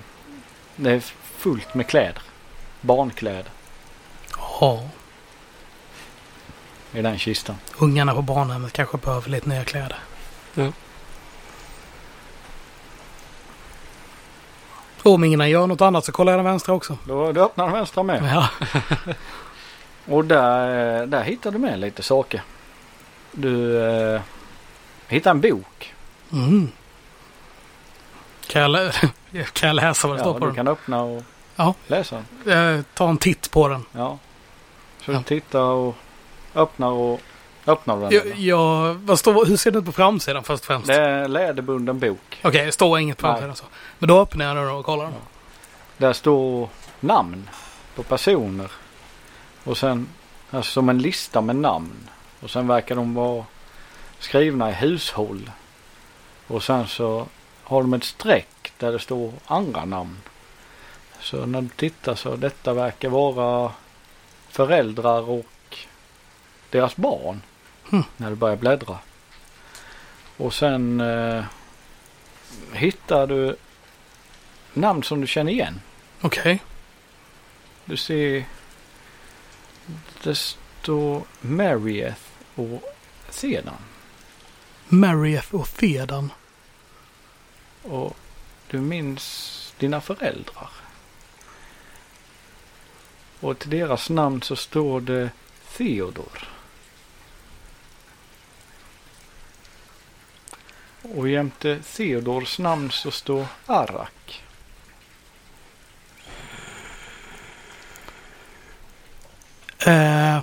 Speaker 4: det är fullt med kläder. Barnkläder
Speaker 1: Ja,
Speaker 4: i den kistan.
Speaker 1: ungarna på barnhemmet kanske behöver lite nya kläder.
Speaker 3: Ja.
Speaker 1: Och om ingen gör något annat så kollar jag den vänstra också.
Speaker 4: Då, du öppnar den vänstra med.
Speaker 1: Ja.
Speaker 4: Och där, eh, där hittar du med lite saker. Du eh, hittar en bok.
Speaker 1: Mm. Kan, jag lä- kan jag läsa vad det
Speaker 4: Ja,
Speaker 1: står på
Speaker 4: du
Speaker 1: den?
Speaker 4: kan öppna och
Speaker 1: Ja.
Speaker 4: läsa den.
Speaker 1: Eh, ta en titt på den.
Speaker 4: Ja. Så
Speaker 1: Ja.
Speaker 4: du tittar och öppnar och öppnar du den.
Speaker 1: Jag, jag, vad står, hur ser det ut på framsidan först och främst?
Speaker 4: Det är en läderbunden bok.
Speaker 1: Okej, det står inget på
Speaker 4: Nej.
Speaker 1: framsidan så. Men då öppnar jag den och kollar den.
Speaker 4: Där står namn på personer. Och sen alltså som en lista med namn. Och sen verkar de vara skrivna i hushåll. Och sen så har de ett streck där det står andra namn. Så när du tittar så detta verkar vara föräldrar och deras barn.
Speaker 1: Hmm.
Speaker 4: När du börjar bläddra. Och sen eh, hittar du namn som du känner igen.
Speaker 1: Okej.
Speaker 4: Du ser. Det står Marieth och sedan.
Speaker 1: Marieth och Thedan.
Speaker 4: Och du minns dina föräldrar. Och till deras namn så står det Theodor. Och jämte Theodors namn så står Arak.
Speaker 1: Eh,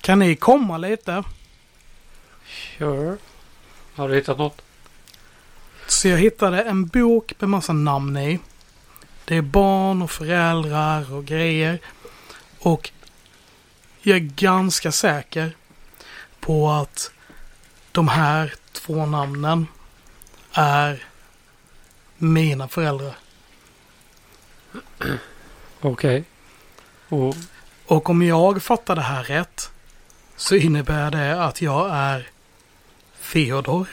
Speaker 1: kan ni komma lite?
Speaker 3: Sure. Har du hittat något?
Speaker 1: Så jag hittade en bok med massa namn i. Det är barn och föräldrar och grejer. Och jag är ganska säker på att de här två namnen är mina föräldrar.
Speaker 3: Okej. Och
Speaker 1: Och om jag fattar det här rätt så innebär det att jag är Theodor.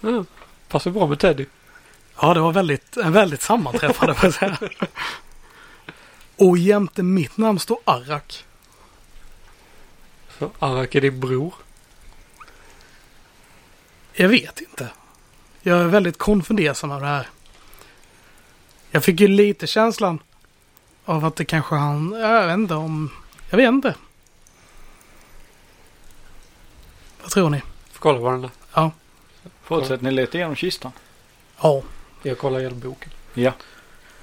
Speaker 3: ja, passar bra med Teddy.
Speaker 1: Ja, det var väldigt, en väldigt sammanträffande får jag säga. Och jämte mitt namn står Arak.
Speaker 3: Så Arak är din bror.
Speaker 1: Jag vet inte. Jag är väldigt konfundersam över det här. Jag fick ju lite känslan av att det kanske han... Jag vet inte om... Jag vet inte. Vad tror ni?
Speaker 3: Får kolla varandra.
Speaker 4: Fortsätt ni leta igenom kistan.
Speaker 1: Ja.
Speaker 3: Jag kollar igenom boken.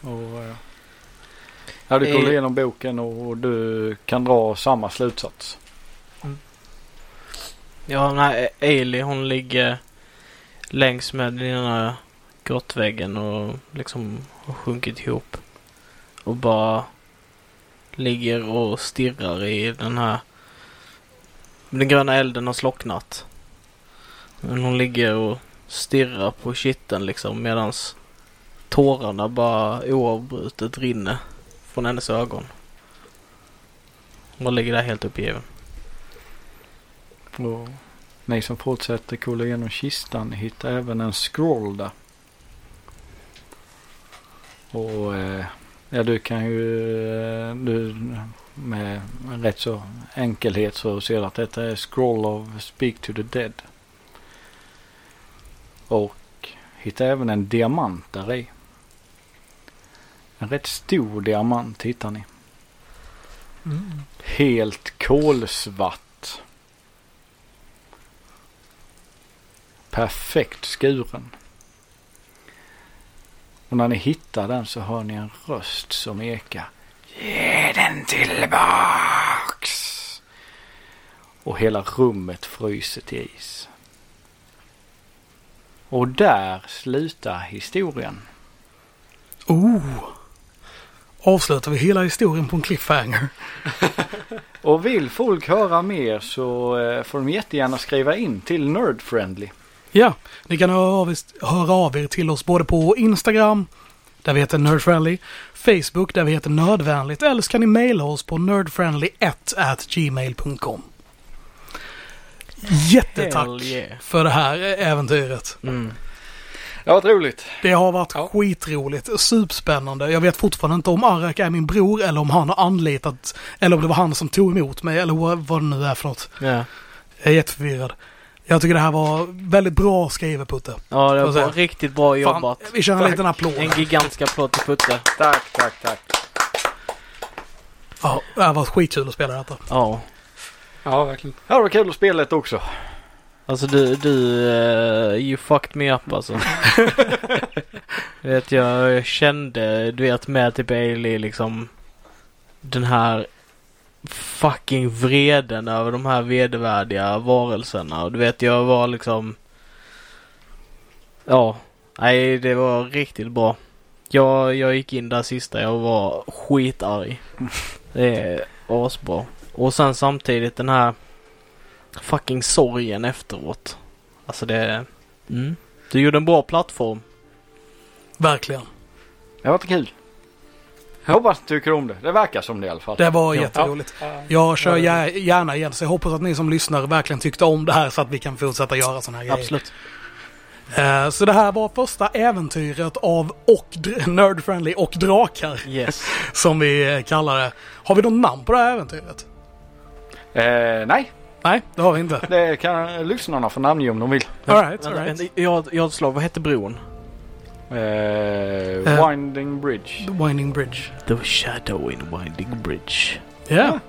Speaker 4: Och, eh, ja, du kollar
Speaker 2: Eh.
Speaker 4: igenom boken och, och du kan dra samma slutsats.
Speaker 2: Ja, nej, Ailey hon ligger längs med den ena grottväggen och liksom har sjunkit ihop. Och bara ligger och stirrar i den här... Den gröna elden har slocknat. Men hon ligger och stirrar på kitteln liksom medans tårarna bara oavbrutet rinner från hennes ögon. Hon ligger där helt uppgiven.
Speaker 4: Och ni som fortsätter kolla igenom kistan hittar även en scroll där. Och eh, ja, du kan ju eh, du, med rätt så enkelhet så ser du att detta är scroll of speak to the dead. Och hittar även en diamant där i. En rätt stor diamant hittar ni. Helt kolsvart. perfekt skuren. Och när ni hittar den så hör ni en röst som ekar. Ge den tillbaks! Och hela rummet fryser till is. Och där slutar historien.
Speaker 1: Oh! Avslutar vi hela historien på en cliffhanger?
Speaker 4: Och vill folk höra mer så eh, får de jättegärna skriva in till Nerdfriendly.
Speaker 1: Ja, ni kan höra av, er, höra av er till oss både på Instagram, där vi heter Nerdfriendly, Facebook, där vi heter Nördvänligt, eller så kan ni mejla oss på nerdfriendly1gmail.com.
Speaker 2: Hell
Speaker 1: Jättetack
Speaker 2: yeah.
Speaker 1: för det här äventyret.
Speaker 2: Mm.
Speaker 4: Det har varit roligt.
Speaker 1: Det har varit skitroligt, superspännande. Jag vet fortfarande inte om Arak är min bror eller om han har anlitat, eller om det var han som tog emot mig eller vad- vad det nu är för något.
Speaker 2: Ja.
Speaker 1: Jag är jätteförvirrad. Jag tycker det här var väldigt bra skrivet Putte.
Speaker 2: Ja, det
Speaker 1: Får jag
Speaker 2: var
Speaker 1: säga.
Speaker 2: bra, riktigt bra
Speaker 1: Fan,
Speaker 2: jobbat.
Speaker 1: vi kör en liten applåd.
Speaker 2: En gigantisk applåd till Putte.
Speaker 4: Tack, tack, tack.
Speaker 1: Ja, det här var skitkul att spela detta.
Speaker 2: Ja.
Speaker 3: Ja, verkligen.
Speaker 4: Ja, det var kul att spelet också.
Speaker 2: Alltså du, du, eh, you fucked me up alltså. vet jag, jag kände, du vet med typ Ailey liksom den här fucking vreden över de här vedervärdiga varelserna. Och du vet jag var liksom, ja, nej det var riktigt bra. Jag, jag gick in där sista, jag var skitarg. Det är asbra. Och sen samtidigt den här fucking sorgen efteråt. Alltså det... Mm. Du gjorde en bra plattform.
Speaker 1: Verkligen.
Speaker 4: Det har varit kul. Jag hoppas du tycker om det. Det verkar som det i alla fall.
Speaker 1: Det var
Speaker 4: Ja.
Speaker 1: jätteroligt. Jag kör gär- gärna igen så jag hoppas att ni som lyssnar verkligen tyckte om det här så att vi kan fortsätta göra sådana här grejer.
Speaker 2: Absolut.
Speaker 1: Eh, Så det här var första äventyret av och dr- Nerdfriendly och Drakar
Speaker 2: Yes.
Speaker 1: som vi eh, kallar det. Har vi något namn på det här äventyret?
Speaker 4: Eh, nej,
Speaker 1: Nej, det har vi inte.
Speaker 4: det kan lyssnarna få namnge om de vill.
Speaker 1: All right, all
Speaker 2: Vänta,
Speaker 1: right.
Speaker 2: vänta, eh, Jag har- jag har ett slag. Vad hette bron?
Speaker 4: Eh,
Speaker 1: Eh.
Speaker 4: Winding Bridge.
Speaker 1: The Winding Bridge.
Speaker 2: The Shadow in Winding Bridge.
Speaker 1: Ja.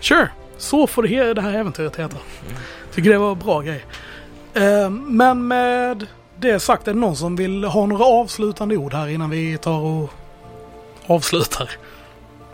Speaker 1: Sure. Så får det he- det här äventyret heta. Tycker det var en bra grej. Eh, Men med det sagt, är det någon som vill ha några avslutande ord här innan vi tar och avslutar?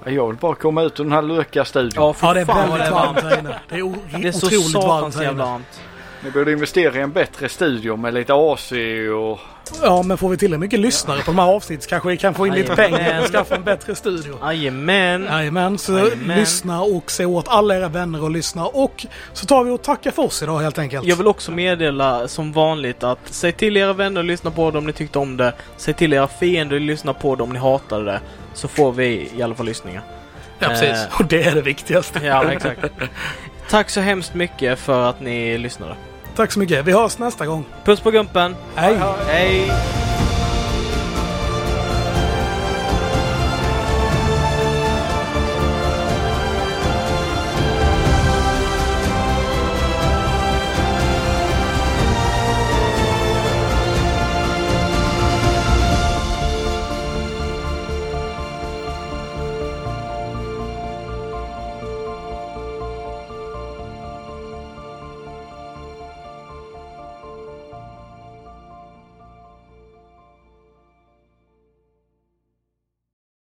Speaker 4: Eh, Jag vill bara komma ut ur den här lökiga studion.
Speaker 2: Ja, för
Speaker 1: Ja, det är
Speaker 2: fan vad
Speaker 1: väldigt varmt här inne. Det är o-
Speaker 2: Det är så
Speaker 1: otroligt varmt
Speaker 2: satans
Speaker 1: här
Speaker 2: jävla
Speaker 1: inne.
Speaker 2: varmt.
Speaker 4: Ni borde investera i en bättre studio med lite AC och...
Speaker 1: Ja, men får vi tillräckligt mycket lyssnare på de här avsnitten så kanske vi kan få in lite
Speaker 2: Jajamän.
Speaker 1: pengar och skaffa en bättre studio.
Speaker 2: Jajamän.
Speaker 1: Jajamän, så
Speaker 2: Jajamän.
Speaker 1: lyssna och se åt alla era vänner och lyssna. Och så tar vi och tackar för oss idag helt enkelt.
Speaker 2: Jag vill också meddela som vanligt att säg till era vänner att lyssna på det om ni tyckte om det. Säg till era fiender att lyssna på det om ni hatade det. Så får vi i alla fall lyssningar.
Speaker 1: ja, precis.
Speaker 2: eh,
Speaker 1: Och det är det viktigaste.
Speaker 2: Ja, exakt. Tack så hemskt mycket för att ni lyssnade.
Speaker 1: Tack så mycket. Vi hörs nästa gång.
Speaker 2: Puss på gumpen!
Speaker 1: Hej!
Speaker 2: Hej!